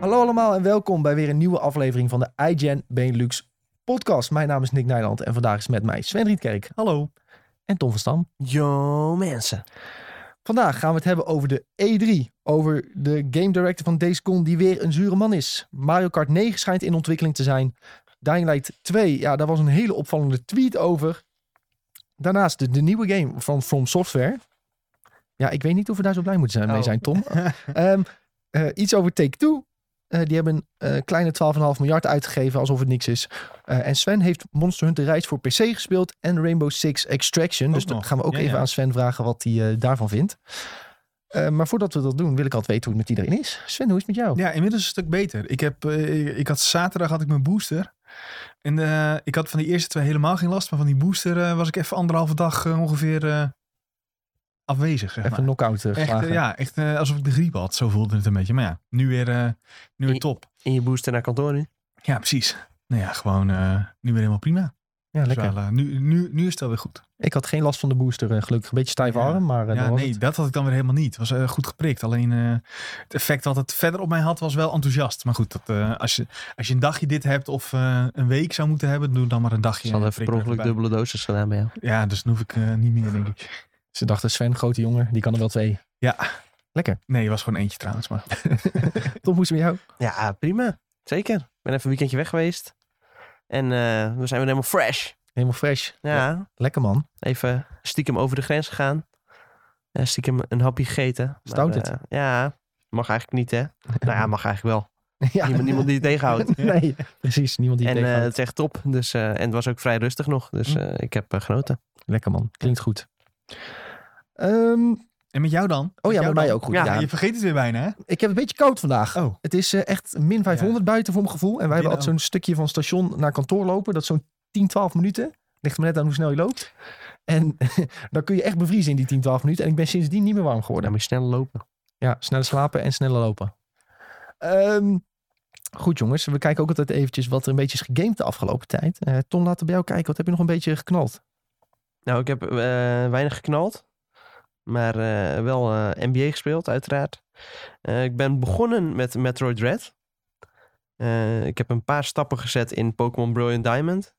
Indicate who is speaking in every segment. Speaker 1: Hallo allemaal en welkom bij weer een nieuwe aflevering van de iGen Benelux podcast. Mijn naam is Nick Nijland en vandaag is met mij Sven Rietkerk. Hallo. En Tom van Stam.
Speaker 2: Yo mensen.
Speaker 1: Vandaag gaan we het hebben over de E3. Over de game director van Days Gone die weer een zure man is. Mario Kart 9 schijnt in ontwikkeling te zijn. Dying Light 2, ja daar was een hele opvallende tweet over. Daarnaast de, de nieuwe game van From Software. Ja, ik weet niet of we daar zo blij moeten zijn, mee
Speaker 2: Oh.
Speaker 1: zijn Tom. Ehm, eh, iets over Take-Two. Eh, die hebben een kleine 12,5 miljard uitgegeven alsof het niks is. Eh, en Sven heeft Monster Hunter Rise voor PC gespeeld en Rainbow Six Extraction. dus dan
Speaker 2: nog.
Speaker 1: gaan we ook
Speaker 2: Ja,
Speaker 1: even
Speaker 2: ja.
Speaker 1: aan Sven vragen wat hij eh, daarvan vindt. Eh, maar voordat we dat doen, wil ik altijd weten hoe het met iedereen is. Sven, hoe is het met jou?
Speaker 2: Ja, inmiddels een stuk beter. Ik, heb, eh, ik- ik had zaterdag had ik mijn booster. En eh, ik had van die eerste twee helemaal geen last. Maar van die booster eh, was ik even anderhalve dag eh, ongeveer eh, afwezig. Zeg
Speaker 1: Even
Speaker 2: maar.
Speaker 1: een knock-out eh,
Speaker 2: echt,
Speaker 1: geslagen.
Speaker 2: eh, ja, echt eh, alsof ik de griep had. Zo voelde het een beetje. Maar ja, nu weer, eh, nu weer
Speaker 3: I-
Speaker 2: top.
Speaker 3: In je booster naar kantoor nu?
Speaker 2: Ja, precies. Nou ja, gewoon eh, nu weer helemaal prima.
Speaker 1: Ja,
Speaker 2: Dus
Speaker 1: lekker.
Speaker 2: wel, eh, nu, nu, nu is het alweer goed.
Speaker 1: Ik had geen last van de booster, eh, gelukkig. Een beetje stijf
Speaker 2: Ja.
Speaker 1: arm, maar eh,
Speaker 2: Ja,
Speaker 1: dat was
Speaker 2: nee,
Speaker 1: het.
Speaker 2: dat had ik dan weer helemaal niet. Het was eh, goed geprikt. Alleen eh, het effect wat het verder op mij had, was wel enthousiast. Maar goed, dat, eh, als, je, als je een dagje dit hebt of eh, een week zou moeten hebben, doe dan maar een dagje.
Speaker 3: Ze hadden
Speaker 2: eh,
Speaker 3: even per
Speaker 2: prikdruk
Speaker 3: ongeluk
Speaker 2: erbij.
Speaker 3: dubbele dosis gedaan bij jou.
Speaker 2: Ja, dus dan hoef ik eh, niet meer, denk ik.
Speaker 1: Ze dachten, Sven, grote jongen, die kan er wel twee.
Speaker 2: Nee, het was gewoon eentje trouwens. Maar goed.
Speaker 1: Tom, hoe is het met jou?
Speaker 3: Ja, prima. Zeker. Ik ben even een weekendje weg geweest. En eh, we zijn weer helemaal fresh.
Speaker 1: Helemaal fresh.
Speaker 3: Ja,
Speaker 1: Lekker, man.
Speaker 3: even stiekem over de grens gegaan. Eh, stiekem een hapje gegeten. Maar,
Speaker 1: Stout het.
Speaker 3: eh, ja, mag eigenlijk niet hè. nou ja, mag eigenlijk wel.
Speaker 1: ja.
Speaker 3: Niemand, niemand die het tegenhoudt.
Speaker 1: Nee, precies. Niemand die het
Speaker 3: en eh,
Speaker 1: tegenhoudt.
Speaker 3: het is echt top. Dus, eh, en het was ook vrij rustig nog. Dus
Speaker 1: Hm.
Speaker 3: eh, ik heb eh, genoten.
Speaker 1: Lekker, man. Klinkt goed. Ehm,
Speaker 2: En met jou dan?
Speaker 1: oh ja,
Speaker 2: jou
Speaker 1: met mij
Speaker 2: dan?
Speaker 1: ook goed.
Speaker 3: Ja,
Speaker 1: Ja,
Speaker 2: Je vergeet het weer bijna, hè?
Speaker 1: Ik heb het een beetje koud vandaag.
Speaker 2: Oh.
Speaker 1: Het is eh, echt min 500 buiten voor mijn gevoel. En wij hebben
Speaker 2: Binnen
Speaker 1: altijd zo'n stukje van station naar kantoor lopen. Dat is zo'n 10, 12 minuten. Ligt er maar net aan hoe snel je loopt. En dan kun je echt bevriezen in die 10, 12 minuten. En ik ben sindsdien niet meer warm
Speaker 3: Dan
Speaker 1: geworden.
Speaker 3: moet je snel lopen.
Speaker 1: Ja, sneller slapen en sneller lopen. Ehm, goed jongens, we kijken ook altijd eventjes wat er een beetje is gegamed de afgelopen tijd. Eh, Tom, laten we bij jou kijken. Wat heb je nog een beetje geknald?
Speaker 3: Nou, ik heb eh, weinig geknald. Maar eh, wel eh, NBA gespeeld, uiteraard. Eh, ik ben begonnen met Metroid Dread. Eh, ik heb een paar stappen gezet in Pokémon Brilliant Diamond.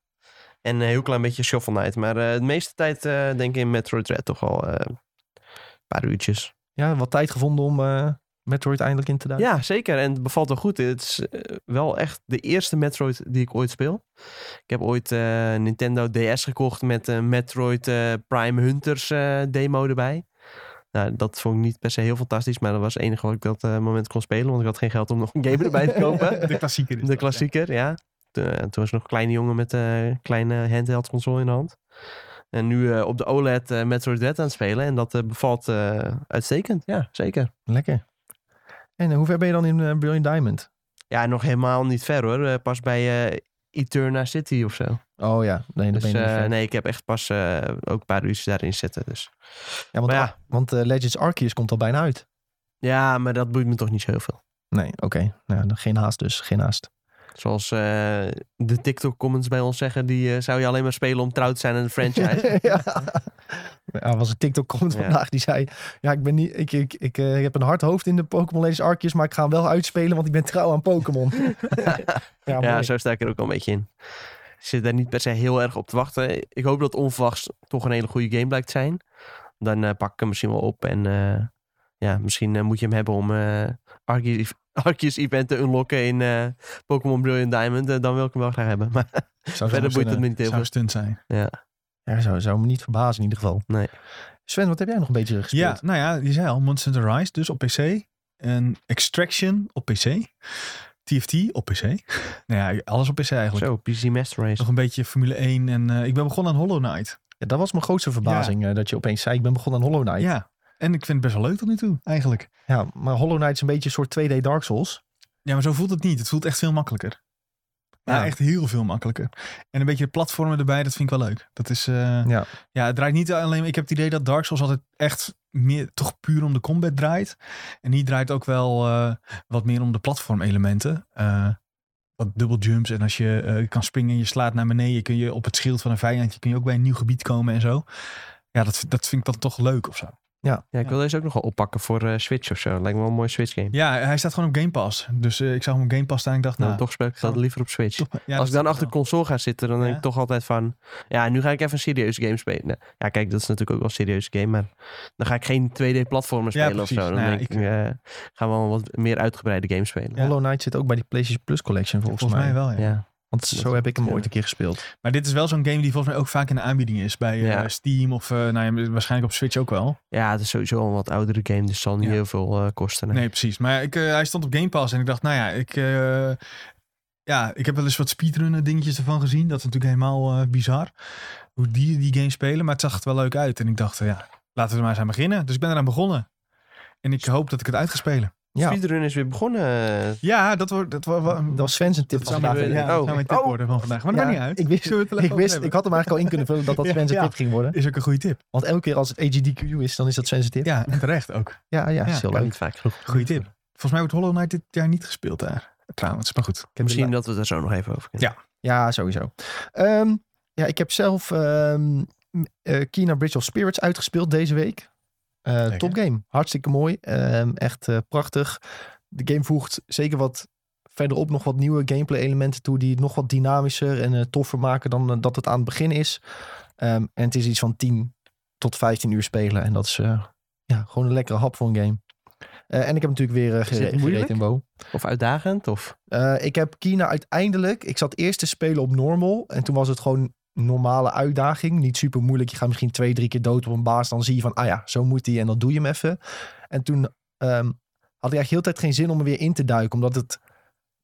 Speaker 3: En een heel klein beetje Shovel Knight. Maar eh, de meeste tijd eh, denk ik in Metroid Dread toch al eh, een paar uurtjes.
Speaker 1: Ja, wat tijd gevonden om eh Metroid eindelijk in te duiken?
Speaker 3: Ja, zeker. En het bevalt wel goed. Het is eh, wel echt de eerste Metroid die ik ooit speel. Ik heb ooit eh, Nintendo DS gekocht met eh, Metroid eh, Prime Hunters eh, demo erbij. Nou, dat vond ik niet per se heel fantastisch, maar dat was het enige wat ik dat eh, moment kon spelen, want ik had geen geld om nog een game erbij te kopen.
Speaker 2: De klassieker. is
Speaker 3: De
Speaker 2: dat,
Speaker 3: klassieker, ja. Toen, eh, toen was ik nog een kleine jongen met eh, een kleine handheld console in de hand. En nu eh, op de OLED eh, Metroid Dread aan het spelen en dat eh, bevalt eh, uitstekend. Ja, zeker.
Speaker 1: Lekker. En eh, hoe ver ben je dan in eh, Brilliant Diamond?
Speaker 3: Ja, nog helemaal niet ver hoor. Eh, Pas bij eh, Eterna City of zo.
Speaker 1: Oh ja, nee, dat
Speaker 3: dus
Speaker 1: ben je niet
Speaker 3: eh,
Speaker 1: ver.
Speaker 3: nee, ik heb echt pas eh, ook een paar uurtjes daarin zitten. Dus.
Speaker 1: Ja, want,
Speaker 3: maar ja.
Speaker 1: want eh, Legends Arceus komt al bijna uit.
Speaker 3: Ja, maar dat boeit me toch niet zo heel veel.
Speaker 1: Nee, oké. Nou, dan geen haast dus, geen haast.
Speaker 3: Zoals eh, de TikTok-comments bij ons zeggen, die eh, zou je alleen maar spelen om trouw te zijn aan de franchise.
Speaker 1: ja. Er was een TikTok comment
Speaker 3: Ja.
Speaker 1: vandaag die zei... Ja, ik, ben niet, ik, ik, ik, eh, ik heb een hard hoofd in de Pokémon Legends Arceus... maar ik ga hem wel uitspelen, want ik ben trouw aan Pokémon. ja, mooi.
Speaker 3: ja, zo sta ik er ook al een beetje in. Ik zit daar niet per se heel erg op te wachten. Ik hoop dat onverwachts toch een hele goede game blijkt te zijn. Dan eh, pak ik hem misschien wel op. En eh, ja, misschien eh, moet je hem hebben om eh Arceus, Arceus Event te unlocken in eh, Pokémon Brilliant Diamond. Eh, dan wil ik hem wel graag hebben. Maar
Speaker 1: Zou zo
Speaker 3: verder boeit het
Speaker 1: kunnen.
Speaker 3: me niet heel
Speaker 2: Zou
Speaker 3: veel.
Speaker 2: een stunt zijn.
Speaker 1: Ja, zou, zou me niet verbazen in ieder geval.
Speaker 3: Nee.
Speaker 1: Sven, wat heb jij nog een beetje gespeeld?
Speaker 2: Ja, nou ja, je zei al, Monster Hunter Rise dus op PC. En Extraction op PC. TFT op PC. Nou ja, alles op PC eigenlijk.
Speaker 3: Zo, PC Master Race.
Speaker 2: Nog een beetje Formule 1 en eh, ik ben begonnen aan Hollow Knight.
Speaker 1: Ja, dat was mijn grootste verbazing, eh, dat je opeens zei... ik ben begonnen aan Hollow Knight.
Speaker 2: Ja, en ik vind het best wel leuk tot nu toe eigenlijk.
Speaker 1: Ja, maar Hollow Knight is een beetje een soort 2D Dark Souls.
Speaker 2: Ja, maar zo voelt het niet. Het voelt echt veel makkelijker. Ja,
Speaker 1: Ja.
Speaker 2: echt heel veel makkelijker. En een beetje de platformen erbij, dat vind ik wel leuk. Dat is, eh,
Speaker 1: Ja.
Speaker 2: ja. het draait niet alleen, ik heb het idee dat Dark Souls altijd echt meer, toch puur om de combat draait. En hier draait ook wel eh, wat meer om de platformelementen. Eh wat double jumps en als je eh, kan springen en je slaat naar beneden, kun je op het schild van een vijandje kun je ook bij een nieuw gebied komen en zo. Ja, dat, dat vind ik dan toch leuk of zo.
Speaker 3: Ja, ik
Speaker 2: Ja.
Speaker 3: wil deze ook nog wel oppakken voor eh, Switch of zo. Lijkt me wel een mooi Switch game.
Speaker 2: Ja, hij staat gewoon op Game Pass. Dus eh, ik zag hem op Game Pass staan en ik dacht,
Speaker 3: Nou,
Speaker 2: nou...
Speaker 3: toch speel ik
Speaker 2: gaan
Speaker 3: dat
Speaker 2: we-
Speaker 3: liever op Switch.
Speaker 2: toch- ja,
Speaker 3: Als ik
Speaker 2: dat-
Speaker 3: dan achter de console ga zitten, dan denk
Speaker 2: Ja.
Speaker 3: ik toch altijd van... Ja, nu ga ik even een serieuze game spelen. Nou, ja, kijk, dat is natuurlijk ook wel een serieuze game, maar... Dan ga ik geen 2D-platformer spelen of
Speaker 2: precies.
Speaker 3: zo. Dan
Speaker 2: Nou ja,
Speaker 3: denk ik,
Speaker 2: ik-
Speaker 3: eh, gaan we wel een wat meer uitgebreide game spelen.
Speaker 2: Ja.
Speaker 1: Hollow Knight zit ook bij die PlayStation Plus Collection volgens,
Speaker 2: Volgens mij
Speaker 1: mij.
Speaker 2: wel, ja.
Speaker 3: Ja.
Speaker 1: Want zo heb ik hem ooit een keer gespeeld.
Speaker 2: Maar dit is wel zo'n game die volgens mij ook vaak in de aanbieding is. Bij eh,
Speaker 3: Ja.
Speaker 2: Steam of eh, nou ja, waarschijnlijk op Switch ook wel.
Speaker 3: Ja, het is sowieso al een wat oudere game, dus het zal niet
Speaker 2: Ja.
Speaker 3: heel veel eh, kosten. hè.
Speaker 2: Nee, precies. Maar ik, eh, hij stond op Game Pass en ik dacht, nou ja, ik, eh, ja, ik heb wel eens wat speedrunnen dingetjes ervan gezien. Dat is natuurlijk helemaal eh, bizar. Hoe die die game spelen, maar het zag er wel leuk uit. En ik dacht, eh, ja, laten we er maar eens aan beginnen. Dus ik ben eraan begonnen. En ik hoop dat ik het uit ga spelen.
Speaker 1: Ja.
Speaker 3: Speedrun is weer begonnen.
Speaker 2: Ja, dat wordt... Dat, wordt
Speaker 1: Dat was Sven zijn tip
Speaker 3: Dat
Speaker 1: van
Speaker 3: was
Speaker 1: vandaag.
Speaker 3: mijn-
Speaker 1: denk ik.
Speaker 2: ja, dat zou
Speaker 3: Oh.
Speaker 2: mijn tip
Speaker 3: Oh.
Speaker 2: worden van vandaag. Maar dat
Speaker 1: Ja,
Speaker 2: maakt niet uit.
Speaker 1: ik wist-
Speaker 2: Zullen we het wel
Speaker 1: Ik,
Speaker 2: even
Speaker 1: wist,
Speaker 2: over
Speaker 1: ik had hem eigenlijk al in kunnen vullen dat dat
Speaker 2: Ja,
Speaker 1: Sven zijn
Speaker 2: ja.
Speaker 1: tip ging worden.
Speaker 2: hebben? Is ook een goede tip.
Speaker 1: Want elke keer als het AGDQ is, dan is dat Sven zijn tip.
Speaker 2: Ja, en terecht ook.
Speaker 1: Ja, ja, is heel
Speaker 3: Kan
Speaker 1: leuk.
Speaker 3: niet vaak genoeg.
Speaker 2: Goeie tip. Volgens mij wordt Hollow Knight dit jaar niet gespeeld daar. Trouwens, maar goed.
Speaker 3: Misschien dat we het er zo nog even over kunnen.
Speaker 2: Ja.
Speaker 1: Ja, sowieso. Ehm, ja, ik heb zelf ehm eh, Kina Bridge of Spirits uitgespeeld deze week. Eh,
Speaker 2: Lekker.
Speaker 1: top game. Hartstikke mooi. Ehm, echt eh, prachtig. De game voegt zeker wat verderop nog wat nieuwe gameplay elementen toe... die het nog wat dynamischer en eh, toffer maken dan eh, dat het aan het begin is. Ehm, en het is iets van 10 tot 15 uur spelen. En dat is eh, ja, gewoon een lekkere hap voor een game. Eh, en ik heb natuurlijk weer eh
Speaker 3: het
Speaker 1: gere-
Speaker 3: moeilijk?
Speaker 1: gereden in WoW.
Speaker 3: Of uitdagend, of...
Speaker 1: Eh, ik heb Kina uiteindelijk. Ik zat eerst te spelen op normal. En toen was het gewoon normale uitdaging. Niet super moeilijk. Je gaat misschien twee, drie keer dood op een baas. Dan zie je van, ah ja, zo moet die. En dan doe je hem even. En toen ehm, had ik eigenlijk heel de tijd geen zin om er weer in te duiken. Omdat het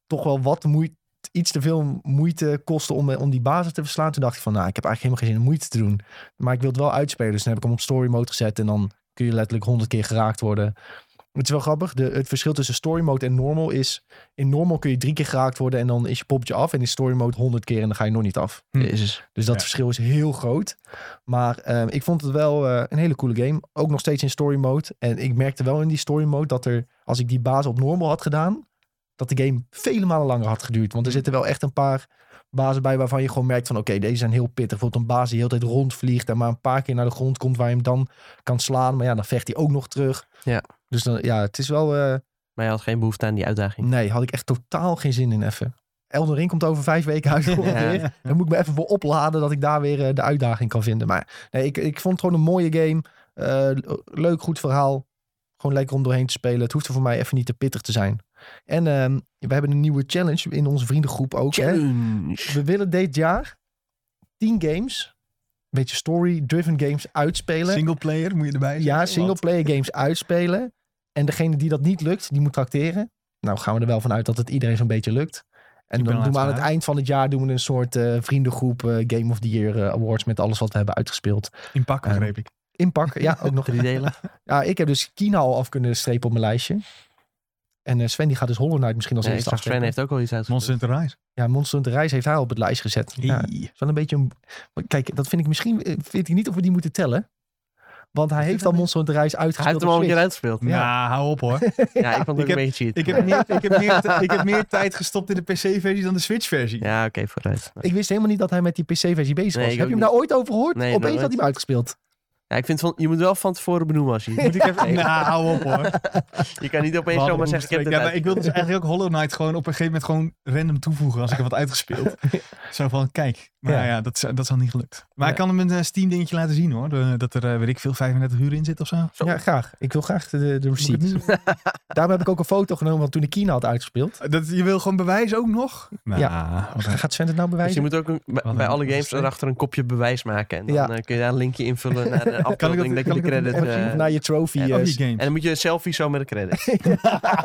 Speaker 1: toch wel wat moeite, iets te veel moeite kostte om, eh, om die bazen te verslaan. Toen dacht ik van, nou, ik heb eigenlijk helemaal geen zin om moeite te doen. Maar ik wil het wel uitspelen. Dus dan heb ik hem op story mode gezet. En dan kun je letterlijk honderd keer geraakt worden. Het is wel grappig. De, het verschil tussen story mode en normal is... In normal kun je drie keer geraakt worden en dan is je poppetje af. En in story mode honderd keer en dan ga je nog niet af.
Speaker 2: Hm.
Speaker 3: Jezus.
Speaker 1: Dus dat
Speaker 2: Ja.
Speaker 1: verschil is heel groot. Maar ehm, ik vond het wel eh, een hele coole game. Ook nog steeds in story mode. En ik merkte wel in die story mode dat er, als ik die baas op normal had gedaan, dat de game vele malen langer had geduurd. Want er zitten wel echt een paar bazen bij waarvan je gewoon merkt van oké, deze zijn heel pittig. Bijvoorbeeld een baas die heel de hele tijd rondvliegt en maar een paar keer naar de grond komt waar je hem dan kan slaan. Maar ja, dan vecht hij ook nog terug.
Speaker 3: Ja.
Speaker 1: Dus dan, ja, het is wel... eh,
Speaker 3: Maar je had geen behoefte aan die uitdaging.
Speaker 1: Nee, had ik echt totaal geen zin in even. Elden Ring komt over vijf weken uit. ongeveer. Dan moet ik me even voor opladen dat ik daar weer eh, de uitdaging kan vinden. Maar nee, ik, ik vond het gewoon een mooie game. Eh, leuk, goed verhaal. Gewoon lekker om doorheen te spelen. Het hoeft er voor mij even niet te pittig te zijn. En ehm, we hebben een nieuwe challenge in onze vriendengroep ook. Hè?
Speaker 3: Challenge.
Speaker 1: We willen dit jaar tien games, een beetje story-driven games uitspelen.
Speaker 2: Single player moet je erbij
Speaker 1: Ja,
Speaker 2: zeggen, want-
Speaker 1: singleplayer games uitspelen. En degene die dat niet lukt, die moet tracteren. Nou gaan we er wel vanuit dat het iedereen zo'n beetje lukt. En
Speaker 2: Ik ben
Speaker 1: dan
Speaker 2: al
Speaker 1: doen we
Speaker 2: aan
Speaker 1: aan
Speaker 2: het
Speaker 1: het eind van het jaar doen we een soort eh, vriendengroep eh, Game of the Year eh, Awards met alles wat we hebben uitgespeeld.
Speaker 2: In pakken
Speaker 1: Ja.
Speaker 2: greep ik.
Speaker 1: Inpakken, ja, ook nog.
Speaker 3: Drie delen.
Speaker 1: Ja, ik heb dus Kina al af kunnen strepen op mijn lijstje. En eh, Sven die gaat dus Hollow Knight misschien als
Speaker 3: Nee, ik
Speaker 1: eerste
Speaker 3: zag Sven
Speaker 1: afstrepen.
Speaker 3: heeft ook al iets
Speaker 2: Monster
Speaker 3: uitgevoerd.
Speaker 2: Hunter Rise.
Speaker 1: Ja, Monster Hunter Rise heeft haar op het lijstje gezet. Ja,
Speaker 2: Hey.
Speaker 1: is wel een beetje een... maar Kijk, dat vind ik misschien... eh, Vind ik niet of we die moeten tellen. Want hij heeft al Monster Hunter Rise
Speaker 3: Hij heeft
Speaker 1: uitgespeeld
Speaker 3: hem al
Speaker 1: op
Speaker 3: een keer
Speaker 1: Switch.
Speaker 3: uitgespeeld.
Speaker 2: Nou, hou op hoor.
Speaker 3: Ja, ik vond het
Speaker 2: Ik
Speaker 3: ook een beetje cheat.
Speaker 2: Ik heb meer, ik heb meer, ik heb meer tijd gestopt in de PC-versie dan de Switch-versie.
Speaker 3: Ja, oké, vooruit.
Speaker 1: Ik wist helemaal niet dat hij met die PC-versie bezig
Speaker 3: Nee,
Speaker 1: was.
Speaker 3: ik
Speaker 1: Heb
Speaker 3: ook
Speaker 1: je hem daar ooit over gehoord?
Speaker 3: Nee,
Speaker 1: Opeens
Speaker 3: nooit.
Speaker 1: had hij hem uitgespeeld.
Speaker 3: Ja, ik vind van, je moet wel van tevoren benoemen als je...
Speaker 2: Moet ik even... Nou, hou op hoor.
Speaker 3: Je kan niet
Speaker 2: We
Speaker 3: opeens
Speaker 2: hadden
Speaker 3: zomaar zeggen, ik heb
Speaker 2: omstreken-
Speaker 3: dit
Speaker 2: ja, maar
Speaker 3: uit-
Speaker 2: ik wil dus eigenlijk ook Hollow Knight gewoon op een gegeven moment gewoon random toevoegen als ik heb wat uitgespeeld. Zo van, kijk. Maar nou ja,
Speaker 1: Ja.
Speaker 2: dat, is- dat is al niet gelukt. Maar
Speaker 3: Ja.
Speaker 2: ik kan hem een eh, Steam dingetje laten zien hoor. De- dat er, eh, weet ik veel, 35 uur in zit of zo. Moet
Speaker 1: Ja, graag. Ik wil graag de, de
Speaker 2: ik het
Speaker 1: receipt.
Speaker 2: nu-
Speaker 1: Daarom heb ik ook een foto genomen van toen ik Kina had uitgespeeld.
Speaker 2: Dat, je wil gewoon bewijs ook nog? Nou, wat een-
Speaker 1: Gaat Sven het nou
Speaker 3: Dus
Speaker 1: bewijzen?
Speaker 3: je moet ook een- bij,
Speaker 2: Wat
Speaker 3: bij
Speaker 2: een
Speaker 3: alle games
Speaker 2: omstreken.
Speaker 3: erachter een kopje bewijs maken. En dan
Speaker 1: Ja.
Speaker 3: eh, kun je daar een linkje invullen naar de afbeelding, dat,
Speaker 2: kan
Speaker 3: je
Speaker 2: ik
Speaker 3: de
Speaker 2: dat
Speaker 3: credit...
Speaker 1: En
Speaker 3: eh,
Speaker 1: of naar je trophy.
Speaker 3: en-
Speaker 1: eh,
Speaker 2: Oh, die
Speaker 1: s-
Speaker 2: games.
Speaker 3: en dan moet je een selfie zo met de credit.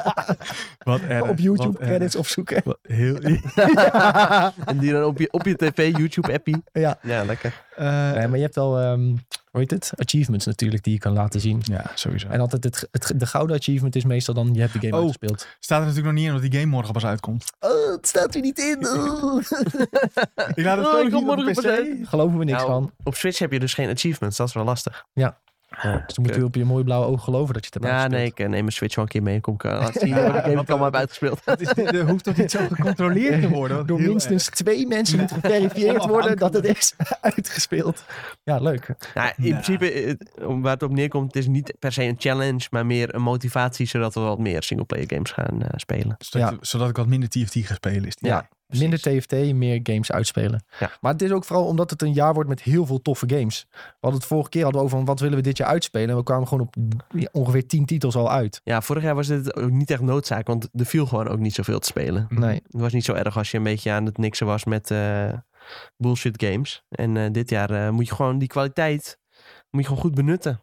Speaker 2: Wat erg,
Speaker 1: op YouTube
Speaker 2: wat
Speaker 3: eh,
Speaker 2: erg.
Speaker 1: credits opzoeken.
Speaker 2: Wat heel...
Speaker 3: en die dan op je, op je tv, YouTube-appie.
Speaker 1: Ja.
Speaker 3: Ja, lekker.
Speaker 2: Eh,
Speaker 1: Nee, maar je hebt wel, ehm, hoe heet het? Achievements natuurlijk die je kan laten zien.
Speaker 2: ja, sowieso.
Speaker 1: En altijd het, het, de gouden achievement is meestal dan je hebt de game
Speaker 2: Oh.
Speaker 1: uitgespeeld.
Speaker 2: Staat er natuurlijk nog niet in, omdat die game morgen pas uitkomt.
Speaker 1: Oh, het staat er niet in. Oh.
Speaker 2: Ik laat het
Speaker 3: Oh,
Speaker 2: zo
Speaker 3: ik kom
Speaker 2: zien op de
Speaker 3: morgen pas
Speaker 2: PC.
Speaker 3: uit.
Speaker 1: Geloven we niks
Speaker 3: Nou,
Speaker 1: van.
Speaker 3: Op Switch heb je dus geen achievements, dat is wel lastig. Ja,
Speaker 1: Dus dan moet je op je mooie blauwe ogen geloven dat je het hebt
Speaker 3: ja, nee,
Speaker 1: uitgespeeld.
Speaker 3: ik eh, neem mijn Switch wel een keer mee. en Kom ik eh, laten zien hoe de game ik
Speaker 2: Nou, wat,
Speaker 3: allemaal
Speaker 2: eh,
Speaker 3: heb uitgespeeld.
Speaker 2: Het is, dit, eh, hoeft toch niet zo gecontroleerd te worden? Wat
Speaker 1: Door
Speaker 2: heel
Speaker 1: minstens twee mensen moet geverifieerd
Speaker 2: Allemaal
Speaker 1: worden dat het is uitgespeeld. Ja, leuk.
Speaker 3: Nou, in
Speaker 2: Ja.
Speaker 3: principe, eh, om- waar het op neerkomt, het is niet per se een challenge, maar meer een motivatie, zodat we wat meer singleplayer games gaan eh, spelen.
Speaker 2: erg. Zodat, zodat ik wat minder TFT ga spelen. Is die.
Speaker 1: Ja. Minder TFT, meer games uitspelen.
Speaker 3: Ja.
Speaker 1: Maar het is ook vooral omdat het een jaar wordt met heel veel toffe games. We hadden het vorige keer hadden we over van wat willen we dit jaar uitspelen. En we kwamen gewoon op ja, ongeveer tien titels al uit.
Speaker 3: Ja, vorig jaar was dit ook niet echt noodzaak, want er viel gewoon ook niet zoveel te spelen.
Speaker 2: Mhm.
Speaker 1: Nee,
Speaker 3: Het was niet zo erg als je een beetje aan het niksen was met eh, bullshit games. En eh, dit jaar eh, moet je gewoon die kwaliteit moet je gewoon goed benutten.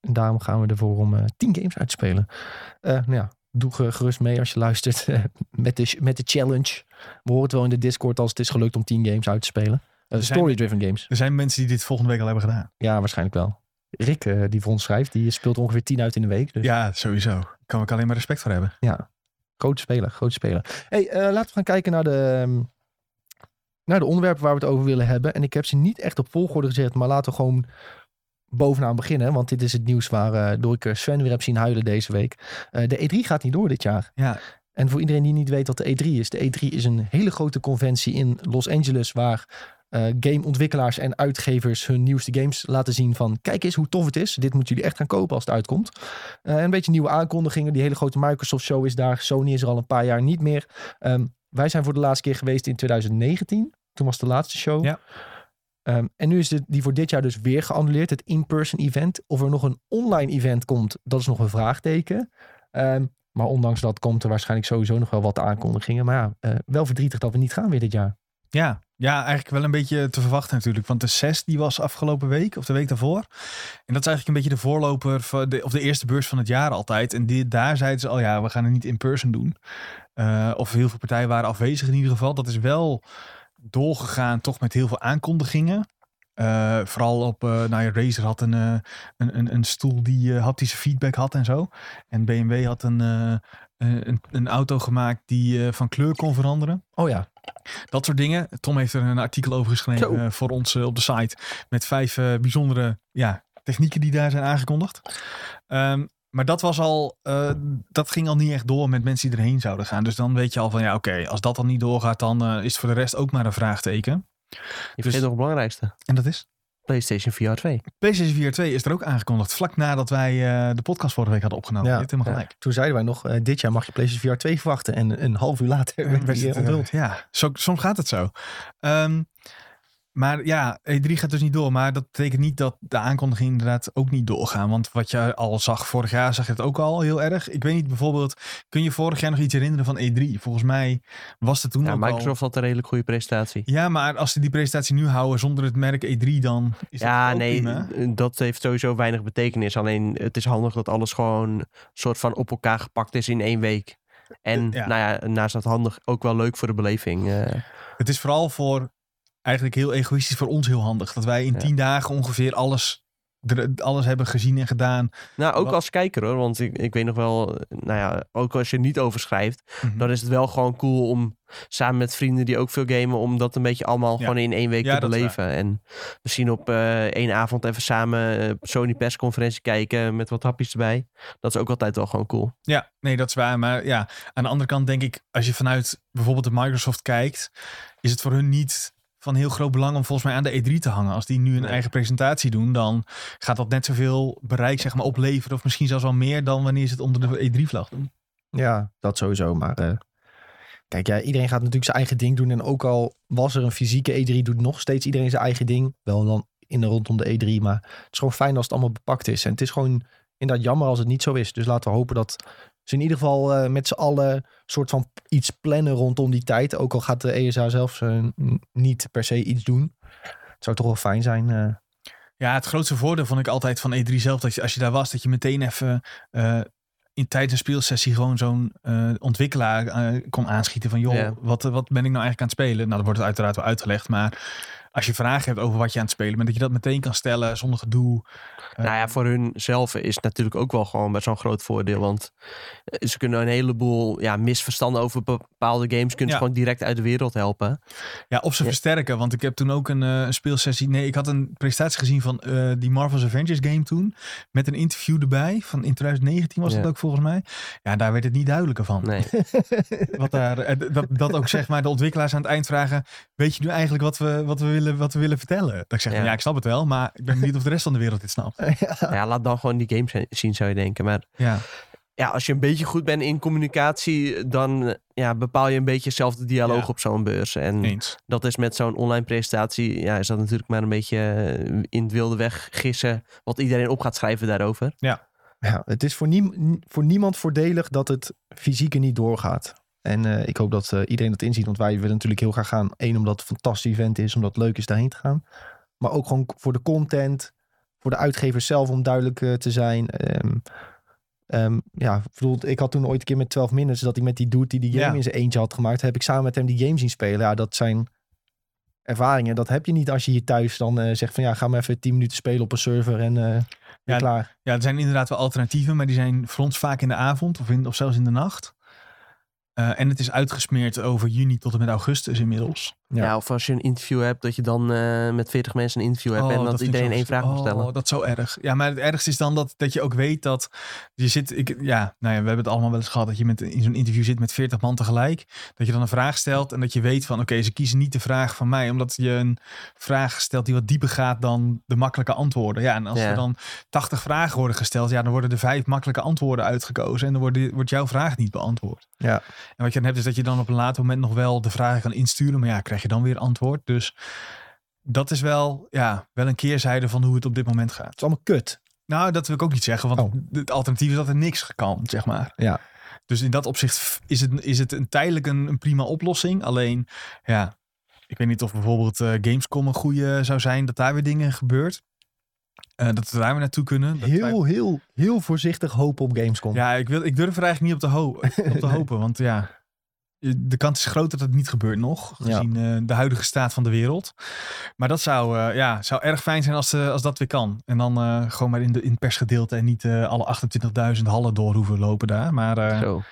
Speaker 1: en daarom gaan we ervoor om eh, tien games uit te spelen. Eh, nou ja, doe ge- gerust mee als je luistert eh, met, de, met de challenge. We horen het wel in de Discord als het is gelukt om tien games uit te spelen. Eh,
Speaker 2: Er zijn-
Speaker 1: Story-driven games.
Speaker 2: Er zijn mensen die dit volgende week al hebben gedaan.
Speaker 1: Ja, waarschijnlijk wel. Rick, eh, die voor ons schrijft, die speelt ongeveer tien uit in de week. Dus
Speaker 2: Ja, sowieso. Daar kan ik alleen maar respect voor hebben.
Speaker 1: Groot speler, groot speler. Hey, eh, laten we gaan kijken naar de, ehm, naar de onderwerpen waar we het over willen hebben. En ik heb ze niet echt op volgorde gezet, maar laten we gewoon bovenaan beginnen. Want dit is het nieuws waar eh, door ik eh, Sven weer heb zien huilen deze week. Eh, de E3 gaat niet door dit jaar.
Speaker 2: Ja.
Speaker 1: En voor iedereen die niet weet wat de E3 is. De E3 is een hele grote conventie in Los Angeles waar... eh, gameontwikkelaars en uitgevers hun nieuwste games laten zien van... kijk eens hoe tof het is. Dit moeten jullie echt gaan kopen als het uitkomt. Eh, een beetje nieuwe aankondigingen. Die hele grote Microsoft show is daar. Sony is er al een paar jaar niet meer. Ehm, wij zijn voor de laatste keer geweest in 2019. Toen was de laatste show.
Speaker 2: Ja.
Speaker 1: Ehm, en nu is dit, die voor dit jaar dus weer geannuleerd. Het in-person event. Of er nog een online event komt, dat is nog een vraagteken. Ehm, maar ondanks dat komt er waarschijnlijk sowieso nog wel wat aankondigingen. Maar ja, eh, wel verdrietig dat we niet gaan weer dit jaar.
Speaker 2: Ja. ja, eigenlijk wel een beetje te verwachten natuurlijk. Want de 6 die was afgelopen week of de week daarvoor. En dat is eigenlijk een beetje de voorloper van de, of de eerste beurs van het jaar altijd. En die, daar zeiden ze al ja, we gaan het niet in person doen. Eh, of heel veel partijen waren afwezig in ieder geval. Dat is wel doorgegaan toch met heel veel aankondigingen. Eh, vooral op, eh nou ja, Razer had een, eh, een, een, een stoel die eh, haptische feedback had en zo. En BMW had een, eh, een, een auto gemaakt die eh, van kleur kon veranderen.
Speaker 1: Oh ja,
Speaker 2: Dat soort dingen. Tom heeft er een artikel over geschreven
Speaker 3: Zo.
Speaker 2: eh, voor ons eh, op de site. Met vijf eh, bijzondere ja, technieken die daar zijn aangekondigd. Ehm, maar dat was al, eh, dat ging al niet echt door met mensen die erheen zouden gaan. Dus dan weet je al van ja, oké, als dat dan niet doorgaat, dan eh, is het voor de rest ook maar een vraagteken.
Speaker 3: Je vergeet nog het belangrijkste.
Speaker 2: En dat is?
Speaker 3: PlayStation VR 2.
Speaker 2: PlayStation 4 2 is er ook aangekondigd. Vlak nadat wij eh, de podcast vorige week hadden opgenomen.
Speaker 1: Ja.
Speaker 2: Dit helemaal gelijk.
Speaker 1: toen zeiden wij nog, eh, dit jaar mag je PlayStation VR 2 verwachten. En een half uur later werd
Speaker 2: Werd
Speaker 1: die
Speaker 2: het,
Speaker 1: eh, onthuld.
Speaker 2: eh, ja, zo, soms gaat het zo. Ehm, maar ja, E3 gaat dus niet door. Maar dat betekent niet dat de aankondigingen inderdaad ook niet doorgaan. Want wat je al zag vorig jaar, zag je het ook al heel erg. Ik weet niet, bijvoorbeeld, kun je vorig jaar nog iets herinneren van E3? Volgens mij was het toen
Speaker 3: Ja,
Speaker 2: ook al...
Speaker 3: Microsoft had een redelijk goede presentatie.
Speaker 2: Ja, maar als ze die presentatie nu houden zonder het merk E3, dan is
Speaker 3: Ja,
Speaker 2: dat ook
Speaker 3: nee,
Speaker 2: prima.
Speaker 3: dat heeft sowieso weinig betekenis. Alleen het is handig dat alles gewoon soort van op elkaar gepakt is in één week. En
Speaker 2: Ja.
Speaker 3: nou ja, naast dat handig ook wel leuk voor de beleving. eh.
Speaker 2: Het is vooral voor, eigenlijk heel egoïstisch voor ons heel handig. Dat wij in
Speaker 3: Ja.
Speaker 2: tien dagen ongeveer alles, er- alles hebben gezien en gedaan.
Speaker 3: nou, ook
Speaker 2: Wat-
Speaker 3: als kijker hoor, want ik, ik weet nog wel, eh, nou ja, ook als je er niet over schrijft,
Speaker 2: Mhm.
Speaker 3: dan is het wel gewoon cool om samen met vrienden die ook veel gamen, om dat een beetje allemaal
Speaker 2: Ja.
Speaker 3: gewoon in één week
Speaker 2: Ja,
Speaker 3: te
Speaker 2: dat is
Speaker 3: beleven. En misschien op eh, één avond even samen eh, Sony persconferentie kijken met wat hapjes erbij. Dat is ook altijd wel gewoon cool.
Speaker 2: Ja, nee, dat is waar. Maar ja, aan de andere kant denk ik, als je vanuit bijvoorbeeld de Microsoft kijkt, is het voor hun niet van heel groot belang om volgens mij aan de E3 te hangen. Als die nu een
Speaker 3: Nee.
Speaker 2: eigen presentatie doen, dan gaat dat net zoveel bereik zeg maar, opleveren. Of misschien zelfs wel meer dan wanneer ze het onder de E E3-vlag doen.
Speaker 1: Ja, dat sowieso. Maar eh, kijk, ja, iedereen gaat natuurlijk zijn eigen ding doen. En ook al was er een fysieke E3, doet nog steeds iedereen zijn eigen ding. Wel dan in en rondom de E3. Maar het is gewoon fijn als het allemaal bepakt is. En het is gewoon inderdaad jammer als het niet zo is. Dus laten we hopen dat ze in ieder geval eh, met z'n allen soort van iets plannen rondom die tijd. Ook al gaat de ESA zelf eh, n- niet per se iets doen. Het zou toch wel fijn zijn. eh.
Speaker 2: Ja, het grootste voordeel vond ik altijd van E3 zelf, dat je, als je daar was, dat je meteen even eh, in tijdens een speelsessie gewoon zo'n eh, ontwikkelaar eh, kon aanschieten van, joh,
Speaker 3: Ja.
Speaker 2: wat, wat ben ik nou eigenlijk aan het spelen? Nou, dat wordt het uiteraard wel uitgelegd, maar als je vragen hebt over wat je aan het spelen bent, dat je dat meteen kan stellen zonder gedoe.
Speaker 3: Nou ja, voor hun zelf is het natuurlijk ook wel gewoon best wel een groot voordeel. Want eh, ze kunnen een heleboel ja, misverstanden over bepaalde games kunnen
Speaker 2: Ja.
Speaker 3: ze gewoon direct uit de wereld helpen.
Speaker 2: Ja, of ze
Speaker 3: Ja.
Speaker 2: versterken. Want ik heb toen ook een, eh, een speelsessie. Nee, ik had een presentatie gezien van eh, die Marvel's Avengers game toen. Met een interview erbij. Van in 2019 was dat
Speaker 3: Ja.
Speaker 2: ook volgens mij. Ja, daar werd het niet duidelijker van.
Speaker 3: Nee.
Speaker 2: Wat daar, eh, d- dat, dat ook zeg maar de ontwikkelaars aan het eind vragen. Weet je nu eigenlijk wat we, wat we, willen, wat we willen vertellen? Dat ik zeg, ja.
Speaker 3: Ja.
Speaker 2: ja, ik snap het wel. Maar ik ben benieuwd of de rest van de wereld dit snapt.
Speaker 3: ja, laat dan gewoon die games he- zien, zou je denken. Maar
Speaker 2: Ja.
Speaker 3: ja, als je een beetje goed bent in communicatie, dan eh, ja, bepaal je een beetje zelf de dialoog
Speaker 2: Ja.
Speaker 3: op zo'n beurs. En
Speaker 2: Eens.
Speaker 3: dat is met zo'n online presentatie, ja, is dat natuurlijk maar een beetje eh, in het wilde weg gissen wat iedereen op gaat schrijven daarover.
Speaker 1: Ja, het is voor, niem- voor niemand voordelig dat het fysieke niet doorgaat. En eh, ik hoop dat eh, iedereen dat inziet, want wij willen natuurlijk heel graag gaan. Eén, omdat het een fantastisch event is, omdat het leuk is daarheen te gaan. Maar ook gewoon voor de content, voor de uitgevers zelf om duidelijk eh, te zijn. Ehm, ehm, ja, ik bedoel, ik had toen ooit een keer met 12 Minutes dat ik met die dude die die game
Speaker 2: Ja.
Speaker 1: in zijn eentje had gemaakt, heb ik samen met hem die game zien spelen. Ja, dat zijn ervaringen. Dat heb je niet als je hier thuis dan eh, zegt van ja, ga maar even 10 minuten spelen op een server en eh
Speaker 2: Ja,
Speaker 1: ja, klaar.
Speaker 2: Ja, er zijn inderdaad wel alternatieven, maar die zijn voor ons vaak in de avond of, in, of zelfs in de nacht. Eh, en het is uitgesmeerd over juni tot en met augustus inmiddels.
Speaker 1: Ja.
Speaker 3: Ja. of als je een interview hebt, dat je dan eh, met 40 mensen een interview hebt en dat,
Speaker 2: Oh, vind ik
Speaker 3: iedereen
Speaker 2: zo-
Speaker 3: één vraag mag stellen.
Speaker 2: Oh, dat is zo erg. Ja, maar het ergste is dan dat, dat je ook weet dat je zit. Ik, ja, nou ja, we hebben het allemaal wel eens gehad dat je met, in zo'n interview zit met 40 man tegelijk. Dat je dan een vraag stelt en dat je weet van oké, ze kiezen niet de vraag van mij, omdat je een vraag stelt die wat dieper gaat dan de makkelijke antwoorden. Ja, en als
Speaker 3: Ja.
Speaker 2: er dan 80 vragen worden gesteld, ja, dan worden er vijf makkelijke antwoorden uitgekozen en dan wordt, wordt jouw vraag niet beantwoord.
Speaker 1: Ja.
Speaker 2: En wat je dan hebt is dat je dan op een later moment nog wel de vragen kan insturen, maar ja, krijg je dan weer antwoord. Dus dat is wel, ja, wel een keerzijde van hoe het op dit moment gaat.
Speaker 1: Het is allemaal kut.
Speaker 2: Nou, dat wil ik ook niet zeggen, want
Speaker 1: Oh.
Speaker 2: het alternatief is dat er niks kan, zeg maar.
Speaker 1: Ja.
Speaker 2: Dus in dat opzicht f- is het, is het een tijdelijk een, een prima oplossing. Alleen, ja, ik weet niet of bijvoorbeeld eh, Gamescom een goede zou zijn, dat daar weer dingen gebeurt. Eh, dat we daar weer naartoe kunnen. Dat wij-
Speaker 1: heel, heel, heel voorzichtig hopen op Gamescom.
Speaker 2: Ja, ik, wil, ik durf er eigenlijk niet op te, ho op te hopen, want ja, de kans is groot dat het niet gebeurt nog, gezien eh, de huidige staat van de wereld. Maar dat zou, eh, ja, zou erg fijn zijn als, eh, als dat weer kan. En dan eh, gewoon maar in, de, in het persgedeelte en niet eh, alle 28.000 hallen door hoeven lopen daar. Maar eh,
Speaker 3: Zo.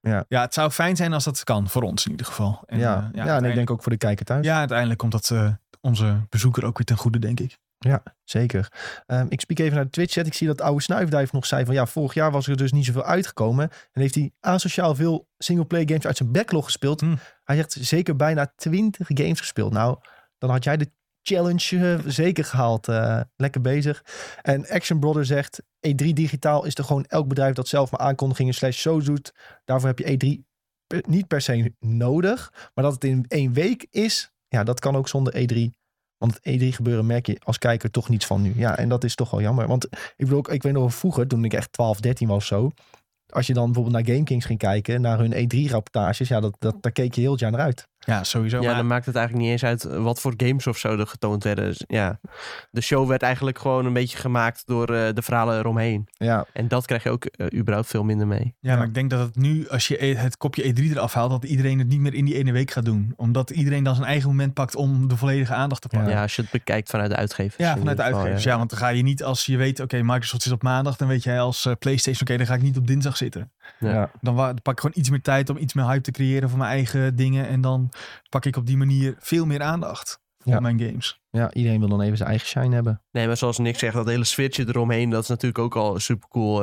Speaker 2: ja, het zou fijn zijn als dat kan, voor ons in ieder geval. En,
Speaker 1: ja.
Speaker 2: eh,
Speaker 1: ja, en ik
Speaker 2: uiteindelijk-
Speaker 1: denk ook voor de kijker thuis.
Speaker 2: ja, uiteindelijk komt dat eh, onze bezoeker ook weer ten goede, denk ik.
Speaker 1: Zeker. Ehm, ik spiek even naar de Twitch chat. Ik zie dat oude snuifduif nog zei van ja, vorig jaar was er dus niet zoveel uitgekomen. En heeft hij asociaal veel singleplayer games uit zijn backlog gespeeld.
Speaker 2: Hm.
Speaker 1: Hij zegt zeker bijna 20 games gespeeld. Nou, dan had jij de challenge eh, zeker gehaald. Eh, lekker bezig. En Action Brother zegt E3 digitaal is er gewoon elk bedrijf dat zelf maar aankondigingen slash zo doet. Daarvoor heb je E3 per- niet per se nodig. Maar dat het in één week is, ja, dat kan ook zonder E E3. Want het E3 gebeuren merk je als kijker toch niets van nu. Ja, en dat is toch wel jammer. Want ik bedoel, ook, ik weet nog vroeger, toen ik echt 12, 13 was of zo. Als je dan bijvoorbeeld naar GameKings ging kijken, naar hun E3-rapportages. Ja, dat, dat, daar keek je heel het jaar naar uit.
Speaker 2: Ja, sowieso.
Speaker 3: Ja,
Speaker 2: maar-
Speaker 3: dan maakt het eigenlijk niet eens uit wat voor games of zo er getoond werden. Dus Ja. De show werd eigenlijk gewoon een beetje gemaakt door eh, de verhalen eromheen.
Speaker 1: Ja,
Speaker 3: En dat krijg je ook eh, überhaupt veel minder mee.
Speaker 2: Ja, maar ik denk dat het nu, als je e- het kopje E3 eraf haalt, dat iedereen het niet meer in die ene week gaat doen. Omdat iedereen dan zijn eigen moment pakt om de volledige aandacht te
Speaker 3: Ja,
Speaker 2: pakken. Ja,
Speaker 3: als je het bekijkt vanuit de uitgevers.
Speaker 2: vanuit
Speaker 3: in
Speaker 2: de
Speaker 3: ieder geval,
Speaker 2: uitgevers.
Speaker 3: ja.
Speaker 2: Ja. want dan ga je niet als je weet, oké, Microsoft zit op maandag, dan weet jij als eh, PlayStation, oké, dan ga ik niet op dinsdag zitten.
Speaker 3: Ja.
Speaker 1: Ja.
Speaker 2: Dan, wa- dan pak ik gewoon iets meer tijd om iets meer hype te creëren voor mijn eigen dingen. En dan pak ik op die manier veel meer aandacht voor
Speaker 1: Ja.
Speaker 2: mijn games.
Speaker 1: ja, iedereen wil dan even zijn eigen shine hebben.
Speaker 3: Nee, maar zoals Nick zegt, dat hele switchje eromheen, dat is natuurlijk ook al super cool.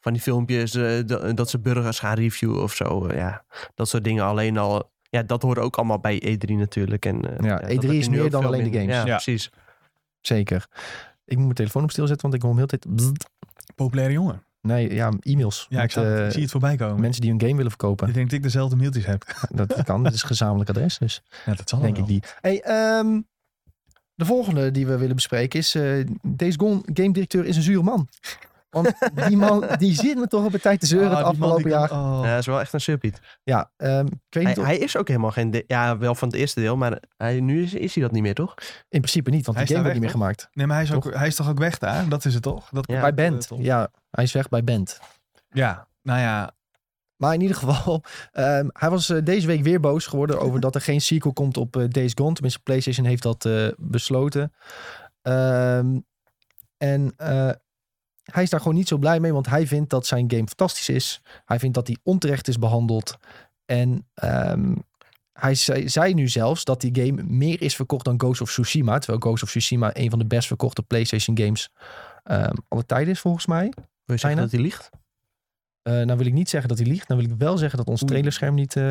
Speaker 3: van die filmpjes, eh, d- dat ze burgers gaan reviewen of zo. eh, ja, dat soort dingen alleen al. Ja, dat hoort ook allemaal bij E3 natuurlijk. En, eh,
Speaker 1: Ja,
Speaker 3: dat
Speaker 1: E3
Speaker 3: heb je
Speaker 1: is
Speaker 3: nu
Speaker 1: meer
Speaker 3: ook
Speaker 1: dan
Speaker 3: veel
Speaker 1: alleen de
Speaker 3: minder.
Speaker 1: games.
Speaker 3: Ja,
Speaker 2: Ja.
Speaker 3: precies.
Speaker 1: Zeker. Ik moet mijn telefoon op stilzetten, want ik hoor hem heel de tijd... bzzzt.
Speaker 2: Populaire jongen.
Speaker 1: Nee, ja, e-mails.
Speaker 2: Ja,
Speaker 1: Met,
Speaker 2: ik, zou het- ik
Speaker 1: eh,
Speaker 2: zie het voorbij komen.
Speaker 1: Mensen die hun game willen verkopen.
Speaker 2: Ik denk dat ik dezelfde mailtjes heb.
Speaker 1: Dat kan, dat is een gezamenlijk adres dus.
Speaker 2: Ja, dat zal
Speaker 1: denk
Speaker 2: wel.
Speaker 1: ik die. Hey, ehm, de volgende die we willen bespreken is... eh deze Gone game directeur is een zure man. Want die man die zit me toch op een tijd te zeuren
Speaker 2: Ah,
Speaker 1: het
Speaker 2: die man
Speaker 1: afgelopen
Speaker 2: die kan-
Speaker 1: jaar.
Speaker 2: oh.
Speaker 3: Ja, dat is wel echt een surpiet.
Speaker 1: Ja, ehm, ik weet
Speaker 3: Hij,
Speaker 1: niet of-
Speaker 3: hij is ook helemaal geen... de- ja, wel van het eerste deel, maar hij, nu is, is hij dat niet meer, toch?
Speaker 1: in principe niet, want
Speaker 2: Hij
Speaker 1: die
Speaker 2: is
Speaker 1: game
Speaker 2: daar
Speaker 1: wordt niet meer gemaakt.
Speaker 2: Nee, maar hij is, ook,
Speaker 1: Toch?
Speaker 2: hij is toch ook weg daar? Dat is het toch? Dat
Speaker 3: Ja.
Speaker 1: bij
Speaker 2: dat
Speaker 1: Band.
Speaker 2: het om-
Speaker 1: Ja, hij is weg bij Band.
Speaker 2: Ja, nou ja.
Speaker 1: Maar in ieder geval, ehm, hij was eh, deze week weer boos geworden over dat er geen sequel komt op eh, Days Gone. Tenminste, PlayStation heeft dat eh, besloten. Ehm, en eh, hij is daar gewoon niet zo blij mee, want hij vindt dat zijn game fantastisch is. Hij vindt dat hij onterecht is behandeld. En ehm, hij zei, zei nu zelfs dat die game meer is verkocht dan Ghost of Tsushima. Terwijl Ghost of Tsushima een van de best verkochte PlayStation games ehm alle tijden is, volgens mij.
Speaker 3: Wil je
Speaker 1: Bijna.
Speaker 3: zeggen dat hij liegt?
Speaker 1: Eh nou wil ik niet zeggen dat hij liegt. Dan wil ik wel zeggen dat ons
Speaker 3: Oei.
Speaker 1: trailerscherm niet, eh,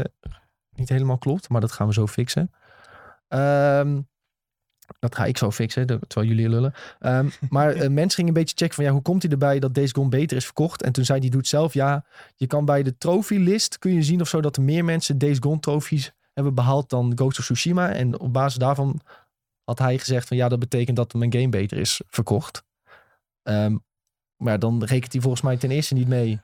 Speaker 1: niet helemaal klopt. Maar dat gaan we zo fixen. Ehm, dat ga ik zo fixen, de- terwijl jullie lullen. Ehm, maar eh, mensen gingen een beetje checken van ja, hoe komt hij erbij dat Days Gone beter is verkocht? En toen zei die doet zelf, ja, je kan bij de trofeelist kun je zien of zo dat er meer mensen Days Gone trofies hebben behaald dan Ghost of Tsushima. En op basis daarvan had hij gezegd van ja, dat betekent dat mijn game beter is verkocht. Ehm, maar dan rekent hij volgens mij ten eerste niet mee.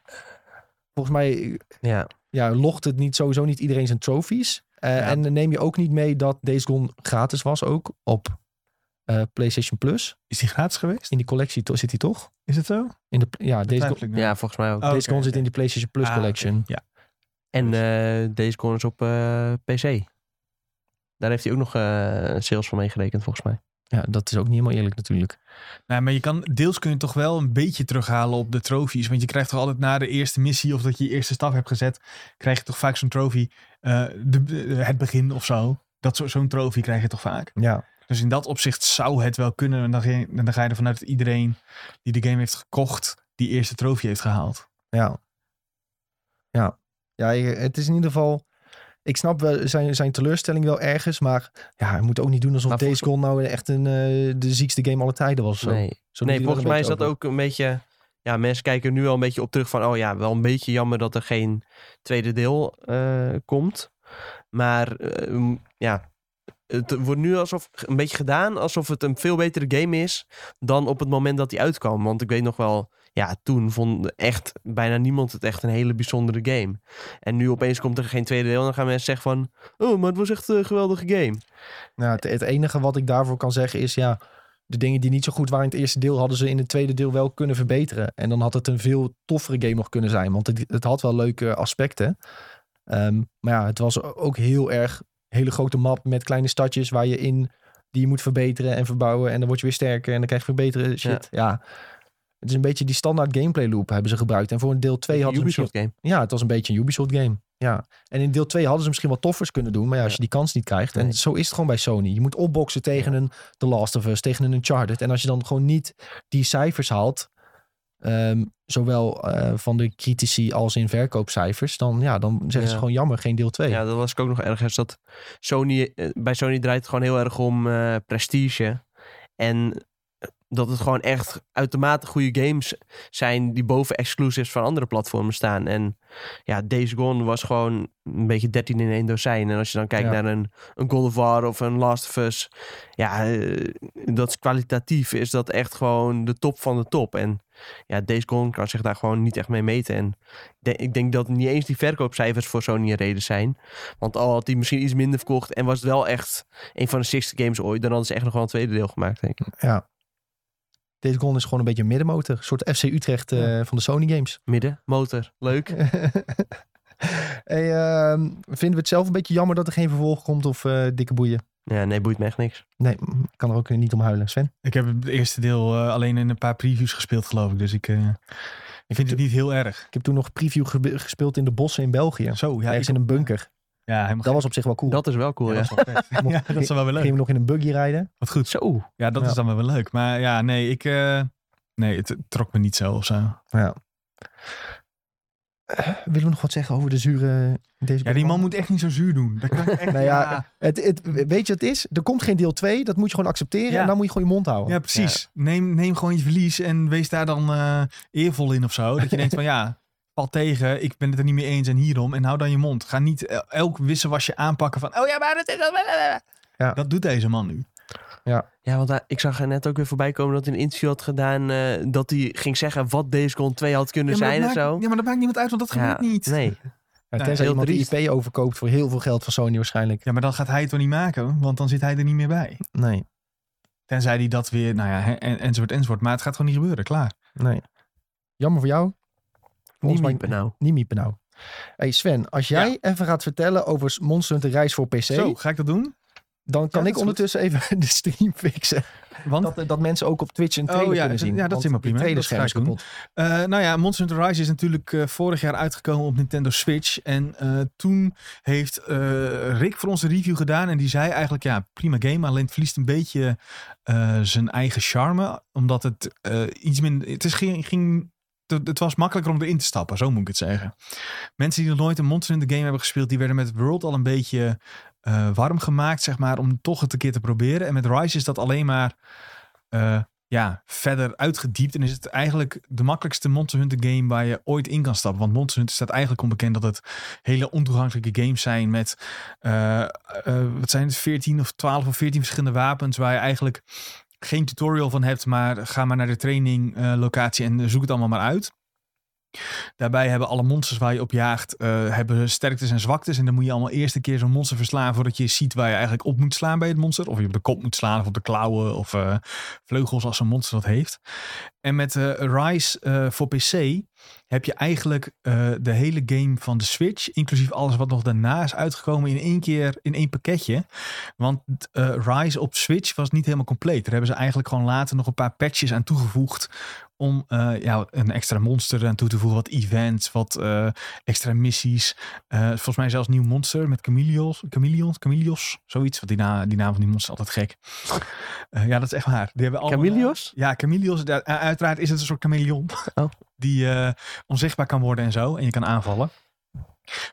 Speaker 1: Volgens mij
Speaker 3: Ja.
Speaker 1: ja, logt het niet, sowieso niet iedereen zijn trophies. Eh,
Speaker 3: Ja.
Speaker 1: En dan neem je ook niet mee dat Days Gone gratis was ook op eh, PlayStation Plus.
Speaker 2: Is die gratis geweest?
Speaker 1: In die collectie to- zit hij toch?
Speaker 2: Is het zo?
Speaker 1: In de, ja, Days Gone,
Speaker 2: Twijfel ik nu.
Speaker 3: ja, volgens mij ook.
Speaker 2: Oh,
Speaker 1: Days
Speaker 2: oké,
Speaker 1: Gone zit
Speaker 2: oké.
Speaker 1: in die PlayStation Plus
Speaker 2: Ah, oké.
Speaker 1: collection.
Speaker 2: Ja.
Speaker 3: En eh deze kon is op eh, PC. Daar heeft hij ook nog eh, sales van meegerekend, volgens mij.
Speaker 1: Ja, dat is ook niet helemaal eerlijk natuurlijk.
Speaker 2: Nou, maar je kan, deels kun je toch wel een beetje terughalen op de trofies. Want je krijgt toch altijd na de eerste missie of dat je je eerste stap hebt gezet, krijg je toch vaak zo'n trofee. eh, de- de- het begin of zo. Dat zo- zo'n trofee krijg je toch vaak.
Speaker 1: Ja,
Speaker 2: Dus in dat opzicht zou het wel kunnen. En dan, ga je- dan ga je ervan uit dat iedereen die de game heeft gekocht, die eerste trofee heeft gehaald.
Speaker 1: ja. Ja, ja je- het is in ieder geval... Ik snap wel zijn, zijn teleurstelling wel ergens, maar ja, hij moet ook niet doen alsof
Speaker 3: Maar
Speaker 1: Days Gone nou echt een, eh, de ziekste game aller tijden was. Zo.
Speaker 3: Nee,
Speaker 1: Zo
Speaker 3: nee
Speaker 1: doet hij wel
Speaker 3: volgens
Speaker 1: een
Speaker 3: mij is
Speaker 1: beetje
Speaker 3: dat ook een beetje... Ja, mensen kijken er nu al een beetje op terug van... Oh ja, wel een beetje jammer dat er geen tweede deel eh, komt. Maar eh, m- ja, het wordt nu alsof een beetje gedaan... alsof het een veel betere game is dan op het moment dat die uitkwam. Want ik weet nog wel... Ja, toen vond echt bijna niemand het echt een hele bijzondere game. En nu opeens komt er geen tweede deel en dan gaan mensen zeggen van... Oh, maar het was echt een geweldige game.
Speaker 1: Nou, het, het enige wat ik daarvoor kan zeggen is ja, de dingen die niet zo goed waren in het eerste deel, hadden ze in het tweede deel wel kunnen verbeteren. En dan had het een veel toffere game nog kunnen zijn, want het, het had wel leuke aspecten. Ehm, maar ja, het was ook heel erg hele grote map met kleine stadjes waar je in die je moet verbeteren en verbouwen. En dan word je weer sterker en dan krijg je verbeteren shit. Ja. Het is een beetje die standaard gameplay loop hebben ze gebruikt. En voor een deel 2 hadden ze misschien...
Speaker 3: Ubisoft game.
Speaker 1: Ja, het was een beetje een Ubisoft game. Ja. En in deel 2 hadden ze misschien wat toffers kunnen doen. Maar ja, als
Speaker 3: Ja.
Speaker 1: je die kans niet krijgt. En
Speaker 3: Nee.
Speaker 1: zo is het gewoon bij Sony. Je moet opboksen tegen
Speaker 3: Ja.
Speaker 1: een The Last of Us, tegen een Uncharted. En als je dan gewoon niet die cijfers haalt. ehm, zowel eh, van de critici als in verkoopcijfers. Dan, ja, dan zeggen ze
Speaker 3: Ja.
Speaker 1: gewoon jammer, geen deel 2.
Speaker 3: Ja, dat was ik ook nog ergens. Dat Sony, eh, bij Sony draait het gewoon heel erg om eh, prestige. En eh, dat het gewoon echt uitermate goede games zijn die boven exclusives van andere platformen staan. En ja, Days Gone was gewoon een beetje 13 in één dozijn. En als je dan kijkt
Speaker 1: Ja.
Speaker 3: naar een, een God of War of een Last of Us. Ja, eh, dat is kwalitatief. Is dat echt gewoon de top van de top. En ja, Days Gone kan zich daar gewoon niet echt mee meten. En ik denk- ik denk dat niet eens die verkoopcijfers voor Sony een reden zijn. Want al had hij misschien iets minder verkocht en was het wel echt een van de 60 games ooit, dan hadden ze echt nog wel een tweede deel gemaakt, denk ik.
Speaker 1: Deze Gone is gewoon een beetje een middenmotor. Een soort FC Utrecht eh, van de Sony games.
Speaker 3: Midden, motor, leuk.
Speaker 1: hey, ehm, vinden we het zelf een beetje jammer dat er geen vervolg komt of eh, dikke boeien?
Speaker 3: Ja, nee, boeit me echt niks.
Speaker 1: Nee, mm, kan er ook eh, niet om huilen, Sven.
Speaker 2: Ik heb het eerste deel eh, alleen in een paar previews gespeeld, geloof ik. Dus ik eh, vind het niet heel erg.
Speaker 1: Ik heb toen nog preview gebe- gespeeld in de bossen in België.
Speaker 2: Zo, ja.
Speaker 1: ergens
Speaker 2: ik-
Speaker 1: in een bunker.
Speaker 2: Ja, helemaal
Speaker 1: Dat was op zich wel cool.
Speaker 3: Dat is wel cool,
Speaker 2: Ja,
Speaker 3: ja.
Speaker 2: dat is wel vet. Ja, dat is wel weer
Speaker 1: Gingen
Speaker 2: leuk.
Speaker 1: we nog in een buggy rijden.
Speaker 2: Wat goed.
Speaker 3: Zo.
Speaker 2: Ja, dat
Speaker 1: Ja.
Speaker 2: is dan wel weer leuk. Maar ja, nee, ik... eh, nee, het trok me niet zo of zo.
Speaker 1: Willen we nog wat zeggen over de zure... Deze
Speaker 2: Ja, die man moet echt niet zo zuur doen. Dat kan ik echt,
Speaker 1: Nou ja, Het, het, weet je wat het is? Er komt geen deel 2. Dat moet je gewoon accepteren.
Speaker 2: Ja.
Speaker 1: En dan moet je gewoon je mond houden.
Speaker 2: Ja, precies. Neem, neem gewoon je verlies en wees daar dan eh, eervol in of zo. Dat je denkt van ja, val tegen, ik ben het er niet mee eens en hierom. En hou dan je mond. Ga niet el- elk wisselwasje aanpakken van oh ja, maar dat is dat.
Speaker 1: Ja.
Speaker 2: Dat doet deze man nu.
Speaker 3: Ja, want hij- ik zag er net ook weer voorbij komen dat hij een interview had gedaan eh, dat hij ging zeggen wat Days Gone 2 had kunnen
Speaker 2: ja, maar
Speaker 3: zijn en
Speaker 2: dat maakt,
Speaker 3: zo.
Speaker 2: ja, maar dat maakt niemand uit, want dat gebeurt niet.
Speaker 3: Nee,
Speaker 1: Ja,
Speaker 2: Ja,
Speaker 1: tenzij
Speaker 3: heel
Speaker 1: iemand
Speaker 3: triest.
Speaker 1: die IP overkoopt voor heel veel geld van Sony waarschijnlijk.
Speaker 2: Ja, maar dan gaat hij het toch niet maken, want dan zit hij er niet meer bij.
Speaker 1: Nee,
Speaker 2: Tenzij hij dat weer, nou ja, hè, en, enzovoort, enzovoort. Maar het gaat gewoon niet gebeuren, klaar.
Speaker 1: nee. Jammer voor jou.
Speaker 3: niet
Speaker 1: Volgens mij
Speaker 3: miepen nou.
Speaker 1: niet miepen nou. hey Sven, als jij even gaat vertellen over Monster Hunter Reis voor PC,
Speaker 2: Zo, ga ik dat doen?
Speaker 1: dan kan
Speaker 2: dat
Speaker 1: ik
Speaker 2: is
Speaker 1: ondertussen even de stream fixen.
Speaker 2: Want
Speaker 1: Dat, dat mensen ook op Twitch een
Speaker 2: Oh,
Speaker 1: trailer
Speaker 2: ja,
Speaker 1: kunnen
Speaker 2: dat-
Speaker 1: zien.
Speaker 2: ja, dat is
Speaker 1: want
Speaker 2: helemaal
Speaker 1: die
Speaker 2: prima.
Speaker 1: trailerscherm
Speaker 2: Dat ga ik
Speaker 1: is
Speaker 2: doen.
Speaker 1: kapot.
Speaker 2: Eh, nou ja, Monster Hunter Rise is natuurlijk eh, vorig jaar uitgekomen op Nintendo Switch. En eh, toen heeft eh, Rick voor ons een review gedaan. En die zei eigenlijk, ja, prima game. Alleen het verliest een beetje eh, zijn eigen charme. Omdat het eh, iets minder... Het, is, ging, ging, het het was makkelijker om erin te stappen, zo moet ik het zeggen. Mensen die nog nooit een Monster Hunter game hebben gespeeld... die werden met World al een beetje eh, warm gemaakt, zeg maar. Om toch het een keer te proberen. En met Rise is dat alleen maar... eh, ja, verder uitgediept. En is het eigenlijk de makkelijkste Monster Hunter game waar je ooit in kan stappen. Want Monster Hunter staat eigenlijk onbekend dat het hele ontoegankelijke games zijn met, eh, eh, wat zijn het, 14 of 12 of 14 verschillende wapens waar je eigenlijk geen tutorial van hebt, maar ga maar naar de training eh, locatie en eh, zoek het allemaal maar uit. Daarbij hebben alle monsters waar je op jaagt, eh, hebben sterktes en zwaktes. En dan moet je allemaal eerst een keer zo'n monster verslaan voordat je ziet waar je eigenlijk op moet slaan bij het monster. Of je op de kop moet slaan of op de klauwen of eh, vleugels als een monster dat heeft. En met eh, Rise eh, voor PC heb je eigenlijk eh, de hele game van de Switch, inclusief alles wat nog daarna is uitgekomen, in één keer in één pakketje. Want eh, Rise op Switch was niet helemaal compleet. Daar hebben ze eigenlijk gewoon later nog een paar patches aan toegevoegd. Om eh, ja, een extra monster aan toe te voegen. Wat events, wat eh, extra missies. Eh, volgens mij zelfs nieuw monster met chameleons. Chameleons, chameleons zoiets. Want die, na, die naam van die monster is altijd gek. Eh, ja, dat is echt waar. Die hebben allemaal-
Speaker 3: Camilios?
Speaker 2: ja, chameleons, da- u- eh, uiteraard is het een soort chameleon.
Speaker 3: Oh.
Speaker 2: Die eh, onzichtbaar kan worden en zo. En je kan aanvallen.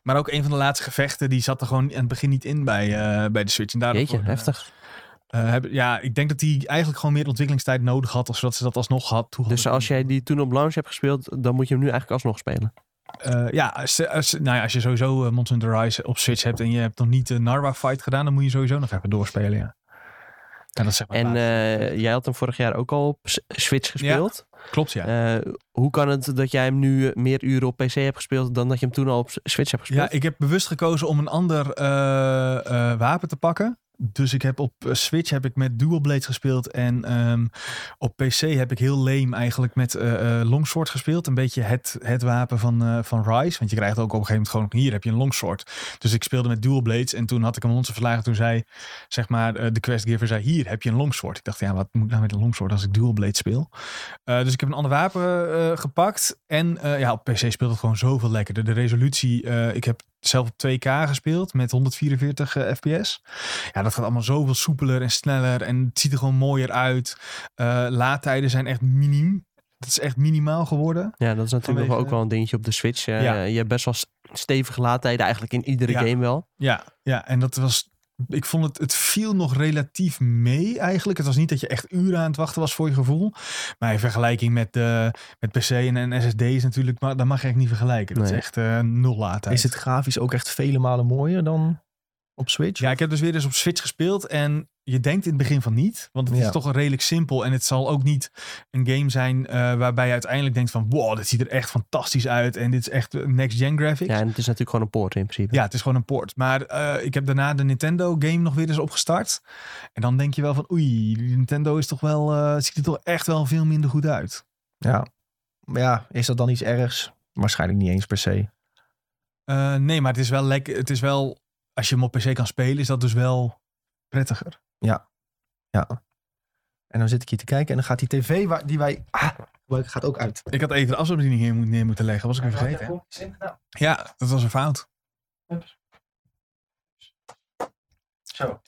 Speaker 2: Maar ook een van de laatste gevechten, die zat er gewoon aan het begin niet in bij, eh, bij de Switch. En daardoor
Speaker 3: Jeetje,
Speaker 2: eh,
Speaker 3: heftig.
Speaker 2: eh, heb- ja, ik denk dat die eigenlijk gewoon meer ontwikkelingstijd nodig had. of Zodat ze dat alsnog had
Speaker 3: Dus
Speaker 2: toegevoegd.
Speaker 3: als jij die toen op launch hebt gespeeld, dan moet je hem nu eigenlijk alsnog spelen.
Speaker 2: Eh, ja, als, als- nou ja, als je sowieso eh, Monster Hunter Rise op Switch hebt. En je hebt nog niet de Narwa fight gedaan. Dan moet je sowieso nog even doorspelen, ja. En dat zeg maar
Speaker 3: En
Speaker 2: waar.
Speaker 3: eh, jij had hem vorig jaar ook al op S- Switch gespeeld.
Speaker 2: Klopt, ja.
Speaker 3: Eh, hoe kan het dat jij hem nu eh, meer uren op PC hebt gespeeld dan dat je hem toen al op S- Switch hebt gespeeld?
Speaker 2: Ja, ik heb bewust gekozen om een ander eh, eh, wapen te pakken. Dus ik heb op eh, Switch heb ik met Dual Blade gespeeld. En ehm, op PC heb ik heel leem eigenlijk met eh eh, Longsword gespeeld. Een beetje het, het wapen van, eh, van Rise. Want je krijgt ook op een gegeven moment gewoon... Hier heb je een Longsword. Dus ik speelde met Dual Blades. En toen had ik een monster verlagen. Toen zei zeg maar, eh, de questgiver zei... Hier heb je een Longsword. Ik dacht, ja, wat moet ik nou met een Longsword als ik Dual Blade speel? Eh, dus ik heb een ander wapen eh, gepakt. En eh, ja, op PC speelt het gewoon zoveel lekkerder. De resolutie, eh, ik heb zelf op 2K gespeeld met 144 eh, fps. Ja, dat gaat allemaal zoveel soepeler en sneller. En het ziet er gewoon mooier uit. Eh, laadtijden zijn echt miniem. Het is echt minimaal geworden.
Speaker 3: Ja, dat is natuurlijk nog wel
Speaker 2: Vanwege-
Speaker 3: ook wel een dingetje op de Switch. Eh,
Speaker 2: Ja.
Speaker 3: Je hebt best wel s- stevige laadtijden eigenlijk in iedere
Speaker 2: Ja.
Speaker 3: game wel.
Speaker 2: Ja, ja, en dat was... Ik vond het, het viel nog relatief mee eigenlijk. Het was niet dat je echt uren aan het wachten was voor je gevoel. Maar in vergelijking met, eh, met PC en, en SSD's natuurlijk, maar, dat mag je echt niet vergelijken. Dat
Speaker 3: Nee.
Speaker 2: is echt eh, nul laadtijd.
Speaker 1: Is het grafisch ook echt vele malen mooier dan op Switch?
Speaker 2: Ja, ik heb dus weer eens op Switch gespeeld en je denkt in het begin van niet, want het
Speaker 1: Ja.
Speaker 2: is toch een redelijk simpel en het zal ook niet een game zijn eh, waarbij je uiteindelijk denkt van wow, dit ziet er echt fantastisch uit en dit is echt next-gen graphics.
Speaker 3: Ja, en het is natuurlijk gewoon een poort in principe.
Speaker 2: Ja, het is gewoon een port. Maar eh, ik heb daarna de Nintendo game nog weer eens opgestart. En dan denk je wel van oei, die Nintendo is toch wel, eh, ziet er toch echt wel veel minder goed uit.
Speaker 1: Ja. Maar ja, is dat dan iets ergs? Waarschijnlijk niet eens per se.
Speaker 2: Eh, nee, maar het is wel lekker. Het is wel, als je hem op PC kan spelen, is dat dus wel prettiger.
Speaker 1: En dan zit ik hier te kijken en dan gaat die tv waar, die wij ah, gebruiken, gaat ook uit.
Speaker 2: Ik had even de afstandsbediening hier moet- neer moeten leggen, was ik weer vergeten. hè? Ja, dat was een fout.
Speaker 1: Zo.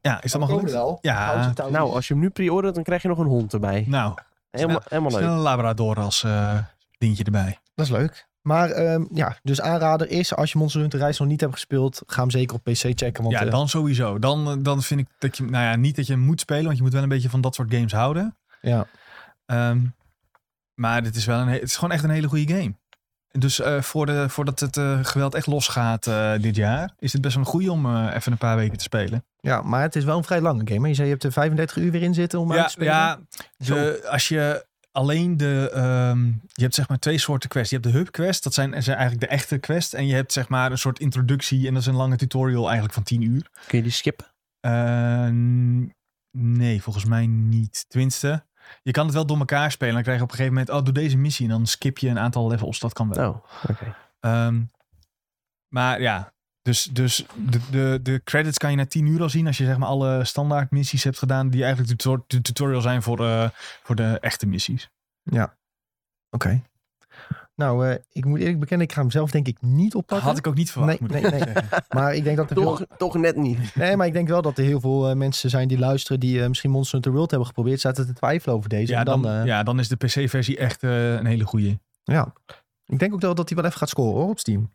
Speaker 2: Ja, is dat maar gelukt?
Speaker 1: wel.
Speaker 2: Ja,
Speaker 3: Nou, als je hem nu pre-ordert, dan krijg je nog een hond erbij.
Speaker 2: nou,
Speaker 3: helemaal, helemaal
Speaker 2: snel
Speaker 3: leuk.
Speaker 2: een labrador als eh dingetje erbij.
Speaker 1: Dat is leuk. Maar ehm, ja, dus aanrader is, als je Monster Hunter Rise nog niet hebt gespeeld, ga hem zeker op PC checken. Want
Speaker 2: ja,
Speaker 1: eh,
Speaker 2: dan sowieso. Dan, eh, dan vind ik dat je, nou ja, niet dat je hem moet spelen, want je moet wel een beetje van dat soort games houden.
Speaker 1: ja.
Speaker 2: Ehm, maar dit is wel een, he- het is gewoon echt een hele goede game. Dus eh, voor de, voordat het eh, geweld echt losgaat eh, dit jaar, is het best wel een goede om eh, even een paar weken te spelen.
Speaker 1: ja, maar het is wel een vrij lange game. hè? Je zei je hebt er 35 uur weer in zitten om uit te
Speaker 2: Ja,
Speaker 1: spelen.
Speaker 2: ja
Speaker 1: Zo.
Speaker 2: de, als je alleen de... ehm, je hebt zeg maar twee soorten quests. Je hebt de hub quest, dat zijn, zijn eigenlijk de echte quests. En je hebt zeg maar een soort introductie en dat is een lange tutorial eigenlijk van 10 uur.
Speaker 3: Kun je die skippen?
Speaker 2: Eh, nee, volgens mij niet. Tenminste, je kan het wel door elkaar spelen. Dan krijg je op een gegeven moment, oh doe deze missie en dan skip je een aantal levels. Dat kan wel.
Speaker 3: Nou, oké.
Speaker 2: Eh, Ehm, maar ja, dus, dus de, de, de credits kan je na 10 uur al zien als je zeg maar alle standaard missies hebt gedaan die eigenlijk de, tutor- de tutorial zijn voor, eh, voor de echte missies.
Speaker 1: Oké. Nou, eh, ik moet eerlijk bekennen, ik ga hem zelf denk ik niet oppakken.
Speaker 2: Had ik ook niet verwacht.
Speaker 1: Nee,
Speaker 2: moet
Speaker 1: nee,
Speaker 2: ik
Speaker 1: nee.
Speaker 2: zeggen.
Speaker 1: Maar ik denk dat er veel...
Speaker 3: Toch, toch net niet.
Speaker 1: Nee, maar ik denk wel dat er heel veel eh, mensen zijn die luisteren die eh, misschien Monster Hunter World hebben geprobeerd, zaten te twijfelen over deze.
Speaker 2: Ja,
Speaker 1: en dan,
Speaker 2: dan,
Speaker 1: eh,
Speaker 2: ja, dan is de PC-versie echt eh, een hele goeie.
Speaker 1: ja. Ik denk ook wel dat hij wel even gaat scoren hoor, op Steam.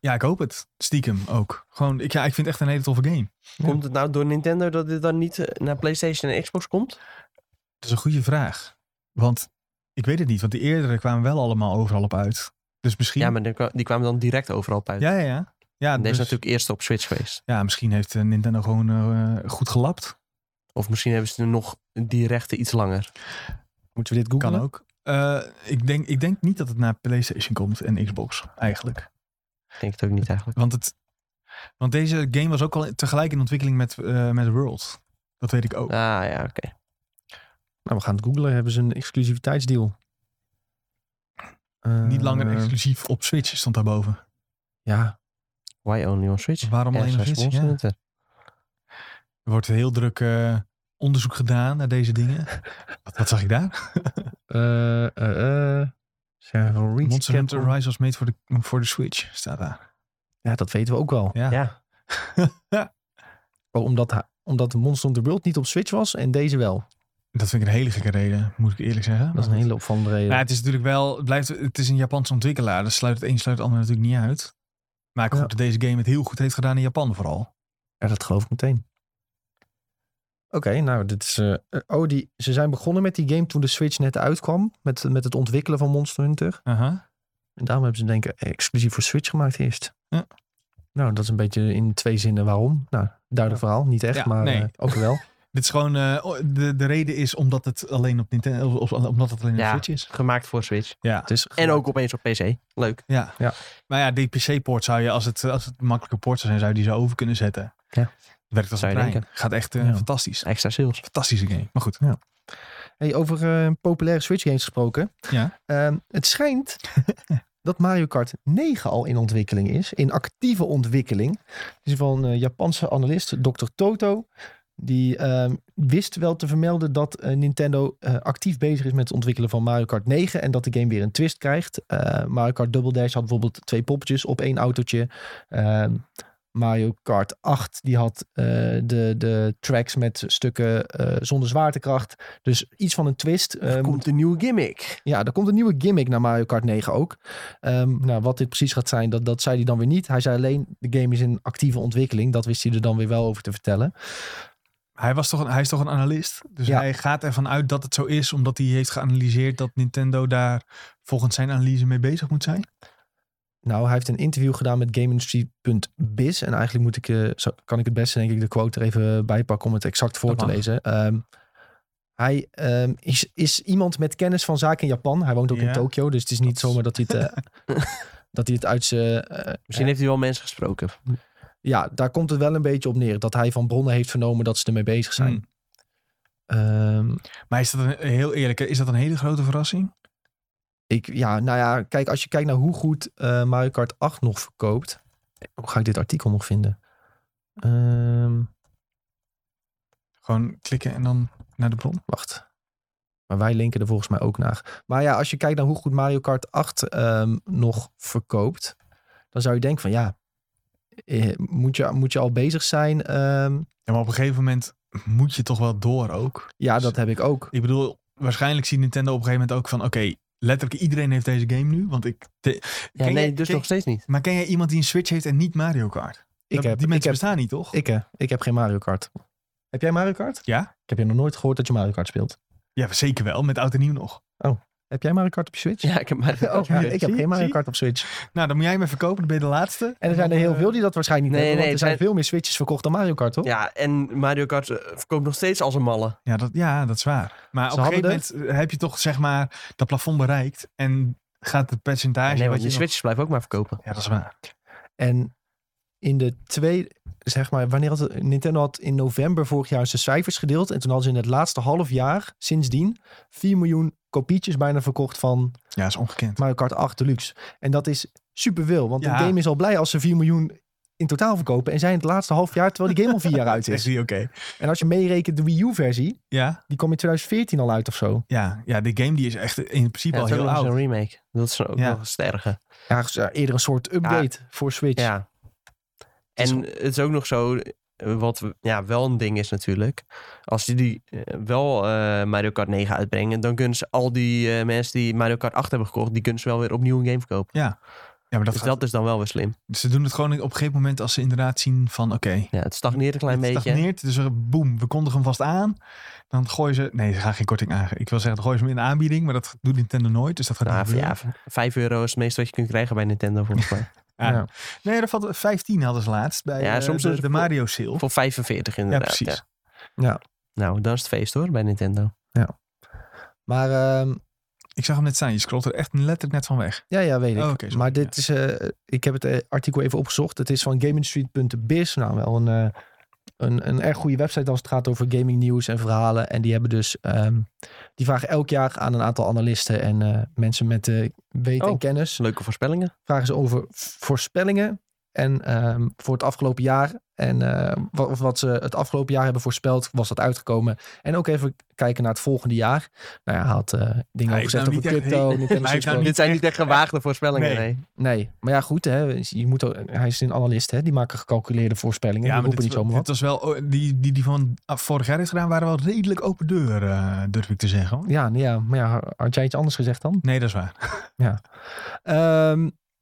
Speaker 2: Ja, ik hoop het. Stiekem ook. Gewoon, ik, ja, ik vind het echt een hele toffe game.
Speaker 3: Komt het nou door Nintendo dat dit dan niet eh, naar PlayStation en Xbox komt?
Speaker 2: Dat is een goede vraag. Want ik weet het niet, want die eerdere kwamen wel allemaal overal op uit. Dus misschien...
Speaker 3: Ja, maar die kwa- die kwamen dan direct overal op uit.
Speaker 2: ja, ja, ja. ja
Speaker 3: En Deze
Speaker 2: dus-
Speaker 3: is natuurlijk eerst op Switch geweest.
Speaker 2: Ja, misschien heeft eh, Nintendo gewoon eh, goed gelapt.
Speaker 3: Of misschien hebben ze er nog die rechten iets langer.
Speaker 1: Moeten we dit googlen?
Speaker 2: Kan ook. Eh, ik, denk, ik denk niet dat het naar PlayStation komt en Xbox eigenlijk.
Speaker 3: Ik denk het ook niet eigenlijk.
Speaker 2: Want, het, want deze game was ook al tegelijk in ontwikkeling met, eh, met World. Dat weet ik ook.
Speaker 3: Ah ja, oké.
Speaker 1: Nou, we gaan het googlen. Hebben ze een exclusiviteitsdeal? Eh,
Speaker 2: niet
Speaker 3: Eh.
Speaker 2: langer exclusief op Switch stond daarboven.
Speaker 1: Ja,
Speaker 3: Why only on Switch?
Speaker 2: Waarom alleen
Speaker 3: Ja,
Speaker 2: nog
Speaker 3: slash
Speaker 2: Switch?
Speaker 3: Monster
Speaker 2: Ja.
Speaker 3: Hunter.
Speaker 2: Er wordt heel druk eh, onderzoek gedaan naar deze dingen. wat, wat zag ik daar?
Speaker 1: Eh, eh, eh. Several reach
Speaker 2: Monster Hunter
Speaker 1: capital.
Speaker 2: Rise was made voor de, voor de Switch, staat daar.
Speaker 1: Ja, dat weten we ook wel.
Speaker 2: Ja.
Speaker 3: Ja.
Speaker 1: Oh, omdat, ha- omdat Monster Hunter World niet op Switch was en deze wel.
Speaker 2: Dat vind ik een hele gekke reden, moet ik eerlijk zeggen.
Speaker 1: Dat is een hele opvallende reden.
Speaker 2: Nou, het is natuurlijk wel, het, blijft, het is een Japanse ontwikkelaar. Dus sluit het een sluit het ander natuurlijk niet uit. Maar ik hoop
Speaker 1: Ja.
Speaker 2: dat deze game het heel goed heeft gedaan in Japan vooral.
Speaker 1: Ja, dat geloof ik meteen. Oké, nou, dit is. eh, eh, oh, die, ze zijn begonnen met die game toen de Switch net uitkwam. Met, met het ontwikkelen van Monster Hunter. En daarom hebben ze, denk ik, eh, exclusief voor Switch gemaakt eerst.
Speaker 2: Ja.
Speaker 1: Nou, dat is een beetje in twee zinnen waarom. Nou, duidelijk verhaal. Niet echt,
Speaker 2: Ja,
Speaker 1: maar
Speaker 2: nee.
Speaker 1: eh, ook wel.
Speaker 2: Dit is gewoon, eh, oh, de, de reden is omdat het alleen op Nintendo, of- of- omdat het alleen op
Speaker 3: Ja.
Speaker 2: Switch is.
Speaker 3: Gemaakt voor Switch.
Speaker 2: Ja.
Speaker 1: Het is
Speaker 3: En ook opeens op PC. Leuk.
Speaker 2: Ja.
Speaker 1: Ja.
Speaker 2: Maar ja, die PC-poort zou je, als het, als het een makkelijke poort zou zijn, zou je die zo over kunnen zetten.
Speaker 1: Ja.
Speaker 2: Werkt als
Speaker 3: Zou
Speaker 2: een
Speaker 3: je
Speaker 2: trein.
Speaker 3: denken.
Speaker 2: Gaat echt eh,
Speaker 1: Ja.
Speaker 2: fantastisch.
Speaker 3: Extra sales.
Speaker 2: Fantastische game. Maar goed.
Speaker 1: Hey, over eh, populaire Switch games gesproken.
Speaker 2: Ja.
Speaker 1: Ehm, het schijnt dat Mario Kart 9 al in ontwikkeling is. In actieve ontwikkeling. Het is van een eh, Japanse analist, Dr. Toto. Die ehm, wist wel te vermelden dat eh, Nintendo eh, actief bezig is met het ontwikkelen van Mario Kart 9. En dat de game weer een twist krijgt. Eh, Mario Kart Double Dash had bijvoorbeeld twee poppetjes op één autootje. Ehm, Mario Kart 8 die had eh, de, de tracks met stukken eh, zonder zwaartekracht. Dus iets van een twist.
Speaker 3: Ehm,
Speaker 1: eh, moet-
Speaker 3: Komt een nieuwe gimmick.
Speaker 1: ja, er komt een nieuwe gimmick naar Mario Kart 9 ook. Ehm, nou, wat dit precies gaat zijn, dat, dat zei hij dan weer niet. Hij zei alleen, de game is in actieve ontwikkeling. Dat wist hij er dan weer wel over te vertellen.
Speaker 2: Hij, was toch een, hij is toch een analist. Dus
Speaker 1: Ja.
Speaker 2: hij gaat ervan uit dat het zo is, omdat hij heeft geanalyseerd dat Nintendo daar volgens zijn analyse mee bezig moet zijn.
Speaker 1: Nou, hij heeft een interview gedaan met GameIndustry.biz. En eigenlijk moet ik, eh, zo- kan ik het beste denk ik de quote er even bij pakken om het exact voor
Speaker 2: Dat
Speaker 1: te
Speaker 2: mag.
Speaker 1: lezen. Ehm, hij ehm, is, is iemand met kennis van zaken in Japan. Hij woont ook in
Speaker 2: Ja.
Speaker 1: Tokio, dus het is niet
Speaker 2: Dat is-
Speaker 1: zomaar dat hij het, eh, dat hij het uit zijn... eh,
Speaker 3: Misschien heeft hij wel mensen gesproken.
Speaker 1: ja, daar komt het wel een beetje op neer. Dat hij van bronnen heeft vernomen dat ze ermee bezig zijn.
Speaker 2: Hmm.
Speaker 1: Ehm,
Speaker 2: Maar is dat een, heel eerlijk, is dat een hele grote verrassing?
Speaker 1: ik, ja, nou ja, kijk, als je kijkt naar hoe goed eh, Mario Kart 8 nog verkoopt. Hoe ga ik dit artikel nog vinden? Ehm,
Speaker 2: Gewoon klikken en dan naar de bron.
Speaker 1: wacht. Maar wij linken er volgens mij ook naar. Maar ja, als je kijkt naar hoe goed Mario Kart 8 ehm, nog verkoopt. Dan zou je denken van ja, eh, moet je, moet je al bezig zijn? Ehm,
Speaker 2: Ja, maar op een gegeven moment moet je toch wel door ook.
Speaker 1: ja, dat heb ik ook.
Speaker 2: Ik bedoel, waarschijnlijk ziet Nintendo op een gegeven moment ook van... Oké, letterlijk iedereen heeft deze game nu. Want ik... te-
Speaker 3: Ja,
Speaker 2: Ken
Speaker 3: nee,
Speaker 2: jij-
Speaker 3: dus
Speaker 2: ken-
Speaker 3: nog steeds niet.
Speaker 2: Maar ken jij iemand die een Switch heeft en niet Mario Kart?
Speaker 1: Ik
Speaker 2: Dat-
Speaker 1: heb,
Speaker 2: die
Speaker 1: ik
Speaker 2: mensen
Speaker 1: heb
Speaker 2: bestaan niet, toch?
Speaker 1: Ik, eh, ik heb geen Mario Kart. Heb jij Mario Kart?
Speaker 2: Ja.
Speaker 1: Ik heb je nog nooit gehoord dat je Mario Kart speelt.
Speaker 2: Ja, zeker wel. Met oud en nieuw nog.
Speaker 1: Heb jij Mario Kart op je Switch?
Speaker 3: Ja, ik heb maar...
Speaker 1: Oh,
Speaker 2: Ja,
Speaker 1: ik
Speaker 2: zie
Speaker 1: heb
Speaker 2: je,
Speaker 1: geen Mario
Speaker 2: zie je.
Speaker 1: Kart op Switch.
Speaker 2: Nou, dan moet jij me verkopen. Dan ben je de laatste. eh,
Speaker 1: En er zijn er heel veel die dat waarschijnlijk niet
Speaker 3: eh, Nee,
Speaker 1: hebben.
Speaker 3: nee,
Speaker 1: want
Speaker 3: er
Speaker 1: er zijn veel meer Switches verkocht dan Mario Kart, toch?
Speaker 3: Ja, en Mario Kart eh, verkoopt nog steeds als een malle.
Speaker 2: Ja dat, ja, dat is waar. Maar
Speaker 1: Ze
Speaker 2: op een
Speaker 1: hadden
Speaker 2: gegeven moment eh, heb je toch, zeg maar, dat plafond bereikt. En gaat het percentage
Speaker 3: nee,
Speaker 2: wat
Speaker 3: want
Speaker 2: je
Speaker 3: die
Speaker 2: nog-
Speaker 3: Switches blijven ook maar verkopen.
Speaker 2: Ja, dat is waar.
Speaker 1: En in de tweede, zeg maar, wanneer had het- Nintendo had in november vorig jaar zijn cijfers gedeeld. En toen hadden ze in het laatste half jaar, sindsdien, 4 miljoen kopietjes bijna verkocht van
Speaker 2: Ja, is ongekend.
Speaker 1: Mario Kart 8 Deluxe. En dat is superveel, want
Speaker 2: Ja.
Speaker 1: de game is al blij als ze 4 miljoen in totaal verkopen. En zij in het laatste half jaar, terwijl die game al vier jaar uit
Speaker 2: Is
Speaker 1: is.
Speaker 2: die oké?
Speaker 1: En als je meerekent de Wii U-versie,
Speaker 2: Ja,
Speaker 1: die kwam in 2014 al uit of zo.
Speaker 2: ja, ja, de game die is echt in principe
Speaker 3: Ja,
Speaker 2: al
Speaker 3: toen
Speaker 2: heel
Speaker 3: was
Speaker 2: oud.
Speaker 3: een remake. Dat is ook
Speaker 2: Ja.
Speaker 3: nog eens het erge.
Speaker 1: Ja, dus, ja, eerder een soort update voor Switch.
Speaker 3: Ja.
Speaker 1: is
Speaker 3: En het is ook nog zo, eh, wat we- ja, wel een ding is natuurlijk. Als die, die eh, wel eh, Mario Kart 9 uitbrengen, dan kunnen ze al die eh, mensen die Mario Kart 8 hebben gekocht, die kunnen ze wel weer opnieuw een game verkopen.
Speaker 2: Ja, maar dat
Speaker 3: dus
Speaker 2: gaat-
Speaker 3: dat is dan wel weer slim.
Speaker 2: ze doen het gewoon op een gegeven moment als ze inderdaad zien van oké,
Speaker 3: Ja, het stagneert een klein
Speaker 2: het
Speaker 3: beetje.
Speaker 2: stagneert, dus er- boem, we kondigen hem vast aan. Dan gooien ze, nee, ze gaan geen korting aan. Ik wil zeggen, dan gooien ze hem in de aanbieding, maar dat doet Nintendo nooit, dus dat gaat
Speaker 3: Nou,
Speaker 2: niet
Speaker 3: v- ja,
Speaker 2: gebeuren.
Speaker 3: v- 5 euro is het meeste wat je kunt krijgen bij Nintendo volgens mij.
Speaker 2: Ja. Ah. Nee, dat valt 15 hadden ze laatst bij
Speaker 3: Ja,
Speaker 2: eh,
Speaker 3: soms
Speaker 2: de,
Speaker 3: is het
Speaker 2: de
Speaker 3: voor-
Speaker 2: Mario sale.
Speaker 3: Voor 45
Speaker 2: Ja,
Speaker 3: inderdaad.
Speaker 2: precies.
Speaker 3: Nou, dan is het feest hoor, bij Nintendo.
Speaker 1: Maar ehm,
Speaker 2: Ik zag hem net staan. Je scrolt er echt letterlijk net van weg.
Speaker 1: Ja, ja, weet ik.
Speaker 2: Oh, oké, sorry,
Speaker 1: maar dit is, eh, ik heb het eh, artikel even opgezocht. Het is van GameIndustry.biz. Nou, wel een, eh, een, een erg goede website als het gaat over gaming nieuws en verhalen. En die hebben dus, ehm, die vragen elk jaar aan een aantal analisten en eh, mensen met eh weten en
Speaker 3: Oh.
Speaker 1: kennis.
Speaker 3: Leuke voorspellingen.
Speaker 1: Vragen ze over voorspellingen en ehm, voor het afgelopen jaar. En eh, wat, of wat ze het afgelopen jaar hebben voorspeld, was dat uitgekomen. En ook even kijken naar het volgende jaar. Nou ja, hij had eh, dingen
Speaker 2: Hij
Speaker 1: over
Speaker 2: heeft
Speaker 1: gezegd
Speaker 2: nou
Speaker 1: over
Speaker 2: niet echt
Speaker 1: crypto.
Speaker 2: heel-
Speaker 1: Nintendo
Speaker 2: hij heeft nou
Speaker 1: Switch
Speaker 2: niet
Speaker 3: Dit zijn niet echt gewaagde voorspellingen,
Speaker 2: Nee.
Speaker 3: nee.
Speaker 1: Nee, maar ja, goed. Hè, je moet, ook- hij is een analist, hè, die maken gecalculeerde voorspellingen. die roepen
Speaker 2: dit,
Speaker 1: niet
Speaker 2: wa-
Speaker 1: zomaar
Speaker 2: dit
Speaker 1: wat.
Speaker 2: was wel... oh, Die, die, die van ah, vorig jaar heeft gedaan, waren wel redelijk open deur, eh, durf ik te zeggen. hoor.
Speaker 1: Ja, nee, ja, maar ja, had jij iets anders gezegd dan?
Speaker 2: Nee, dat is waar.
Speaker 1: Ehm,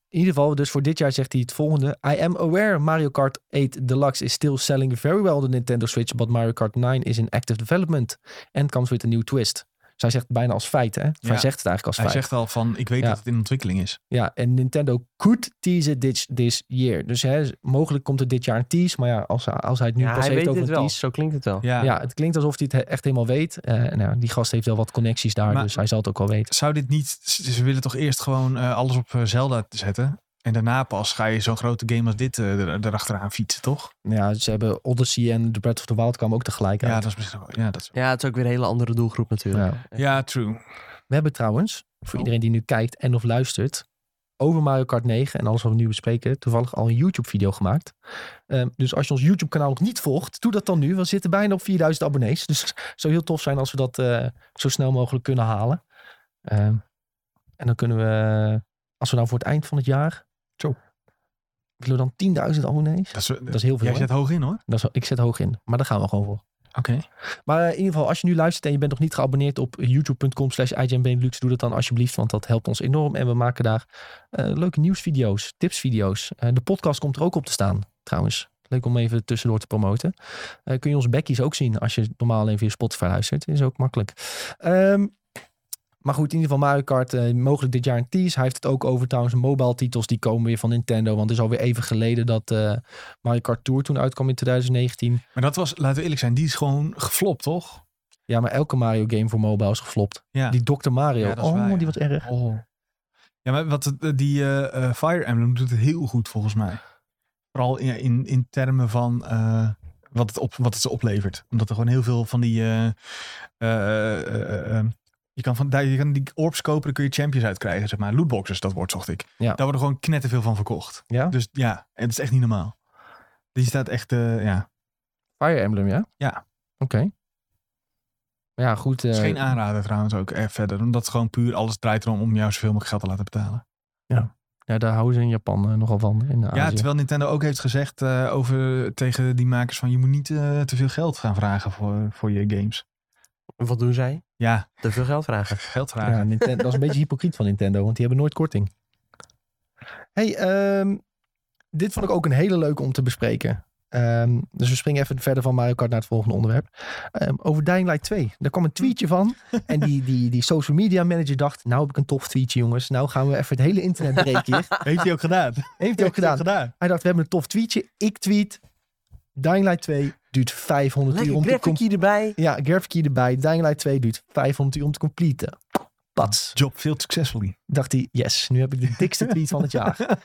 Speaker 1: in ieder geval, dus voor dit jaar zegt hij het volgende. I am aware Mario Kart 8 Deluxe is still selling very well on the Nintendo Switch, but Mario Kart 9 is in active development and comes with a new twist. Zij zegt het bijna als feit, hè? Of
Speaker 2: Ja.
Speaker 1: Hij zegt het eigenlijk als
Speaker 2: Hij
Speaker 1: feit.
Speaker 2: zegt al van, ik weet
Speaker 1: Ja.
Speaker 2: dat het in ontwikkeling is.
Speaker 1: Ja, en Nintendo could tease it this, this year. Dus hè, mogelijk komt er dit jaar een tease, maar ja, als, als hij het nu
Speaker 3: Ja,
Speaker 1: pas
Speaker 3: hij
Speaker 1: heeft
Speaker 3: weet
Speaker 1: over
Speaker 3: dit
Speaker 1: een
Speaker 3: wel.
Speaker 1: tease...
Speaker 3: Zo klinkt het wel.
Speaker 2: Ja.
Speaker 1: Oh, Ja, het klinkt alsof hij het he- echt helemaal weet. Eh, nou, die gast heeft wel wat connecties daar,
Speaker 2: Maar-
Speaker 1: dus hij zal het ook wel weten.
Speaker 2: Zou dit niet... Ze ze willen toch eerst gewoon eh, alles op eh, Zelda zetten? En daarna pas ga je zo'n grote game als dit eh, er, erachteraan fietsen, toch?
Speaker 1: Ja, ze hebben Odyssey en The Breath of the Wild kwamen ook tegelijk
Speaker 2: Ja,
Speaker 1: uit.
Speaker 2: dat is misschien wel... Ja, dat is-
Speaker 3: Ja, het is ook weer een hele andere doelgroep natuurlijk.
Speaker 1: Ja.
Speaker 2: ja true.
Speaker 1: We hebben trouwens, voor
Speaker 2: Oh.
Speaker 1: iedereen die nu kijkt en of luistert, over Mario Kart 9 en alles wat we nu bespreken, toevallig al een YouTube-video gemaakt. Ehm, dus als je ons YouTube-kanaal nog niet volgt, doe dat dan nu. We zitten bijna op 4000 abonnees. Dus het zou heel tof zijn als we dat eh, zo snel mogelijk kunnen halen. Ehm, en dan kunnen we, als we nou voor het eind van het jaar.
Speaker 2: Zo.
Speaker 1: Willen we dan 10.000 abonnees?
Speaker 2: Dat is,
Speaker 1: Dat is heel veel.
Speaker 2: jij
Speaker 1: hè?
Speaker 2: zit hoog in, hoor.
Speaker 1: Dat is- ik zet hoog in, maar daar gaan we gewoon voor.
Speaker 2: Oké.
Speaker 1: Maar eh, in ieder geval, als je nu luistert en je bent nog niet geabonneerd op youtube.com slash IGNBenelux, doe dat dan alsjeblieft, want dat helpt ons enorm. En we maken daar eh, leuke nieuwsvideo's, tipsvideo's. Eh, de podcast komt er ook op te staan, trouwens. Leuk om even tussendoor te promoten. Eh, kun je onze bekkies ook zien als je normaal alleen via Spotify luistert. Is ook makkelijk. Ehm, maar goed, in ieder geval Mario Kart, eh, mogelijk dit jaar een tease. Hij heeft het ook over trouwens mobile titels, die komen weer van Nintendo. Want het is alweer even geleden dat eh, Mario Kart Tour toen uitkwam in 2019.
Speaker 2: Maar dat was, laten we eerlijk zijn, die is gewoon geflopt, toch?
Speaker 1: Ja, maar elke Mario game voor mobile is geflopt.
Speaker 2: Ja.
Speaker 1: Die Dr. Mario.
Speaker 2: Ja, dat is
Speaker 1: oh,
Speaker 2: waar, ja.
Speaker 1: die wat erg.
Speaker 2: Oh. Ja, maar wat, het- die eh, eh, Fire Emblem doet het heel goed volgens mij. Vooral in, in, in termen van eh, wat, het op, wat het ze oplevert. Omdat er gewoon heel veel van die... eh, eh, eh, eh, je kan, van, daar- je kan die orbs kopen, dan kun je champions uitkrijgen, zeg maar. Lootboxes, dat woord zocht ik.
Speaker 1: Ja.
Speaker 2: Daar worden gewoon knetterveel van verkocht.
Speaker 1: Ja?
Speaker 2: Dus ja, het is echt niet normaal. Die staat echt, eh, ja,
Speaker 1: Fire Emblem, ja?
Speaker 2: Ja.
Speaker 1: Oké. Maar Ja, goed.
Speaker 2: het
Speaker 1: eh,
Speaker 2: is geen aanrader trouwens ook eh, verder. Omdat het gewoon puur alles draait erom om jou zoveel mogelijk geld te laten betalen.
Speaker 1: ja, daar houden ze in Japan eh, nogal van. In
Speaker 2: Ja,
Speaker 1: Azië.
Speaker 2: terwijl Nintendo ook heeft gezegd eh, over, tegen die makers van je moet niet eh, te veel geld gaan vragen voor, voor je games.
Speaker 3: Wat doen zij?
Speaker 2: Ja,
Speaker 3: Te veel geld vragen.
Speaker 2: geld vragen.
Speaker 1: ja, Ninten- dat is een beetje hypocriet van Nintendo, want die hebben nooit korting. hey, ehm, dit vond ik ook een hele leuke om te bespreken. Ehm, dus we springen even verder van Mario Kart naar het volgende onderwerp. Ehm, over Dying Light 2. Daar kwam een
Speaker 2: Hm.
Speaker 1: tweetje van. En die, die, die social media manager dacht, nou heb ik een tof tweetje jongens. Nou gaan we even het hele internet breken hier.
Speaker 2: Heeft hij ook gedaan.
Speaker 1: Heeft hij ook gedaan.
Speaker 2: gedaan.
Speaker 1: Hij dacht, we hebben een tof tweetje. Ik tweet. Dying Light 2 duurt 500 uur
Speaker 3: Lekker
Speaker 1: om te completen.
Speaker 3: graphicje erbij.
Speaker 1: Ja, graphic erbij. Dying Light 2 duurt 500 uur om te completen. Pats.
Speaker 2: Job veel succesvol.
Speaker 1: Dacht hij, yes, nu heb ik de dikste tweet van het jaar.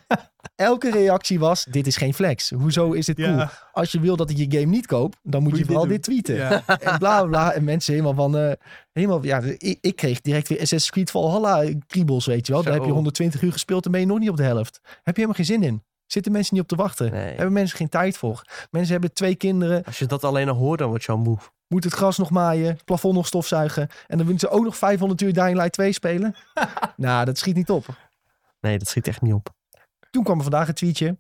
Speaker 1: elke reactie was, dit is geen flex. Hoezo is dit cool?
Speaker 2: Ja,
Speaker 1: Als je wil dat ik je game niet koop, dan moet,
Speaker 2: Moet
Speaker 1: je
Speaker 2: je
Speaker 1: vooral dit,
Speaker 2: dit
Speaker 1: tweeten.
Speaker 2: ja.
Speaker 1: En bla bla bla. En mensen helemaal van, eh, helemaal, ja, ik, ik kreeg direct weer Assassin's Creed Valhalla kriebels, weet je wel. Daar
Speaker 3: Zo.
Speaker 1: heb je 120 uur gespeeld en ben je nog niet op de helft. Heb je helemaal geen zin in. Zitten mensen niet op te wachten.
Speaker 3: Nee.
Speaker 1: Hebben mensen geen tijd voor. Mensen hebben twee kinderen,
Speaker 3: Als je dat alleen al hoort, dan word je al moe.
Speaker 1: moeten het gras nog maaien, het plafond nog stofzuigen. En dan willen ze ook nog 500 uur Dying Light 2 spelen. nou, dat schiet niet op.
Speaker 3: Nee, dat schiet echt niet op.
Speaker 1: Toen kwam er vandaag een tweetje.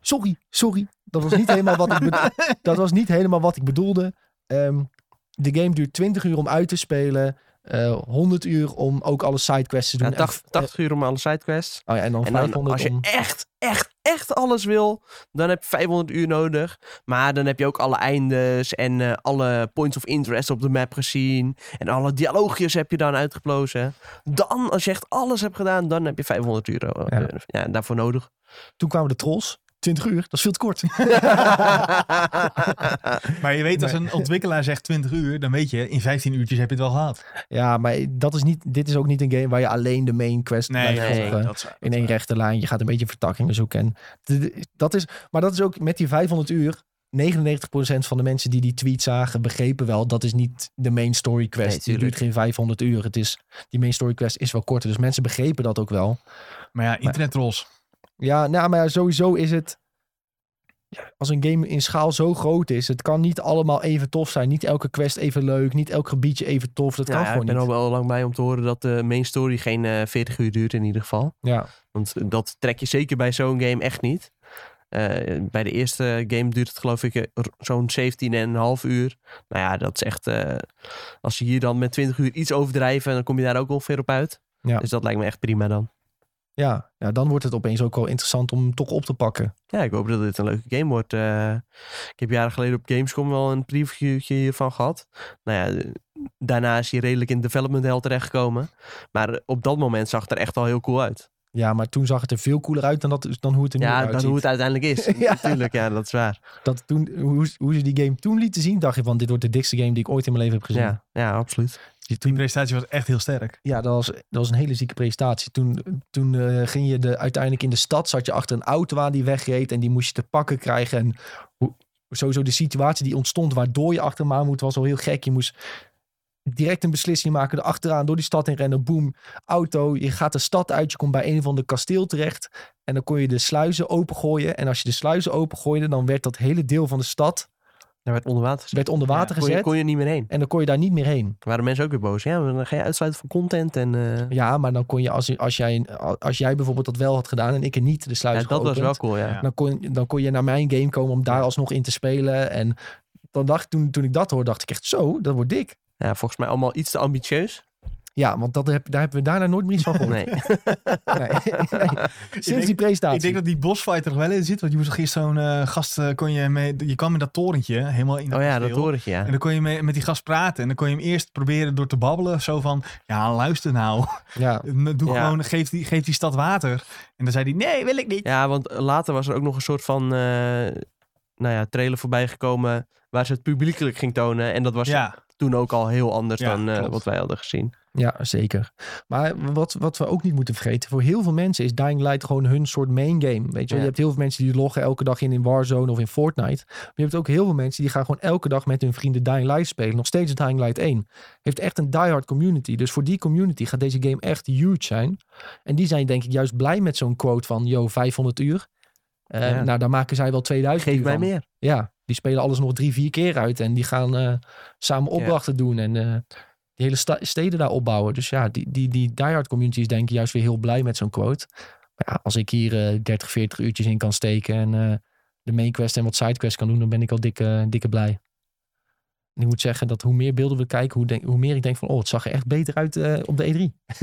Speaker 1: Sorry, sorry. Dat was niet helemaal wat ik, bedo- dat was niet helemaal wat ik bedoelde. Ehm, de game duurt 20 uur om uit te spelen. eh, 100 uur om ook alle sidequests te doen.
Speaker 3: Ja,
Speaker 1: En-
Speaker 3: 80, 80 uur om alle sidequests.
Speaker 1: eh, oh ja, en dan
Speaker 3: En dan,
Speaker 1: 500
Speaker 3: als je
Speaker 1: om...
Speaker 3: echt, echt, echt alles wil, dan heb je 500 uur nodig. Maar dan heb je ook alle eindes en eh, alle points of interest op de map gezien. En alle dialoogjes heb je dan uitgeplozen. Dan, als je echt alles hebt gedaan, dan heb je 500 euro
Speaker 1: Ja.
Speaker 3: eh, ja, daarvoor nodig.
Speaker 1: Toen kwamen de trolls. 20 uur, dat is veel te kort.
Speaker 2: Maar je weet, als een ontwikkelaar zegt 20 uur, dan weet je, in 15 uurtjes heb je het wel gehad.
Speaker 1: ja, maar dat is niet, dit is ook niet een game waar je alleen de main quest blijft
Speaker 3: nee,
Speaker 1: volgen.
Speaker 2: dat is waar.
Speaker 1: in één rechte lijn. Je gaat een beetje vertakkingen zoeken. En d- d- dat is, maar dat is ook met die 500 uur. 99% van de mensen die die tweet zagen begrepen wel. Dat is niet de main story quest.
Speaker 3: Nee,
Speaker 1: die
Speaker 3: tuurlijk.
Speaker 1: duurt geen 500 uur. Het is, die main story quest is wel korter. Dus mensen begrepen dat ook wel.
Speaker 2: Maar ja, internetrolls.
Speaker 1: Ja, nou, maar ja, sowieso is het... Als een game in schaal zo groot is, het kan niet allemaal even tof zijn. Niet elke quest even leuk, niet elk gebiedje even tof. Dat
Speaker 3: Ja,
Speaker 1: kan
Speaker 3: ik
Speaker 1: gewoon
Speaker 3: ben
Speaker 1: niet.
Speaker 3: al wel lang blij om te horen dat de main story geen eh, 40 uur duurt in ieder geval.
Speaker 1: Ja.
Speaker 3: Want eh, dat trek je zeker bij zo'n game echt niet. Eh, bij de eerste game duurt het geloof ik eh, r- zo'n 17,5 uur. Nou ja, dat is echt... eh, als ze hier dan met 20 uur iets overdrijven, dan kom je daar ook ongeveer op uit.
Speaker 1: Ja.
Speaker 3: Dus dat lijkt me echt prima dan.
Speaker 1: Ja. ja, dan wordt het opeens ook wel interessant om hem toch op te pakken.
Speaker 3: Ja, ik hoop dat dit een leuke game wordt. Eh, ik heb jaren geleden op Gamescom wel een previewtje hiervan gehad. Nou ja, eh, daarna is hij redelijk in development hell terechtgekomen. Maar eh, op dat moment zag het er echt al heel cool uit.
Speaker 1: Ja, maar toen zag het er veel cooler uit dan, dat, dan hoe het er nu
Speaker 3: Ja,
Speaker 1: uitziet.
Speaker 3: dan hoe het uiteindelijk is.
Speaker 1: Ja.
Speaker 3: Natuurlijk, ja, dat is waar.
Speaker 1: dat toen, hoe, hoe ze die game toen lieten zien, dacht je van dit wordt de dikste game die ik ooit in mijn leven heb gezien. Ja,
Speaker 3: Ja, ja, absoluut.
Speaker 2: Die presentatie was echt heel sterk.
Speaker 1: ja dat, was, dat was een hele zieke presentatie. Toen, toen eh, ging je de, uiteindelijk in de stad, zat je achter een auto aan die wegreed en die moest je te pakken krijgen. En hoe, sowieso de situatie die ontstond waardoor je achter hem aan moet, was al heel gek. Je moest direct een beslissing maken, er achteraan door die stad in rennen, boem, auto. Je gaat de stad uit, je komt bij een van de kasteel terecht en dan kon je de sluizen opengooien. En als je de sluizen opengooide, dan werd dat hele deel van de stad
Speaker 3: Daar werd onder water gezet.
Speaker 1: werd onder water
Speaker 3: Kon je,
Speaker 1: gezet.
Speaker 3: kon je niet meer heen.
Speaker 1: En dan kon je daar niet meer heen.
Speaker 3: Toen waren mensen ook weer boos. Ja, maar dan ga je uitsluiten van content. En, eh,
Speaker 1: Ja, maar dan kon je, als, als, jij, als jij bijvoorbeeld dat wel had gedaan en ik er niet de
Speaker 3: ja,
Speaker 1: sluis
Speaker 3: dat was wel cool, ja.
Speaker 2: Ja.
Speaker 1: Dan kon, dan kon je naar mijn game komen om daar alsnog in te spelen. En dan dacht, toen, toen ik dat hoorde, dacht ik echt zo, dat wordt dik.
Speaker 3: Ja, volgens mij allemaal iets te ambitieus.
Speaker 1: Ja, want dat heb, daar hebben we daarna nooit meer iets van gehoord.
Speaker 3: Nee. Oh
Speaker 1: Nee. Nee. Sinds
Speaker 2: denk-
Speaker 1: die presentatie.
Speaker 2: Ik denk dat die bossfight er wel in zit. Want je moest gisteren zo'n eh, gast... eh, kon je, mee, je kwam in dat torentje, helemaal in
Speaker 3: Oh ja, dat
Speaker 2: kasteel.
Speaker 3: hoor ik, ja.
Speaker 2: En dan kon je mee- met die gast praten. En dan kon je hem eerst proberen door te babbelen. Zo van, ja, luister nou.
Speaker 1: ja.
Speaker 2: Doe
Speaker 3: Ja.
Speaker 2: gewoon, geef die, geef die stad water. En dan zei hij, nee, wil ik niet.
Speaker 3: Ja, want later was er ook nog een soort van eh, nou ja, trailer voorbij gekomen waar ze het publiekelijk ging tonen. En dat was
Speaker 2: Ja,
Speaker 3: toen ook al heel anders
Speaker 2: Ja,
Speaker 3: dan eh,
Speaker 2: klopt.
Speaker 3: wat wij hadden gezien.
Speaker 1: ja, zeker. Maar wat, wat we ook niet moeten vergeten, voor heel veel mensen is Dying Light gewoon hun soort main game. Weet je, wel.
Speaker 3: Ja.
Speaker 1: je hebt heel veel mensen die loggen elke dag in in Warzone of in Fortnite. Maar je hebt ook heel veel mensen die gaan gewoon elke dag met hun vrienden Dying Light spelen. Nog steeds Dying Light 1. Heeft echt een diehard community. Dus voor die community gaat deze game echt huge zijn. En die zijn denk ik juist blij met zo'n quote van, yo, 500 uur. Eh,
Speaker 3: Ja.
Speaker 1: Nou, daar maken zij wel 2000
Speaker 3: Geef
Speaker 1: uur
Speaker 3: mij
Speaker 1: van.
Speaker 3: meer.
Speaker 1: Ja, die spelen alles nog drie, vier keer uit. En die gaan eh, samen opdrachten doen. En eh, die hele sta- steden daar opbouwen. Dus ja, die, die, die diehard community is denk ik juist weer heel blij met zo'n quote. Maar ja, als ik hier eh 30, 40 uurtjes in kan steken. En eh, de main quest en wat sidequest kan doen. Dan ben ik al dikke, dikke blij. En ik moet zeggen dat hoe meer beelden we kijken. Hoe, denk, hoe meer ik denk van, oh, het zag er echt beter uit eh, op de E3.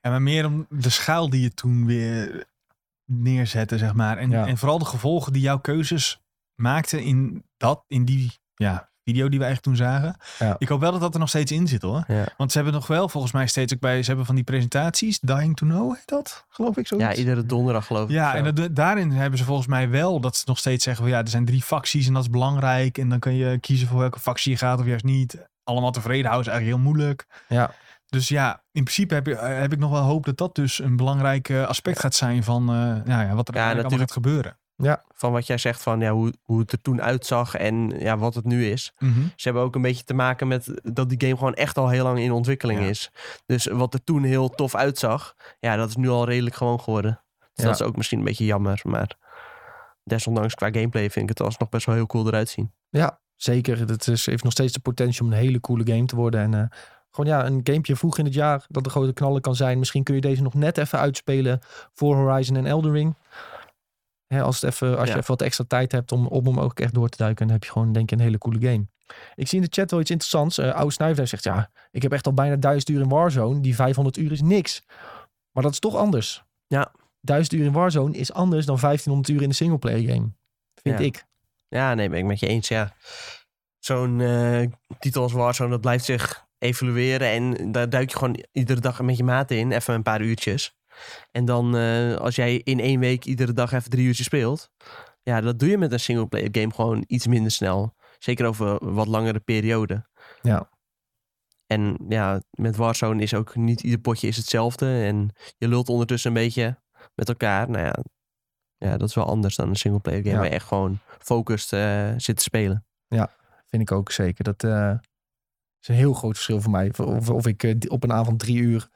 Speaker 2: en maar meer om de schaal die je toen weer neerzette, zeg maar. En,
Speaker 1: Ja.
Speaker 2: en vooral de gevolgen die jouw keuzes maakten in, dat, in die ja, video die we eigenlijk toen zagen.
Speaker 1: Ja.
Speaker 2: Ik hoop wel dat dat er nog steeds in zit, hoor.
Speaker 3: Ja.
Speaker 2: Want ze hebben nog wel, volgens mij, steeds ook bij... Ze hebben van die presentaties, Dying to Know heet dat, geloof ik, zoiets.
Speaker 3: Ja, iedere donderdag geloof ik.
Speaker 2: Ja,
Speaker 3: zo.
Speaker 2: en dat- daarin hebben ze volgens mij wel dat ze nog steeds zeggen van ja, er zijn drie facties en dat is belangrijk. En dan kun je kiezen voor welke factie je gaat of juist niet. Allemaal tevreden houden is eigenlijk heel moeilijk.
Speaker 1: Ja.
Speaker 2: Dus ja, in principe heb, je, eh, heb ik nog wel hoop dat dat dus een belangrijk eh, aspect gaat zijn van eh, nou ja, wat er
Speaker 3: Ja,
Speaker 2: eigenlijk allemaal
Speaker 3: natuurlijk.
Speaker 2: gaat gebeuren.
Speaker 3: Van wat jij zegt van ja, hoe, hoe het er toen uitzag en ja, wat het nu is. Ze hebben ook een beetje te maken met dat die game gewoon echt al heel lang in ontwikkeling
Speaker 2: Ja.
Speaker 3: is. Dus wat er toen heel tof uitzag, ja, dat is nu al redelijk gewoon geworden.
Speaker 1: Ja.
Speaker 3: Dus dat is ook misschien een beetje jammer, maar desondanks qua gameplay vind ik het alsnog best wel heel cool eruit zien.
Speaker 1: Zeker, het is, heeft nog steeds de potentie om een hele coole game te worden. En eh, gewoon ja, een gamepje vroeg in het jaar dat de grote knallen kan zijn. Misschien kun je deze nog net even uitspelen voor Horizon en Elden Ring. Hè, als het even, als
Speaker 3: Ja.
Speaker 1: je even wat extra tijd hebt om, om hem ook echt door te duiken, dan heb je gewoon denk ik een hele coole game. Ik zie in de chat wel iets interessants. Eh Oude Snuifduif zegt, ja, ik heb echt al bijna 1000 uur in Warzone. Die 500 uur is niks. Maar dat is toch anders.
Speaker 3: Ja.
Speaker 1: 1000 uur in Warzone is anders dan 1500 uur in de singleplayer game. Vind
Speaker 3: Ja.
Speaker 1: ik.
Speaker 3: Ja, nee, ben ik met je eens, ja. Zo'n eh, titel als Warzone, dat blijft zich evolueren en daar duik je gewoon iedere dag met je maat in, even een paar uurtjes. En dan eh, als jij in één week iedere dag even drie uurtjes speelt, ja, dat doe je met een singleplayer game gewoon iets minder snel. Zeker over een wat langere periode.
Speaker 1: Ja.
Speaker 3: En ja, met Warzone is ook niet ieder potje is hetzelfde en je lult ondertussen een beetje met elkaar. Nou ja, ja dat is wel anders dan een singleplayer game
Speaker 1: Ja.
Speaker 3: waar je echt gewoon focused eh, zit te spelen.
Speaker 1: Vind ik ook zeker. Dat eh, is een heel groot verschil voor mij. Of- Of, of ik eh, op een avond drie uur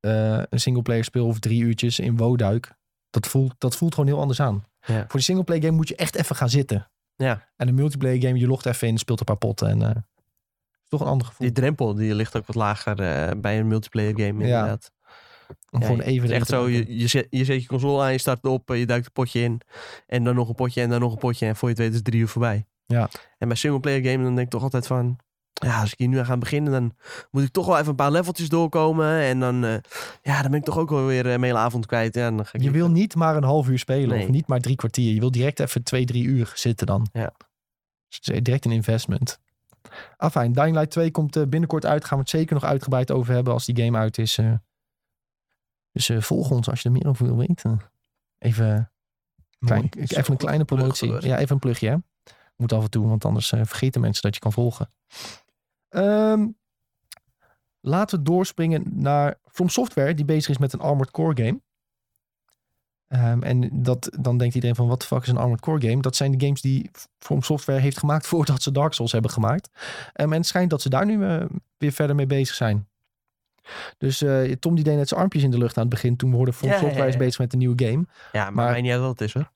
Speaker 1: eh een singleplayer speel of drie uurtjes in WoW duik. Dat voelt, dat voelt gewoon heel anders aan.
Speaker 3: Ja.
Speaker 1: Voor die singleplayer game moet je echt even gaan zitten.
Speaker 3: Ja.
Speaker 1: En een multiplayer game, je logt even in, speelt een paar potten. En eh, is toch een ander gevoel.
Speaker 3: Die drempel die ligt ook wat lager eh, bij een multiplayer game inderdaad.
Speaker 1: Om
Speaker 3: Ja,
Speaker 1: gewoon even
Speaker 3: het is
Speaker 1: erin
Speaker 3: echt
Speaker 1: te
Speaker 3: zo,
Speaker 1: duiken.
Speaker 3: je, je, zet, je zet je console aan, je start op, eh, je duikt een potje in. En dan nog een potje en dan nog een potje. En voor je het weet is drie uur voorbij.
Speaker 1: Ja.
Speaker 3: En bij singleplayer game dan denk ik toch altijd van... Ja, als ik hier nu aan ga beginnen, dan moet ik toch wel even een paar leveltjes doorkomen. En dan, eh, ja, dan ben ik toch ook wel weer eh, een hele avond kwijt. Ja, dan ga ik
Speaker 1: Je
Speaker 3: niet-
Speaker 1: wil niet maar een half uur spelen
Speaker 3: Nee.
Speaker 1: of niet maar drie kwartier. Je wil direct even twee, drie uur zitten dan.
Speaker 3: Ja.
Speaker 1: Dus het is direct een investment. Afijn, Dying Light 2 komt eh, binnenkort uit. Gaan we het zeker nog uitgebreid over hebben als die game uit is. eh. Dus eh, volg ons als je er meer over wil weten. Even, klein,
Speaker 2: Mooi.
Speaker 1: even een kleine
Speaker 3: plug
Speaker 1: promotie.
Speaker 3: geweest.
Speaker 1: Ja, even een plugje. Hè? Moet af en toe, want anders eh, vergeten mensen dat je kan volgen. Ehm, laten we doorspringen naar From Software, die bezig is met een Armored Core game. Ehm, en dat, dan denkt iedereen van, wat de fuck is een Armored Core game? Dat zijn de games die From Software heeft gemaakt voordat ze Dark Souls hebben gemaakt. Ehm, en het schijnt dat ze daar nu eh, weer verder mee bezig zijn. Dus eh, Tom die deed net zijn armpjes in de lucht aan het begin toen we hoorden From
Speaker 3: Ja, ja,
Speaker 1: Software is
Speaker 3: ja.
Speaker 1: bezig met een nieuwe game.
Speaker 3: Ja, maar,
Speaker 1: maar-
Speaker 3: mij niet uit wat het is hoor.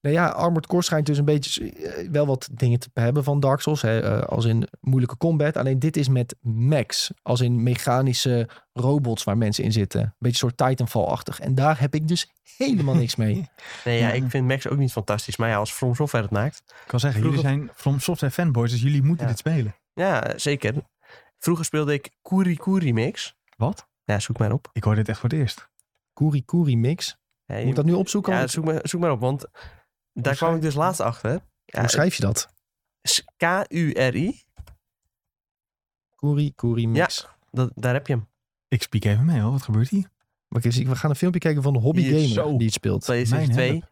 Speaker 1: Nou ja, Armored Core schijnt dus een beetje eh, wel wat dingen te hebben van Dark Souls. Hè, eh, als in moeilijke combat. Alleen dit is met mechs. Als in mechanische robots waar mensen in zitten. Een beetje een soort Titanfall-achtig. En daar heb ik dus helemaal niks mee.
Speaker 3: Nee, ja,
Speaker 2: Ja.
Speaker 3: ik vind Max ook niet fantastisch. Maar ja, als From Software het maakt.
Speaker 2: Ik kan zeggen,
Speaker 3: Vroeger-
Speaker 2: jullie zijn From Software fanboys, dus jullie moeten
Speaker 3: Ja.
Speaker 2: dit spelen.
Speaker 3: Ja, zeker. Vroeger speelde ik Kuri Kuri Mix.
Speaker 2: Wat?
Speaker 3: Ja, zoek maar op.
Speaker 2: Ik hoor dit echt voor het eerst.
Speaker 1: Kuri Kuri mix.
Speaker 3: Ja,
Speaker 1: Moet ik dat nu opzoeken?
Speaker 3: ja,
Speaker 1: Want-
Speaker 3: zoek, maar, zoek maar op, want daar kwam ik dus laatst achter. Ja,
Speaker 1: Hoe schrijf je dat?
Speaker 3: s- K-U-R-I,
Speaker 1: Kuri Kuri mix.
Speaker 3: dat, daar heb je hem.
Speaker 2: Ik speak even mee hoor, wat gebeurt hier?
Speaker 1: Maar dus ik zie- we gaan een filmpje kijken van de hobby
Speaker 3: Hier,
Speaker 1: gamer
Speaker 2: zo.
Speaker 1: die het speelt.
Speaker 3: PlayStation
Speaker 2: Mijn
Speaker 3: 2.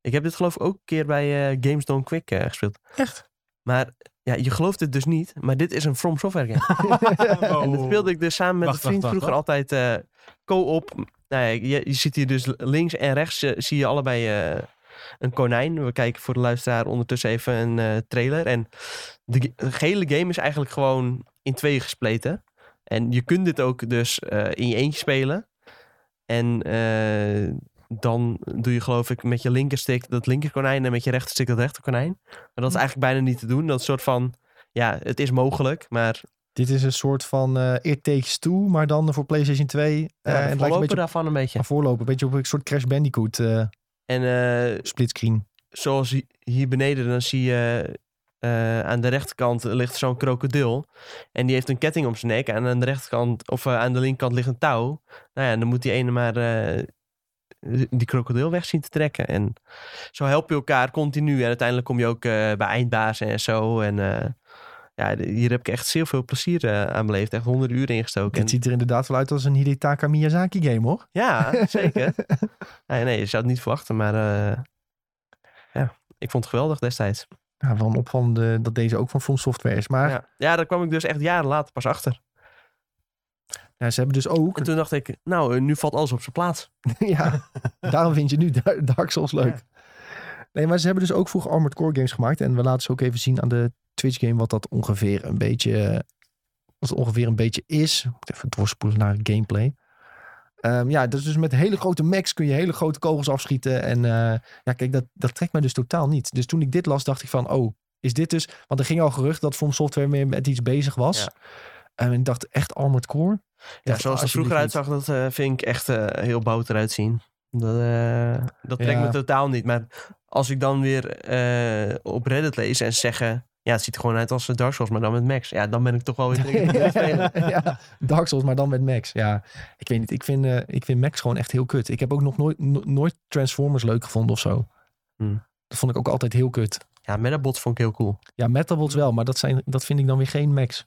Speaker 3: Ik heb dit geloof ik ook een keer bij eh, Games Don't Quick eh, gespeeld.
Speaker 2: Echt?
Speaker 3: Maar ja, je gelooft het dus niet, maar dit is een From Software game. En dat speelde ik dus samen met
Speaker 2: Oh. Wacht,
Speaker 3: een vriend
Speaker 2: wacht,
Speaker 3: vroeger
Speaker 2: wacht,
Speaker 3: altijd eh, co-op. Nou ja, je, je ziet hier dus links en rechts eh, zie je allebei eh, een konijn. We kijken voor de luisteraar ondertussen even een eh, trailer. En de, ge- de hele game is eigenlijk gewoon in tweeën gespleten. En je kunt dit ook dus eh, in je eentje spelen. En eh, dan doe je geloof ik met je linkerstick dat linkerkonijn en met je rechterstick dat rechterkonijn. Maar dat is eigenlijk bijna niet te doen. Dat is een soort van, ja, het is mogelijk, maar
Speaker 1: Dit is een soort van eh It Takes Two, maar dan voor PlayStation 2. eh,
Speaker 3: ja,
Speaker 1: en het lijkt een
Speaker 3: voorlopen
Speaker 1: beetje op,
Speaker 3: daarvan een beetje.
Speaker 1: voorlopen. Een beetje op een soort Crash Bandicoot eh
Speaker 3: En eh,
Speaker 1: splitscreen.
Speaker 3: zoals hi- hier beneden, dan zie je eh, aan de rechterkant ligt zo'n krokodil. En die heeft een ketting om zijn nek. En aan de rechterkant, of eh, aan de linkerkant ligt een touw. Nou ja, dan moet die ene maar eh, die krokodil weg zien te trekken. En zo help je elkaar continu. En uiteindelijk kom je ook eh, bij eindbazen en zo. En eh, ja, d- hier heb ik echt zeer veel plezier eh, aan beleefd. Echt honderden uren ingestoken.
Speaker 1: Dit
Speaker 3: En-
Speaker 1: ziet er inderdaad wel uit als een Hidetaka Miyazaki game, hoor.
Speaker 3: Ja, zeker. nee, nee, je zou het niet verwachten, maar eh, ja, ik vond het geweldig destijds.
Speaker 1: Ja, Nou, wel een opvallende dat deze ook van From Software is. Maar
Speaker 3: Ja. ja, daar kwam ik dus echt jaren later pas achter.
Speaker 1: Ja, ze hebben dus ook...
Speaker 3: En toen dacht ik, nou, eh, nu valt alles op zijn plaats.
Speaker 1: ja, daarom vind je nu Dar- Dark Souls leuk. Nee, maar ze hebben dus ook vroeger Armored Core games gemaakt. En we laten ze ook even zien aan de Twitch game wat dat ongeveer een beetje, eh, wat het ongeveer een beetje is. Ik moet even doorspoelen naar gameplay. Ehm, ja, dus, dus met hele grote max kun je hele grote kogels afschieten. En eh, ja, kijk, dat, dat trekt mij dus totaal niet. Dus toen ik dit las, dacht ik van, oh, is dit dus... Want er ging al gerucht dat From Software meer met iets bezig was. Ehm,
Speaker 3: Ja.
Speaker 1: En ik dacht, echt Armored Core? Ik
Speaker 3: Ja,
Speaker 1: dacht,
Speaker 3: zoals het er
Speaker 1: alsjeblieft
Speaker 3: vroeger
Speaker 1: niet.
Speaker 3: uitzag, dat eh, vind ik echt eh, heel bout eruit zien. Dat, eh, dat trekt
Speaker 1: Ja.
Speaker 3: me totaal niet. Maar als ik dan weer eh, op Reddit lees en zeggen... Ja, het ziet er gewoon uit als eh, Dark Souls, maar dan met Max. Ja, dan ben ik toch wel weer dringend aan het spelen.
Speaker 1: ja, Dark Souls, maar dan met Max. Ja, ik weet niet. Ik vind, eh, ik vind Max gewoon echt heel kut. Ik heb ook nog nooit, no- nooit Transformers leuk gevonden of zo.
Speaker 3: Hmm.
Speaker 1: Dat vond ik ook altijd heel kut.
Speaker 3: Ja, Metabots vond ik heel cool.
Speaker 1: Ja, Metabots wel, maar dat, zijn, dat vind ik dan weer geen Max.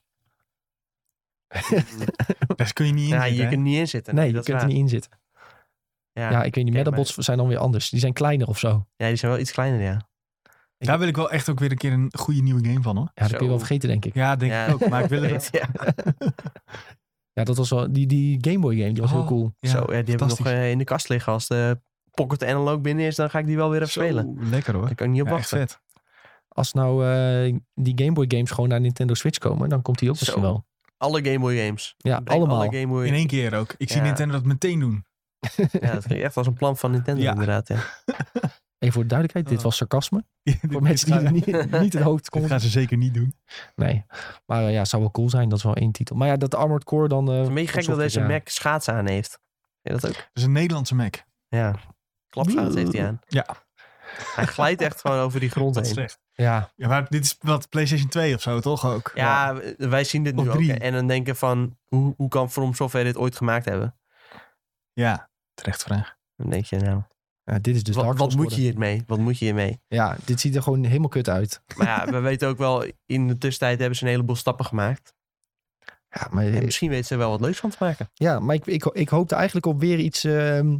Speaker 2: Daar kun je niet in.
Speaker 3: Ja,
Speaker 2: zitten,
Speaker 3: je
Speaker 2: hè?
Speaker 3: kunt niet in zitten.
Speaker 1: Nee,
Speaker 3: dat
Speaker 1: je
Speaker 3: is
Speaker 1: kunt er
Speaker 3: waar.
Speaker 1: niet in zitten.
Speaker 3: Ja.
Speaker 1: Ja,
Speaker 3: Ja.
Speaker 1: ik weet niet.
Speaker 3: Kijk,
Speaker 1: Metabots zijn dan weer anders. Die zijn kleiner of zo.
Speaker 3: die zijn wel iets kleiner, ja.
Speaker 2: Daar wil ik wel echt ook weer een keer een goede nieuwe game van hoor.
Speaker 1: Ja, dat kun je wel
Speaker 3: Zo.
Speaker 1: vergeten, denk ik.
Speaker 2: Ja, denk
Speaker 3: Ja.
Speaker 2: ik ook. Maar ik wil het.
Speaker 3: Ja.
Speaker 1: Ja, dat was wel... Die, die Game Boy game, die was heel
Speaker 2: Oh,
Speaker 1: cool.
Speaker 2: Ja,
Speaker 3: Zo, ja, die heb ik nog
Speaker 2: fantastisch.
Speaker 3: eh, in de kast liggen. Als de Pocket Analog binnen is, dan ga ik die wel weer even
Speaker 2: Zo,
Speaker 3: spelen.
Speaker 2: Lekker hoor.
Speaker 3: Daar kan ik niet op
Speaker 2: Ja, echt
Speaker 3: wachten.
Speaker 2: vet.
Speaker 1: Als nou eh, die Game Boy games gewoon naar Nintendo Switch komen, dan komt die ook
Speaker 3: Zo.
Speaker 1: misschien wel.
Speaker 3: Alle Game Boy games.
Speaker 1: Ja,
Speaker 3: Breng
Speaker 1: allemaal.
Speaker 3: Alle Game Boy...
Speaker 2: In één keer ook. Ik zie
Speaker 3: Ja.
Speaker 2: Nintendo dat meteen doen.
Speaker 3: Ja, dat klinkt echt als een plan van Nintendo
Speaker 2: Ja.
Speaker 3: inderdaad. Ja.
Speaker 1: Even voor de duidelijkheid, dit
Speaker 2: Oh.
Speaker 1: was sarcasme. Voor
Speaker 2: Dit
Speaker 1: mensen die
Speaker 2: gaan-
Speaker 1: het niet, niet het hoofd
Speaker 2: Dit
Speaker 1: konden
Speaker 2: gaan ze zeker niet doen.
Speaker 1: Nee. Maar eh, ja, het zou wel cool zijn. Dat is wel één titel. Maar ja, dat Armored Core dan... eh,
Speaker 3: Het is een beetje gek dat
Speaker 1: opzocht,
Speaker 3: deze
Speaker 1: ja.
Speaker 3: Mac schaatsen aan heeft. Ja, dat ook?
Speaker 2: Dat is een Nederlandse Mac.
Speaker 3: Ja. Klapschaatsen heeft hij aan.
Speaker 2: Ja.
Speaker 3: Hij glijdt echt gewoon over die grond
Speaker 2: Dat is
Speaker 3: heen.
Speaker 2: slecht.
Speaker 1: Ja,
Speaker 2: Ja, maar dit is wat PlayStation 2 of zo toch ook?
Speaker 3: Ja, w- wij zien dit
Speaker 2: Of
Speaker 3: nu ook.
Speaker 2: drie.
Speaker 3: hè. En dan denken van, hoe, hoe kan From Software dit ooit gemaakt hebben?
Speaker 2: Ja, terecht vraag.
Speaker 3: Dan denk je nou,
Speaker 1: Ja, dit is dus
Speaker 3: wat,
Speaker 1: Dark Souls
Speaker 3: wat moet je
Speaker 1: geworden.
Speaker 3: hiermee? Wat moet je hiermee?
Speaker 1: Ja, dit ziet er gewoon helemaal kut uit.
Speaker 3: Maar ja, we weten ook wel, in de tussentijd hebben ze een heleboel stappen gemaakt.
Speaker 1: Ja, maar, eh,
Speaker 3: En misschien weten ze er wel wat leuks van te maken.
Speaker 1: ja, maar ik, ik, ik hoopte eigenlijk op weer iets... ehm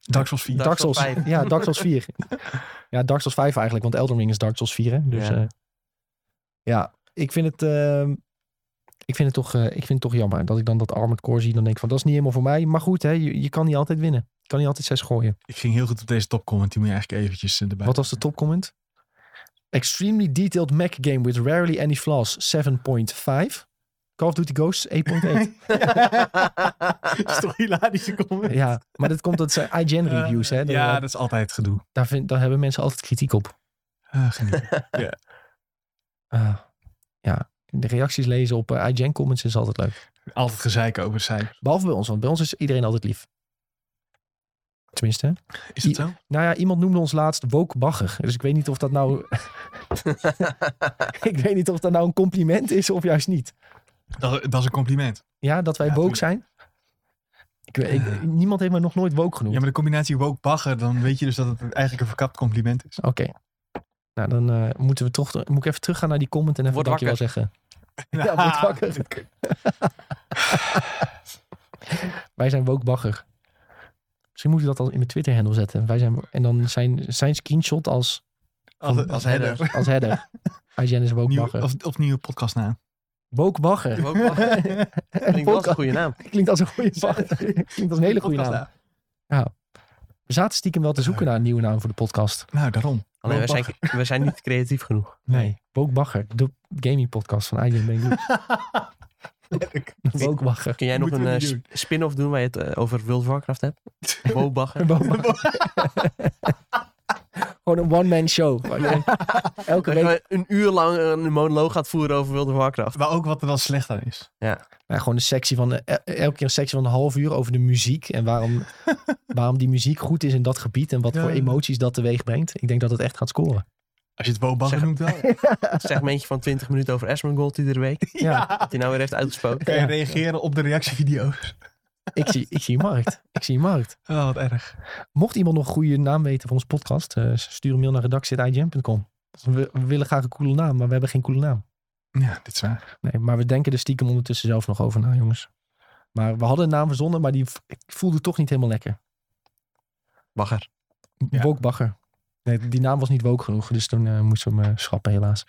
Speaker 2: Dark Souls 4.
Speaker 3: Dark
Speaker 1: Dark
Speaker 3: Souls
Speaker 1: Souls,
Speaker 3: 5.
Speaker 1: ja, Dark Souls 4. ja, Dark Souls 5 eigenlijk, want Elden Ring is Dark Souls 4. Hè? Dus
Speaker 3: Ja.
Speaker 1: ja, ja ik vind het... ehm, ik vind, het toch, eh, ik vind het toch jammer dat ik dan dat Armored Core zie. Dan denk ik van, dat is niet helemaal voor mij. Maar goed, hè, je, je kan niet altijd winnen. Je kan niet altijd zes gooien.
Speaker 2: Ik ging heel goed op deze topcomment. Die moet je eigenlijk eventjes eh, erbij.
Speaker 1: Wat was de topcomment? Extremely detailed Mac game with rarely any flaws 7.5. Call of Duty Ghosts 8.8.
Speaker 2: Dat is toch hilarische comment?
Speaker 1: ja, maar dat komt dat zijn IGN
Speaker 2: Eh,
Speaker 1: reviews. Hè? Daar,
Speaker 2: ja, dat is altijd het gedoe.
Speaker 1: daar, vind, daar hebben mensen altijd kritiek op.
Speaker 2: Ah, geniet.
Speaker 1: Ah, ja, de reacties lezen op eh, IGN comments is altijd leuk.
Speaker 2: altijd gezeik over cijfers.
Speaker 1: Behalve bij ons, want bij ons is iedereen altijd lief. Tenminste. hè?
Speaker 2: Is dat zo?
Speaker 1: Nou ja, iemand noemde ons laatst woke bagger. Dus ik weet niet of dat nou... ik weet niet of dat nou een compliment is of juist niet.
Speaker 2: Dat, dat is een compliment.
Speaker 1: Ja, dat wij
Speaker 2: Ja,
Speaker 1: woke
Speaker 2: tuurlijk.
Speaker 1: zijn? Ik, weet- ik- niemand heeft me nog nooit woke
Speaker 2: Ja,
Speaker 1: genoemd.
Speaker 2: maar de combinatie woke bagger, dan weet je dus dat het eigenlijk een verkapt compliment is.
Speaker 1: Oké. Nou, dan eh, moeten we toch... Moet ik even teruggaan naar die comment en even
Speaker 3: Word
Speaker 1: dankjewel
Speaker 3: wakker.
Speaker 1: zeggen. Ja, word wakker. Wij zijn woke bagger. Misschien moeten we dat al in de Twitter-handle zetten. Wij zijn, en dan zijn, zijn screenshot als,
Speaker 2: Als,
Speaker 1: Als
Speaker 2: als header.
Speaker 1: als header. IGN is woke
Speaker 2: Nieuw,
Speaker 1: bagger.
Speaker 2: of, of nieuwe podcastnaam.
Speaker 1: Woke bagger.
Speaker 3: Ook wel- Klinkt wel als een goede naam.
Speaker 1: Klinkt als een goede bagger. Klinkt als een hele goede naam.
Speaker 2: Podcastnaam.
Speaker 1: We zaten stiekem wel te zoeken naar een nieuwe naam voor de podcast.
Speaker 2: Nou, daarom.
Speaker 3: Alleen, we
Speaker 2: Woke
Speaker 3: zijn, we zijn niet creatief genoeg.
Speaker 1: Nee. Woke bagger. De gaming podcast van IGN Ben
Speaker 2: Letterlijk.
Speaker 1: Woke bagger.
Speaker 3: Kun jij nog
Speaker 2: Moeten
Speaker 3: een
Speaker 2: we
Speaker 3: eh,
Speaker 2: niet
Speaker 3: sp- spin-off doen waar je het eh, over World of Warcraft hebt? Bobagger.
Speaker 1: Woke bagger. Gewoon een one-man show. Elke
Speaker 3: Dat
Speaker 1: week.
Speaker 3: je een uur lang eh, een monoloog gaat voeren over World of Warcraft.
Speaker 2: Maar ook wat er wel slecht aan is.
Speaker 1: Ja, gewoon een sectie van, eh, el- elke keer een sectie van een half uur over de muziek. En waarom, waarom die muziek goed is in dat gebied. En wat
Speaker 2: Ja.
Speaker 1: voor emoties dat teweeg brengt. Ik denk dat het echt gaat scoren.
Speaker 2: Als je het woke bagger
Speaker 3: Zeg-
Speaker 2: noemt wel.
Speaker 3: Een segmentje van 20 minuten over Esmergold iedere week. Dat
Speaker 2: ja.
Speaker 3: hij nou weer heeft uitgesproken.
Speaker 2: Kan je
Speaker 1: Ja.
Speaker 2: reageren op de reactievideo's.
Speaker 1: Ik zie, ik zie een markt. Ik zie een markt.
Speaker 2: Oh, wat erg.
Speaker 1: Mocht iemand nog een goede naam weten voor onze podcast. eh, stuur een mail naar redactie.igm.com. We, we willen graag een coole naam, maar we hebben geen coole naam.
Speaker 2: Ja, dit is waar.
Speaker 1: Nee, maar we denken er stiekem ondertussen zelf nog over na, jongens. Maar we hadden een naam verzonnen, maar die v- voelde toch niet helemaal lekker.
Speaker 3: Bagger.
Speaker 2: Ja.
Speaker 1: Woke Bagger. Nee, die naam was niet woke genoeg, dus toen eh, moesten we hem eh, schrappen helaas.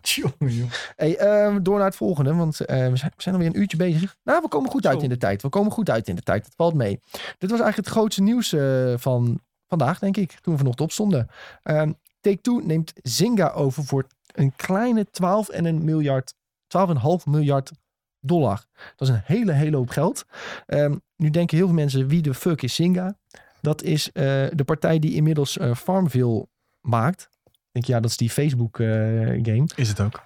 Speaker 2: Tjonge, joh.
Speaker 1: Hey, ehm, door naar het volgende, want eh, we zijn- we zijn alweer een uurtje bezig. Nou, we komen goed uit
Speaker 2: Zo.
Speaker 1: in de tijd. We komen goed uit in de tijd. Dat valt mee. Dit was eigenlijk het grootste nieuws eh, van vandaag, denk ik. Toen we vanochtend opstonden. Ehm Take-Two neemt Zynga over voor een kleine 12 en een miljard, 12,5 miljard dollar. Dat is een hele, hele hoop geld. Ehm, nu denken heel veel mensen, wie de fuck is Zynga? Dat is eh, de partij die inmiddels eh, Farmville maakt. Ik denk, ja, dat is die eh, Facebook-game.
Speaker 2: Is het ook.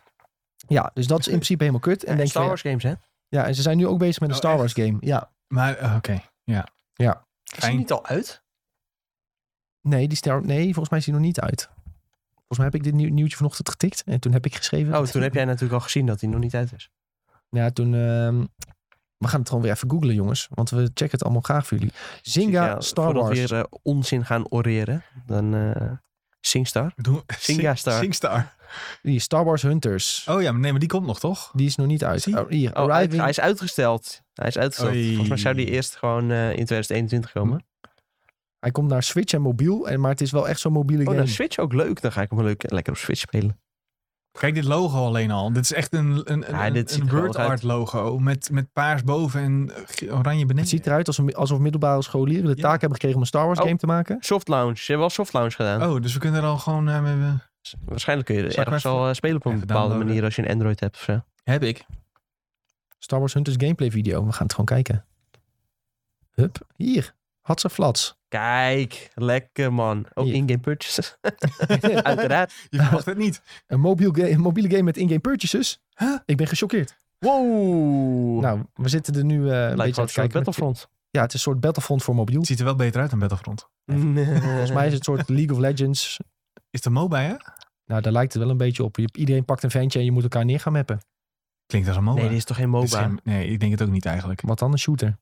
Speaker 1: Ja, dus dat is in principe helemaal kut. En
Speaker 3: Ja,
Speaker 1: denk
Speaker 3: Star
Speaker 1: je,
Speaker 3: Wars games, hè?
Speaker 1: ja, en ze zijn nu ook bezig met een
Speaker 2: Oh,
Speaker 1: Star Wars
Speaker 2: echt?
Speaker 1: game. Ja.
Speaker 2: Maar, eh, oké. Ja.
Speaker 1: Ja.
Speaker 3: Is die
Speaker 2: Fijn.
Speaker 3: niet al uit?
Speaker 1: Nee, die Star Nee, volgens mij is die nog niet uit. Volgens mij heb ik dit nieuw- nieuwtje vanochtend getikt. En toen heb ik geschreven.
Speaker 3: Oh, toen heb jij natuurlijk al gezien dat die nog niet uit is.
Speaker 1: Ja, toen. ehm, we gaan het gewoon weer even googlen, jongens. Want we checken het allemaal graag voor jullie. Zynga
Speaker 3: Ja,
Speaker 1: Star
Speaker 3: voordat
Speaker 1: Wars.
Speaker 3: we weer eh, onzin gaan oreren, dan eh Singstar.
Speaker 2: We doen-
Speaker 3: Singa Star.
Speaker 2: Singstar.
Speaker 1: Die Star Wars Hunters.
Speaker 2: Oh ja, maar nee, maar die komt nog, toch?
Speaker 1: Die is nog niet uit.
Speaker 2: Zie.
Speaker 1: Oh, hier,
Speaker 3: Oh, hij,
Speaker 1: Arriving.
Speaker 3: hij is uitgesteld. Hij is uitgesteld.
Speaker 2: Oei.
Speaker 3: Volgens mij zou die eerst gewoon eh, in 2021 komen.
Speaker 1: Hij komt naar Switch en mobiel. En, maar het is wel echt zo'n mobiele
Speaker 3: Oh,
Speaker 1: game.
Speaker 3: nou, Switch ook leuk. Dan ga ik hem leuk, lekker op Switch spelen.
Speaker 2: Kijk dit logo alleen al. Dit is echt een, een, een,
Speaker 3: Ja, dit ziet
Speaker 2: een
Speaker 3: er
Speaker 2: word
Speaker 3: geweldig
Speaker 2: art logo. Met, met paars boven en eh, ge- oranje beneden.
Speaker 1: Het ziet eruit alsof, alsof middelbare scholieren de
Speaker 2: Ja.
Speaker 1: taak hebben gekregen om een Star Wars
Speaker 3: Oh.
Speaker 1: game te maken.
Speaker 3: Soft Lounge. Je hebt wel Soft Lounge gedaan. Dus
Speaker 2: Oh, dus we kunnen er al gewoon... eh, mee- mee-
Speaker 3: Waarschijnlijk kun je
Speaker 2: Zal
Speaker 3: er
Speaker 2: ik
Speaker 3: ergens
Speaker 2: hem even-
Speaker 3: al eh, spelen op een
Speaker 2: even
Speaker 3: bepaalde
Speaker 2: downloaden?
Speaker 3: manier als je een Android hebt of zo.
Speaker 2: Heb ik.
Speaker 1: Star Wars Hunters gameplay video. We gaan het gewoon kijken. Hup, hier. Had ze flats.
Speaker 3: Kijk, lekker man. Ook
Speaker 1: Hier.
Speaker 3: in-game purchases. Uiteraard.
Speaker 2: Je verwacht het niet.
Speaker 1: een, mobiel ga- een mobiele game met in-game purchases?
Speaker 2: Huh?
Speaker 1: Ik ben gechoqueerd.
Speaker 3: Wow.
Speaker 1: Nou, we zitten er nu eh, een beetje
Speaker 3: Lijkt wel
Speaker 1: aan te
Speaker 3: een soort
Speaker 1: kijken. met-
Speaker 3: Battlefront.
Speaker 1: ja, het is een soort Battlefront voor mobiel.
Speaker 2: Het ziet er wel beter uit dan Battlefront.
Speaker 1: Volgens mij is het een soort League of Legends.
Speaker 2: Is de MOBA, hè?
Speaker 1: Nou, daar lijkt het wel een beetje op. Je, iedereen pakt een ventje en je moet elkaar neer gaan mappen.
Speaker 2: Klinkt als een MOBA.
Speaker 3: Nee, dit is toch geen
Speaker 2: Dit is
Speaker 3: MOBA?
Speaker 2: geen- nee, ik denk het ook niet eigenlijk.
Speaker 1: Wat dan? Een shooter.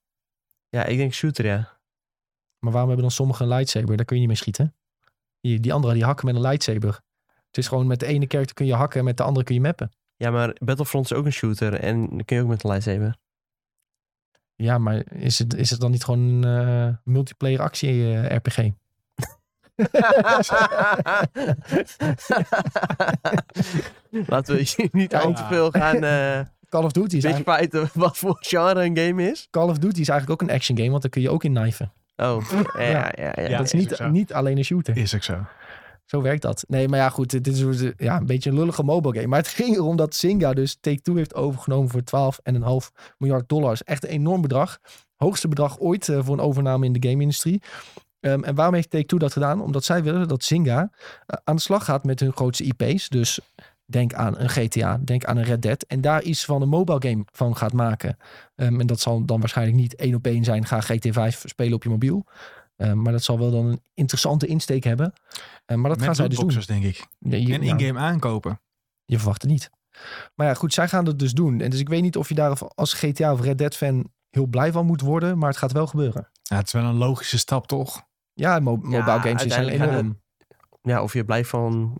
Speaker 3: Ja, ik denk shooter, ja.
Speaker 1: Maar waarom hebben dan sommigen een lightsaber? Daar kun je niet mee schieten. Hier, die andere, die hakken met een lightsaber. Het is gewoon met de ene character kun je hakken en met de andere kun je mappen.
Speaker 3: Ja, maar Battlefront is ook een shooter. En dan kun je ook met een lightsaber.
Speaker 1: Ja, maar is het, is het dan niet gewoon een eh, multiplayer actie eh, RPG?
Speaker 3: Laten we hier niet
Speaker 1: Ja.
Speaker 3: al te veel gaan eh
Speaker 1: Call of Duty is, eigenlijk,
Speaker 3: bitchfighten wat voor genre een game is.
Speaker 1: Call of Duty is eigenlijk ook een action game, want daar kun je ook in knijven.
Speaker 3: Oh, ja, ja, ja. ja.
Speaker 2: Ja.
Speaker 1: dat is
Speaker 2: is
Speaker 1: niet,
Speaker 2: ook zo.
Speaker 1: niet alleen een shooter.
Speaker 2: Is ook zo.
Speaker 1: Zo werkt dat. Nee, maar ja, goed, dit is hoe ze- ja, een beetje een lullige mobile game. Maar het ging erom dat Zynga dus Take-Two heeft overgenomen voor 12,5 miljard dollars. Echt een enorm bedrag. Hoogste bedrag ooit eh, voor een overname in de game-industrie. Ehm, en waarom heeft Take-Two dat gedaan? Omdat zij willen dat Zynga eh, aan de slag gaat met hun grootste IP's. Dus denk aan een GTA, denk aan een Red Dead. En daar iets van een mobile game van gaat maken. Ehm, en dat zal dan waarschijnlijk niet één op één zijn. Ga GTA 5 spelen op je mobiel. Ehm, maar dat zal wel dan een interessante insteek hebben. Ehm, maar dat gaan
Speaker 2: Met
Speaker 1: zij dus doen.
Speaker 2: lootboxers, denk ik.
Speaker 1: Nee, je,
Speaker 2: En
Speaker 1: ja,
Speaker 2: in-game aankopen.
Speaker 1: je verwacht het niet. Maar ja, goed, zij gaan dat dus doen. En dus ik weet niet of je daar als GTA of Red Dead fan heel blij van moet worden. Maar het gaat wel gebeuren.
Speaker 2: Ja, het is wel een logische stap, toch?
Speaker 1: Ja, mo- mobile games die zijn
Speaker 3: uiteindelijk gaan
Speaker 1: enorm.
Speaker 3: Ja, of je blij van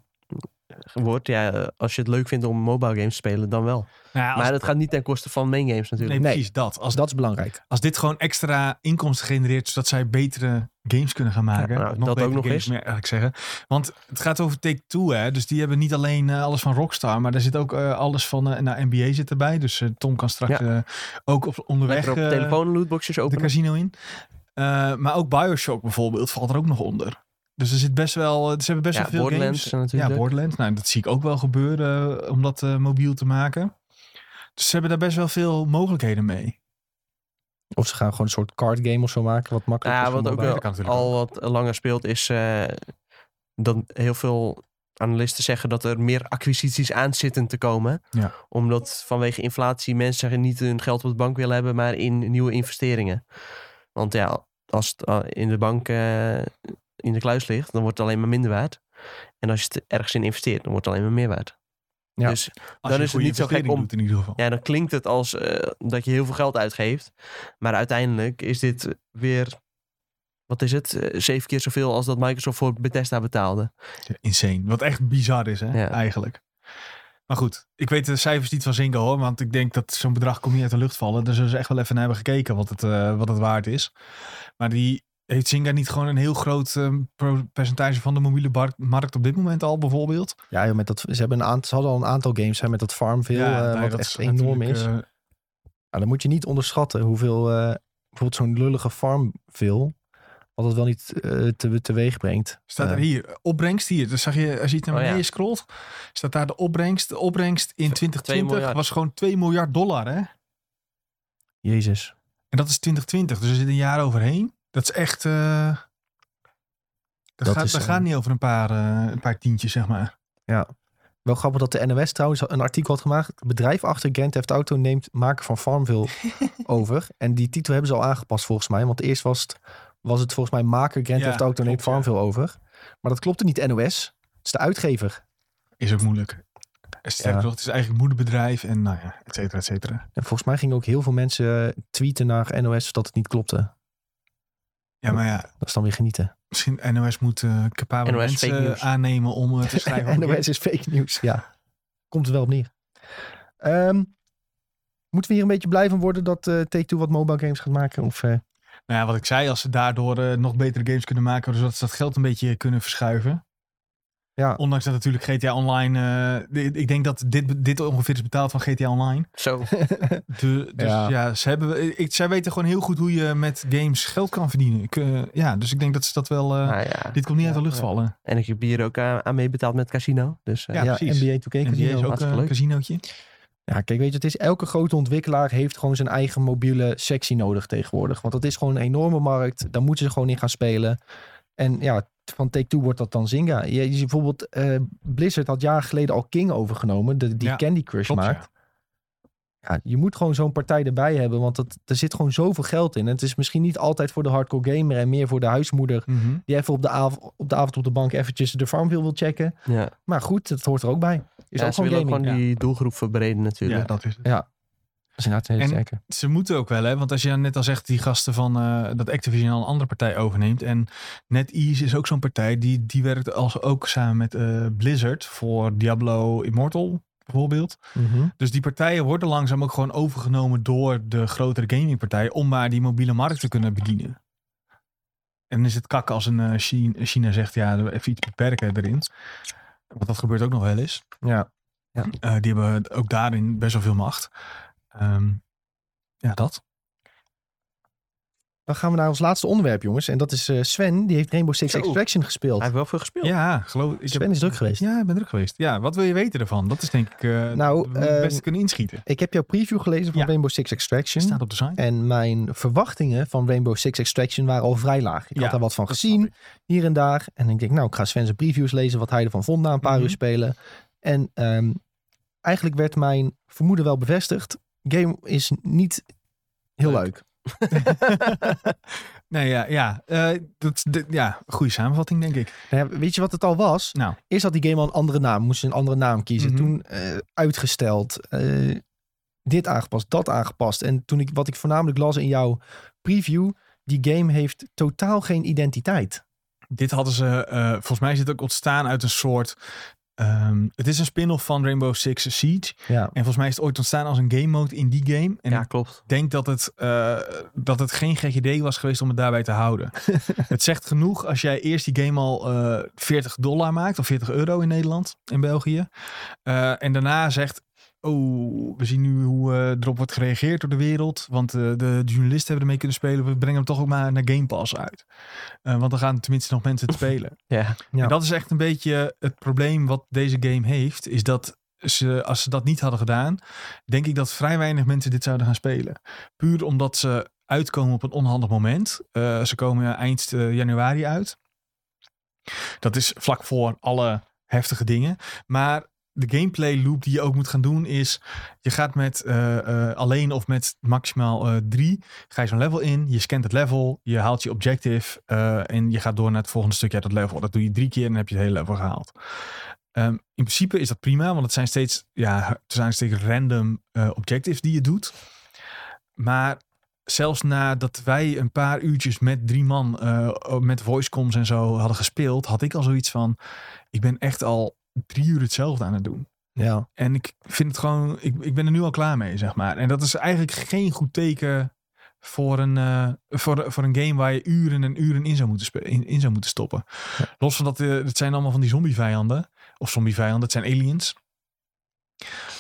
Speaker 3: wordt. Ja, eh, als je het leuk vindt om mobile games te spelen, dan wel.
Speaker 2: Nou ja, als-
Speaker 3: Maar dat gaat niet ten koste van main games natuurlijk.
Speaker 2: nee, precies dat. Als,
Speaker 1: Dus dat is belangrijk.
Speaker 2: als dit gewoon extra inkomsten genereert, zodat zij betere games kunnen gaan maken.
Speaker 3: Ja, nou,
Speaker 2: Of
Speaker 3: dat ook
Speaker 2: betere
Speaker 3: nog
Speaker 2: games,
Speaker 3: eens.
Speaker 2: moet je eigenlijk zeggen. Want het gaat over Take-Two, hè. Dus die hebben niet alleen eh, alles van Rockstar, maar daar zit ook eh, alles van... eh nou, NBA zit erbij, dus eh, Tom kan straks
Speaker 3: Ja.
Speaker 2: eh, ook op, onderweg...
Speaker 3: Lekker op
Speaker 2: eh,
Speaker 3: telefoon lootboxjes
Speaker 2: de
Speaker 3: openen.
Speaker 2: casino in. Eh, maar ook Bioshock bijvoorbeeld valt er ook nog onder. Dus er zit best wel, ze hebben best
Speaker 3: Ja,
Speaker 2: wel veel
Speaker 3: Borderlands eh,
Speaker 2: games.
Speaker 3: natuurlijk.
Speaker 2: Ja, Borderlands. Nou, dat zie ik ook wel gebeuren eh, om dat eh, mobiel te maken. Dus ze hebben daar best wel veel mogelijkheden mee.
Speaker 1: Of ze gaan gewoon een soort card game of zo maken. Wat
Speaker 3: Nou
Speaker 1: makkelijker
Speaker 3: ja,
Speaker 1: is voor
Speaker 3: wat ook
Speaker 1: mobile.
Speaker 2: dat kan
Speaker 3: wel
Speaker 2: natuurlijk
Speaker 3: al wat langer speelt is eh, dat heel veel analisten zeggen dat er meer acquisities aan zitten te komen.
Speaker 2: Ja.
Speaker 3: Omdat vanwege inflatie mensen niet hun geld op de bank willen hebben, maar in nieuwe investeringen. Want ja, als het eh, in de bank eh, in de kluis ligt, dan wordt het alleen maar minder waard. En als je het ergens in investeert, dan wordt het alleen maar meer waard.
Speaker 1: Ja.
Speaker 3: Dus
Speaker 2: Als
Speaker 3: Dan
Speaker 2: je
Speaker 3: is het
Speaker 2: goede
Speaker 3: niet zo gek
Speaker 2: investering
Speaker 3: om-
Speaker 2: doet in ieder geval.
Speaker 3: ja, dan klinkt het als eh, dat je heel veel geld uitgeeft. Maar uiteindelijk is dit weer, wat is het, Eh, zeven keer zoveel als dat Microsoft voor Bethesda betaalde.
Speaker 2: Insane. Wat echt bizar is, hè,
Speaker 3: Ja.
Speaker 2: eigenlijk. Maar goed, ik weet de cijfers niet van Zingo hoor. Want ik denk dat zo'n bedrag komt niet uit de lucht vallen. Dus zullen ze echt wel even naar hebben gekeken wat het, eh, wat het waard is. Maar die Heeft Zynga niet gewoon een heel groot eh, pro- percentage van de mobiele bar- markt op dit moment al bijvoorbeeld?
Speaker 1: Ja, joh, met dat, ze, hebben een aantal, ze hadden al een aantal games hè, met dat Farmville, eh,
Speaker 2: nou
Speaker 1: wat
Speaker 2: dat
Speaker 1: echt
Speaker 2: is
Speaker 1: enorm
Speaker 2: natuurlijk,
Speaker 1: is.
Speaker 2: eh,
Speaker 1: Nou, dan moet je niet onderschatten hoeveel eh, bijvoorbeeld zo'n lullige Farmville, wat dat wel niet eh, te, teweeg brengt.
Speaker 2: Staat er
Speaker 1: Eh,
Speaker 2: hier, opbrengst hier. Dus zag je, als je het naar
Speaker 3: Oh,
Speaker 2: beneden
Speaker 3: ja.
Speaker 2: scrolt, staat daar de opbrengst. De opbrengst in 2020
Speaker 3: miljard.
Speaker 2: was gewoon 2 miljard dollar. Hè?
Speaker 1: Jezus.
Speaker 2: En dat is 2020, dus er zit een jaar overheen. Dat is echt... eh dat
Speaker 1: Dat
Speaker 2: gaat,
Speaker 1: is,
Speaker 2: dat
Speaker 1: eh,
Speaker 2: gaat niet over een paar, eh, een paar tientjes, zeg maar.
Speaker 1: Wel grappig dat de NOS trouwens een artikel had gemaakt. Het bedrijf achter Gent Theft Auto neemt maken van Farmville over. En die titel hebben ze al aangepast volgens mij. Want eerst was het, was het volgens mij maker Gent
Speaker 2: Ja,
Speaker 1: Theft Auto neemt
Speaker 2: klopt, ja.
Speaker 1: Farmville over. Maar dat klopte niet NOS. Het is de uitgever.
Speaker 2: Is ook moeilijk. En Sterker
Speaker 1: Ja.
Speaker 2: nog, het is eigenlijk moederbedrijf en nou ja, et cetera, et cetera.
Speaker 1: En volgens mij gingen ook heel veel mensen eh, tweeten naar NOS dat het niet klopte.
Speaker 2: Ja, maar ja,
Speaker 1: Dat is dan weer genieten.
Speaker 2: misschien NOS moet eh capabele
Speaker 3: NOS fake
Speaker 2: mensen
Speaker 3: news.
Speaker 2: aannemen om eh, te schrijven. over
Speaker 1: NOS is fake nieuws. Ja, komt er wel op neer. Ehm, moeten we hier een beetje blij van worden dat eh Take-Two wat mobile games gaat maken? Of, eh,
Speaker 2: Nou ja, wat ik zei, als ze daardoor eh, nog betere games kunnen maken, zodat ze dat geld een beetje kunnen verschuiven.
Speaker 1: Ja.
Speaker 2: Ondanks dat natuurlijk GTA Online, eh, dit- ik denk dat dit, dit ongeveer is betaald van GTA Online.
Speaker 3: Zo.
Speaker 2: De- dus
Speaker 1: Ja.
Speaker 2: ja, ze hebben, ik, zij weten gewoon heel goed hoe je met games geld kan verdienen. Ik, eh, ja, dus ik denk dat ze dat wel, eh,
Speaker 3: nou ja.
Speaker 2: dit komt niet uit de
Speaker 3: Ja,
Speaker 2: lucht
Speaker 3: ja.
Speaker 2: vallen.
Speaker 3: En ik heb hier ook aan, aan meebetaald met casino. Dus eh,
Speaker 2: Ja,
Speaker 1: ja,
Speaker 2: precies.
Speaker 1: NBA 2K
Speaker 2: En die
Speaker 1: Casino.
Speaker 2: is ook
Speaker 3: hartstikke
Speaker 2: eh, een
Speaker 3: leuk.
Speaker 2: casinootje.
Speaker 1: Ja, kijk, weet je, het is elke grote ontwikkelaar heeft gewoon zijn eigen mobiele sectie nodig tegenwoordig. Want dat is gewoon een enorme markt. Daar moeten ze gewoon in gaan spelen. En ja, van Take-Two wordt dat dan Zynga. Je, je ziet bijvoorbeeld, eh, Blizzard had jaren geleden al King overgenomen, de, die
Speaker 2: Ja,
Speaker 1: Candy Crush
Speaker 2: Klopt,
Speaker 1: maakt.
Speaker 2: ja.
Speaker 1: ja, je moet gewoon zo'n partij erbij hebben, want dat, er zit gewoon zoveel geld in. En het is misschien niet altijd voor de hardcore gamer en meer voor de huismoeder
Speaker 2: Mhm.
Speaker 1: die even op de, av- op de avond op de bank eventjes de Farmville wil checken.
Speaker 3: ja.
Speaker 1: Maar goed, dat hoort er ook bij. Is
Speaker 3: Ja,
Speaker 1: ook gewoon
Speaker 3: ze willen ook
Speaker 1: gaming.
Speaker 3: gewoon die doelgroep verbreden natuurlijk.
Speaker 2: Ja, dat is het.
Speaker 1: Dat is inderdaad een hele
Speaker 2: En-
Speaker 1: sterke.
Speaker 2: ze moeten ook wel, hè? Want als je net al zegt, die gasten van eh, dat Activision al een andere partij overneemt. En NetEase is ook zo'n partij die, die werkt als ook samen met eh, Blizzard voor Diablo Immortal bijvoorbeeld.
Speaker 1: Mhm.
Speaker 2: Dus die partijen worden langzaam ook gewoon overgenomen door de grotere gamingpartijen om maar die mobiele markt te kunnen bedienen. En dan is het kak als een eh, Chi- China zegt, ja, even iets beperken erin. Want dat gebeurt ook nog wel eens.
Speaker 1: Ja.
Speaker 2: Eh, die hebben ook daarin best wel veel macht. Ehm, ja, dat.
Speaker 1: Dan gaan we naar ons laatste onderwerp, jongens. En dat is eh, Sven, die heeft Rainbow Six
Speaker 3: Zo.
Speaker 1: Extraction gespeeld.
Speaker 3: Hij heeft wel veel gespeeld.
Speaker 2: Ja, geloof ik.
Speaker 1: Sven is druk geweest.
Speaker 2: Ja, ik ben druk geweest. Ja, wat wil je weten ervan? Dat is denk ik eh
Speaker 1: Nou,
Speaker 2: dat we het
Speaker 1: eh,
Speaker 2: beste kunnen inschieten.
Speaker 1: Ik heb jouw preview gelezen van
Speaker 2: Ja.
Speaker 1: Rainbow Six
Speaker 2: Je
Speaker 1: Extraction.
Speaker 2: staat op de site.
Speaker 1: En mijn verwachtingen van Rainbow Six Extraction waren al vrij laag. Ik
Speaker 2: Ja,
Speaker 1: had daar wat van
Speaker 2: dat
Speaker 1: gezien.
Speaker 2: snap
Speaker 1: hier en daar. En ik denk, nou, ik ga Sven zijn previews lezen, wat hij ervan vond na een paar
Speaker 2: Mhm.
Speaker 1: uur spelen. En ehm, eigenlijk werd mijn vermoeden wel bevestigd. Game is niet heel leuk.
Speaker 3: Leuk.
Speaker 2: nee, ja, ja, eh, dat, dat- ja, goede samenvatting denk ik.
Speaker 1: Nou ja, weet je wat het al was?
Speaker 2: Nou.
Speaker 1: Eerst had die game al een andere naam, moest een andere naam kiezen.
Speaker 2: Mhm.
Speaker 1: Toen eh, uitgesteld, eh, dit aangepast, dat aangepast. En toen ik, wat ik voornamelijk las in jouw preview, die game heeft totaal geen identiteit.
Speaker 2: Dit hadden ze, eh, volgens mij is het ook ontstaan uit een soort... ehm, het is een spin-off van Rainbow Six Siege.
Speaker 1: Ja,
Speaker 2: En volgens mij is het ooit ontstaan als een game mode in die game. En
Speaker 3: Ja, klopt.
Speaker 2: ik denk dat het, eh, dat het geen gek idee was geweest om het daarbij te houden. het zegt genoeg als jij eerst die game al eh 40 dollar maakt, of 40 euro in Nederland, in België. Eh, en daarna zegt, oh, we zien nu hoe eh, erop wordt gereageerd door de wereld. Want eh, de journalisten hebben ermee kunnen spelen. We brengen hem toch ook maar naar Game Pass uit. Eh, want dan gaan tenminste nog mensen het spelen.
Speaker 3: Ja.
Speaker 1: Ja.
Speaker 2: En dat is echt een beetje het probleem wat deze game heeft. Is dat ze, als ze dat niet hadden gedaan, denk ik dat vrij weinig mensen dit zouden gaan spelen. Puur omdat ze uitkomen op een onhandig moment. Eh, ze komen eind eh, januari uit. Dat is vlak voor alle heftige dingen. Maar de gameplay loop die je ook moet gaan doen is... je gaat met eh, eh, alleen of met maximaal eh, drie... ga je zo'n level in, je scant het level... je haalt je objective eh, en je gaat door naar het volgende stukje uit dat level. Dat doe je drie keer en dan heb je het hele level gehaald. Ehm, in principe is dat prima, want het zijn steeds, ja, het zijn steeds random eh, objectives die je doet. Maar zelfs nadat wij een paar uurtjes met drie man eh, met voicecoms en zo hadden gespeeld, had ik al zoiets van: ik ben echt al drie uur hetzelfde aan het doen.
Speaker 1: ja.
Speaker 2: En ik vind het gewoon, ik, ik ben er nu al klaar mee, zeg maar. En dat is eigenlijk geen goed teken voor een, eh, voor, voor een game waar je uren en uren in zou moeten, spe- in, in zou moeten stoppen. Los van dat, eh het zijn allemaal van die zombievijanden. Of zombievijanden, het zijn aliens.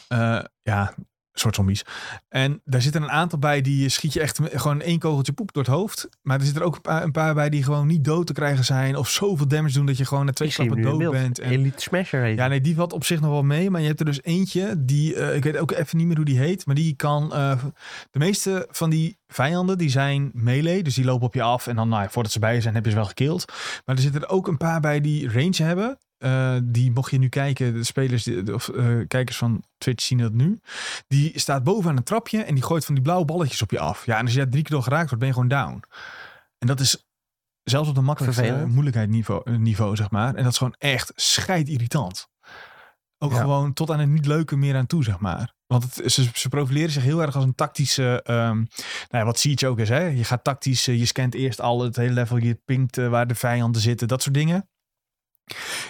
Speaker 2: Eh, ja, soort zombies. En daar zitten een aantal bij die schiet je echt met- gewoon één kogeltje poep door het hoofd. Maar er zitten er ook een paar, een paar bij die gewoon niet dood te krijgen zijn. Of zoveel damage doen dat je gewoon na twee
Speaker 3: Ik zie hem
Speaker 2: klappen
Speaker 3: nu in
Speaker 2: dood
Speaker 3: beeld.
Speaker 2: bent. En
Speaker 3: Elite Smasher heet
Speaker 2: ja,
Speaker 3: hij.
Speaker 2: nee, die valt op zich nog wel mee. Maar je hebt er dus eentje die, eh, ik weet ook even niet meer hoe die heet. Maar die kan, eh, de meeste van die vijanden, die zijn melee. Dus die lopen op je af. En dan, nou ja, voordat ze bij je zijn, heb je ze wel gekild. Maar er zitten er ook een paar bij die range hebben. Eh, die mocht je nu kijken, de spelers die- de- of eh, kijkers van Twitch zien dat nu. Die staat boven aan een trapje en die gooit van die blauwe balletjes op je af. Ja, en als je daar drie keer door geraakt wordt, ben je gewoon down. En dat is zelfs op de makkelijkste
Speaker 3: Vervelend.
Speaker 2: moeilijkheidsniveau, niveau, zeg maar. En dat is gewoon echt scheid irritant. Ook
Speaker 1: Ja.
Speaker 2: gewoon tot aan het niet leuke meer aan toe, zeg maar. Want het, ze, ze profileren zich heel erg als een tactische... ehm, nou ja, wat Siege ook is, hè? Je gaat tactisch, eh, je scant eerst al het hele level, je pinkt eh, waar de vijanden zitten, dat soort dingen.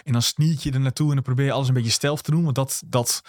Speaker 2: En dan sneak je er naartoe en dan probeer je alles een beetje stealth te doen, want dat, dat,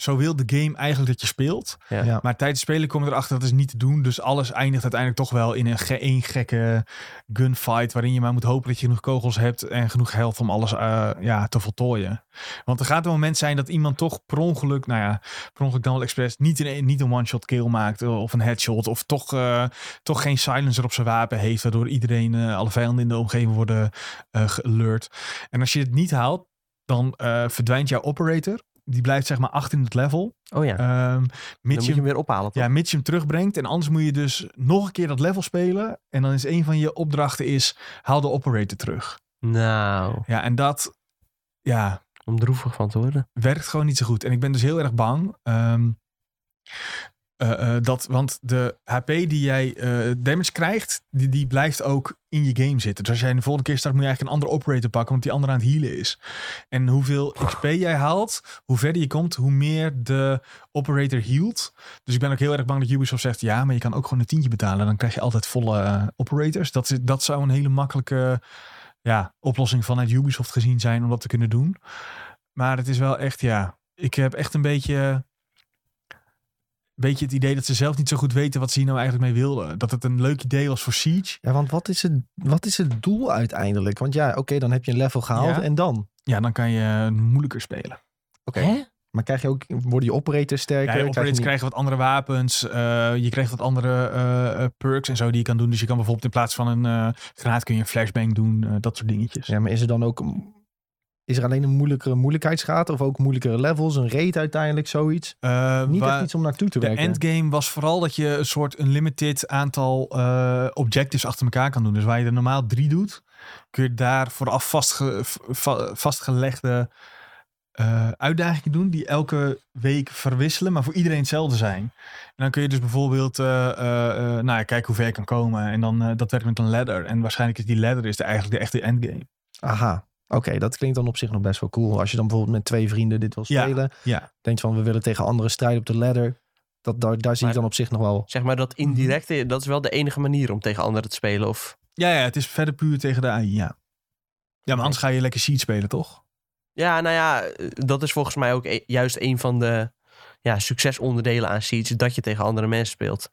Speaker 2: zo wil de game eigenlijk dat je speelt.
Speaker 3: Ja.
Speaker 1: Ja.
Speaker 2: Maar tijdens het spelen kom je erachter dat is niet te doen, dus alles eindigt uiteindelijk toch wel in een ge één gekke gunfight, waarin je maar moet hopen dat je genoeg kogels hebt en genoeg health om alles eh, ja, te voltooien. Want er gaat een moment zijn dat iemand toch per ongeluk, nou ja, per ongeluk dan wel expres niet een, niet een one-shot kill maakt eh, of een headshot of toch, eh, toch geen silencer op zijn wapen heeft waardoor iedereen, eh, alle vijanden in de omgeving worden eh gelurd. En als je het niet haalt, dan eh, verdwijnt jouw operator. Die blijft zeg maar achter in het level.
Speaker 3: Oh ja, dan
Speaker 2: Ehm
Speaker 3: moet
Speaker 2: mits
Speaker 3: je
Speaker 2: je,
Speaker 3: hem weer ophalen. toch?
Speaker 2: ja, mits je hem terugbrengt. En anders moet je dus nog een keer dat level spelen. En dan is een van je opdrachten is, haal de operator terug.
Speaker 3: Nou,
Speaker 2: Ja, en dat, ja,
Speaker 3: om droevig van te worden.
Speaker 2: werkt gewoon niet zo goed. En ik ben dus heel erg bang. ehm, eh, eh, dat, want de HP die jij eh, damage krijgt, die, die blijft ook in je game zitten. Dus als jij de volgende keer start, moet je eigenlijk een andere operator pakken, want die andere aan het healen is. En hoeveel XP jij haalt, hoe verder je komt, hoe meer de operator healt. Dus ik ben ook heel erg bang dat Ubisoft zegt, ja, maar je kan ook gewoon een tientje betalen. Dan krijg je altijd volle eh, operators. Dat, is- dat zou een hele makkelijke ja, oplossing vanuit Ubisoft gezien zijn om dat te kunnen doen. Maar het is wel echt, ja. Ik heb echt een beetje, beetje het idee dat ze zelf niet zo goed weten wat ze hier nou eigenlijk mee wilden. Dat het een leuk idee was voor Siege.
Speaker 1: Ja, want wat is, het, wat is het doel uiteindelijk? Want ja, oké, dan heb je een level gehaald
Speaker 2: Ja.
Speaker 1: en dan?
Speaker 2: Ja, dan kan je moeilijker spelen.
Speaker 1: Oké.
Speaker 3: Hè?
Speaker 1: Maar krijg je ook, worden je operators sterker?
Speaker 2: Ja, je
Speaker 1: Krijg je
Speaker 2: operators
Speaker 1: niet-
Speaker 2: krijgen wat andere wapens. eh, je krijgt wat andere eh, eh, perks en zo die je kan doen. Dus je kan bijvoorbeeld in plaats van een eh granaat kun je een flashbang doen. eh, dat soort dingetjes.
Speaker 1: Ja, maar is er dan ook... een- Is er alleen een moeilijkere moeilijkheidsgraad of ook moeilijkere levels? Een rate uiteindelijk, zoiets?
Speaker 2: Eh,
Speaker 1: Niet
Speaker 2: waar-
Speaker 1: echt iets om naartoe te
Speaker 2: de
Speaker 1: werken.
Speaker 2: endgame was vooral dat je een soort unlimited aantal eh, objectives achter elkaar kan doen. Dus waar je er normaal drie doet, kun je daar vooraf vastge- va- vastgelegde eh, uitdagingen doen. Die elke week verwisselen, maar voor iedereen hetzelfde zijn. En dan kun je dus bijvoorbeeld eh, eh, eh, nou ja, kijken hoe ver je kan komen. En dan eh, dat werkt met een ladder. En waarschijnlijk is die ladder is de, eigenlijk de echte endgame.
Speaker 1: Aha. Oké, dat klinkt dan op zich nog best wel cool. Als je dan bijvoorbeeld met twee vrienden dit wil
Speaker 2: Ja,
Speaker 1: spelen.
Speaker 2: ja.
Speaker 1: Denkt van, we willen tegen anderen strijden op de ladder. Dat, daar, daar zie ik
Speaker 3: Maar-
Speaker 1: dan op zich nog wel...
Speaker 3: Zeg maar dat indirecte, dat is wel de enige manier om tegen anderen te spelen. Of...
Speaker 2: Ja, ja, het is verder puur tegen de AI, ja. Ja, maar anders ga je lekker seed spelen, toch?
Speaker 3: Ja, nou ja, eh, dat is volgens mij ook e- juist een van de ja, succesonderdelen aan Siege. Dat je tegen andere mensen speelt.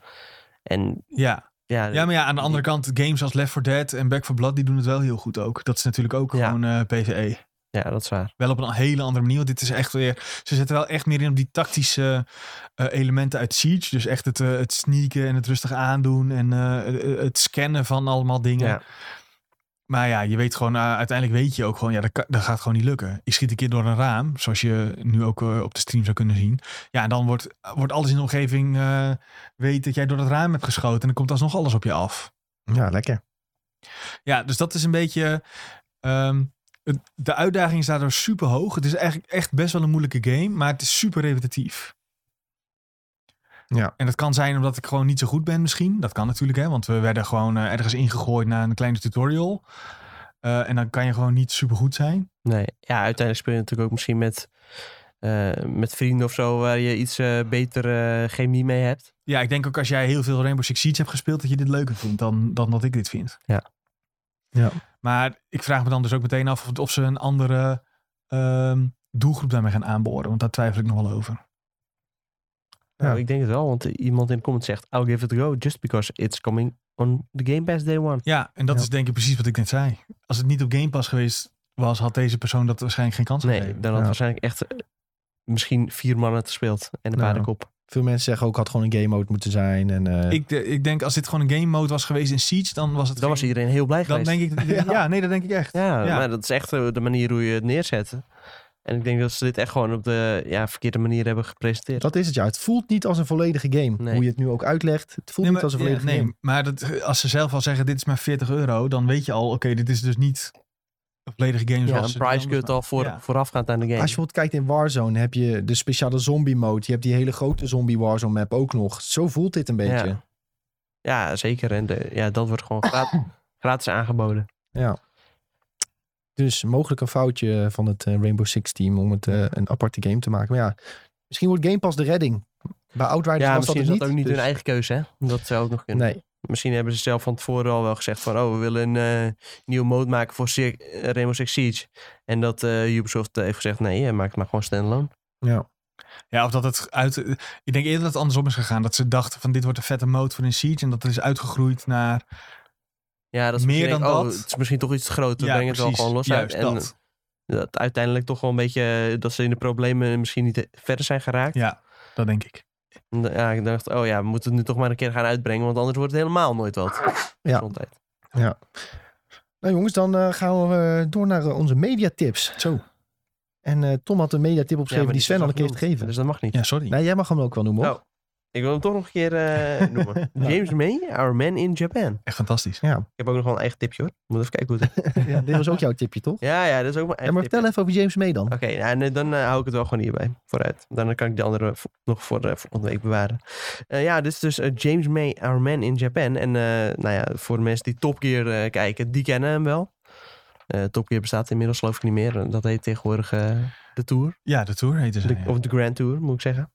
Speaker 3: En
Speaker 2: Ja.
Speaker 3: ja,
Speaker 2: Ja, maar ja, aan de andere kant, games als Left 4 Dead en Back 4 Blood, die doen het wel heel goed ook. Dat is natuurlijk ook
Speaker 3: Ja.
Speaker 2: gewoon eh, PvE.
Speaker 3: ja, dat is waar.
Speaker 2: Wel op een hele andere manier, want dit is echt weer... Ze zetten wel echt meer in op die tactische eh, elementen uit Siege. Dus echt het, eh, het sneaken en het rustig aandoen en eh, eh, het scannen van allemaal dingen.
Speaker 3: Ja.
Speaker 2: Maar ja, je weet gewoon, eh, uiteindelijk weet je ook gewoon, ja, dat, kan- dat gaat gewoon niet lukken. Ik schiet een keer door een raam, zoals je nu ook eh, op de stream zou kunnen zien. Ja, en dan wordt, wordt alles in de omgeving, eh, weet dat jij door dat raam hebt geschoten en dan komt alsnog alles op je af.
Speaker 1: Ja, lekker.
Speaker 2: Ja, dus dat is een beetje. ehm, het- de uitdaging is daardoor super hoog. Het is eigenlijk echt best wel een moeilijke game, maar het is super repetitief.
Speaker 1: Ja.
Speaker 2: En dat kan zijn omdat ik gewoon niet zo goed ben, misschien. Dat kan natuurlijk, hè, want we werden gewoon eh, ergens ingegooid na een kleine tutorial. Eh, en dan kan je gewoon niet super goed zijn.
Speaker 3: Nee. Ja, uiteindelijk speel je natuurlijk ook misschien met, eh, met vrienden of zo. Waar je iets eh beter eh, chemie mee hebt.
Speaker 2: Ja, ik denk ook als jij heel veel Rainbow Six Siege hebt gespeeld, dat je dit leuker vindt dan, dan dat ik dit vind.
Speaker 3: Ja.
Speaker 1: Ja.
Speaker 2: Maar ik vraag me dan dus ook meteen af of, of ze een andere ehm, doelgroep daarmee gaan aanboren. Want daar twijfel ik nog wel over.
Speaker 3: Nou,
Speaker 1: Ja.
Speaker 3: ik denk het wel, want iemand in de comments zegt... I'll give it a go just because it's coming on the Game Pass day one.
Speaker 2: Ja, en dat
Speaker 1: Ja.
Speaker 2: is denk ik precies wat ik net zei. Als het niet op Game Pass geweest was, had deze persoon dat waarschijnlijk geen kans
Speaker 3: Nee,
Speaker 2: gegeven.
Speaker 3: dan had
Speaker 1: Ja.
Speaker 3: waarschijnlijk echt eh, misschien vier mannen het gespeeld en een
Speaker 1: Ja.
Speaker 3: paardenkop.
Speaker 1: Veel mensen zeggen ook, had gewoon een game mode moeten zijn. En, eh,
Speaker 2: Ik, de- ik denk als dit gewoon een game mode was geweest in Siege, dan was het
Speaker 3: Dan was
Speaker 2: geen-
Speaker 3: iedereen heel blij
Speaker 2: dan
Speaker 3: geweest.
Speaker 2: denk ik, ja.
Speaker 1: Ja.
Speaker 2: nee, dat denk ik echt.
Speaker 3: Ja,
Speaker 2: Ja.
Speaker 3: maar dat is echt eh, de manier hoe je het neerzet. En ik denk dat ze dit echt gewoon op de ja, verkeerde manier hebben gepresenteerd.
Speaker 1: dat is het ja. Het voelt niet als een volledige game.
Speaker 3: Nee.
Speaker 1: Hoe je het nu ook uitlegt. Het voelt
Speaker 2: Nee,
Speaker 1: niet
Speaker 2: maar,
Speaker 1: als een
Speaker 2: ja,
Speaker 1: volledige game.
Speaker 2: nee, maar dat, als ze zelf al zeggen, dit is maar 40 euro, dan weet je al, oké, dit is dus niet een volledige game
Speaker 3: Ja,
Speaker 2: zoals
Speaker 3: een
Speaker 2: ze die
Speaker 3: price
Speaker 2: anders
Speaker 3: cut al voor,
Speaker 2: Ja.
Speaker 3: voorafgaand aan de game.
Speaker 1: Als je bijvoorbeeld kijkt in Warzone, heb je de speciale zombie mode. Je hebt die hele grote zombie Warzone map ook nog. Zo voelt dit een beetje.
Speaker 3: Ja, ja zeker. En de, ja, dat wordt gewoon gratis, gratis aangeboden.
Speaker 1: Dus mogelijk een foutje van het eh, Rainbow Six team om het eh, een aparte game te maken. Maar ja, misschien wordt Game Pass de redding. Bij Outriders
Speaker 3: ja,
Speaker 1: was dat
Speaker 3: misschien
Speaker 1: het
Speaker 3: is dat
Speaker 1: niet.
Speaker 3: ook niet
Speaker 1: dus-
Speaker 3: hun eigen keuze, hè? Dat zou ook nog kunnen.
Speaker 1: Nee,
Speaker 3: Misschien hebben ze zelf van tevoren al wel gezegd van... oh, we willen een eh, nieuwe mode maken voor Sir- eh, Rainbow Six Siege. En dat eh, Ubisoft eh, heeft gezegd... nee, eh, maak het maar gewoon standalone.
Speaker 1: ja.
Speaker 2: Ja, of dat het uit. Ik denk eerder dat het andersom is gegaan. Dat ze dachten van dit wordt een vette mode voor een Siege. En dat het is uitgegroeid naar.
Speaker 3: Ja, dat ze
Speaker 2: Meer
Speaker 3: misschien
Speaker 2: dan
Speaker 3: denken,
Speaker 2: dat.
Speaker 3: Oh, het is misschien toch iets groter.
Speaker 2: ja,
Speaker 3: breng het wel gewoon los
Speaker 2: juist
Speaker 3: uit.
Speaker 2: dat.
Speaker 3: En dat uiteindelijk toch wel een beetje... eh, dat ze in de problemen misschien niet eh, verder zijn geraakt.
Speaker 2: Ja, dat denk ik.
Speaker 3: En da- Ja, ik dacht, oh ja, we moeten het nu toch maar een keer gaan uitbrengen... want anders wordt het helemaal nooit wat.
Speaker 1: Ja.
Speaker 3: Gezondheid.
Speaker 1: Nou jongens, dan eh, gaan we eh, door naar eh, onze mediatips.
Speaker 2: Zo.
Speaker 1: En eh, Tom had een mediatip
Speaker 3: Ja, maar
Speaker 1: opgeschreven die
Speaker 3: is
Speaker 1: Sven
Speaker 3: dus
Speaker 1: al een
Speaker 3: al
Speaker 1: keer heeft
Speaker 3: genoemd,
Speaker 1: gegeven.
Speaker 3: Dus dat mag niet.
Speaker 2: Ja, sorry.
Speaker 1: Nee, jij mag hem ook wel noemen hoor.
Speaker 3: Oh. Ik wil hem toch nog een keer eh, noemen. James May, Our Man in Japan.
Speaker 2: Echt fantastisch.
Speaker 1: Ja.
Speaker 3: Ik heb ook nog wel een eigen tipje hoor. Moet even kijken hoe het is.
Speaker 1: ja, dit was ook jouw tipje toch?
Speaker 3: Ja, ja, dat is ook
Speaker 1: Ja,
Speaker 3: Oh. mijn eigen
Speaker 1: maar
Speaker 3: tipje.
Speaker 1: vertel even over James May dan.
Speaker 3: Oké, nou, nee, dan eh, hou ik het wel gewoon hierbij. Vooruit. Dan kan ik de andere vo- nog voor eh, volgende week bewaren. Eh, ja, dit is dus eh, James May, Our Man in Japan. En eh, nou ja, voor de mensen die Top Gear eh, kijken, die kennen hem wel. Eh Top Gear bestaat inmiddels geloof ik niet meer. Dat heet tegenwoordig eh, de Tour.
Speaker 2: Ja, de tour heette ze.
Speaker 3: De-
Speaker 2: ja.
Speaker 3: Of de Grand Tour, moet ik zeggen.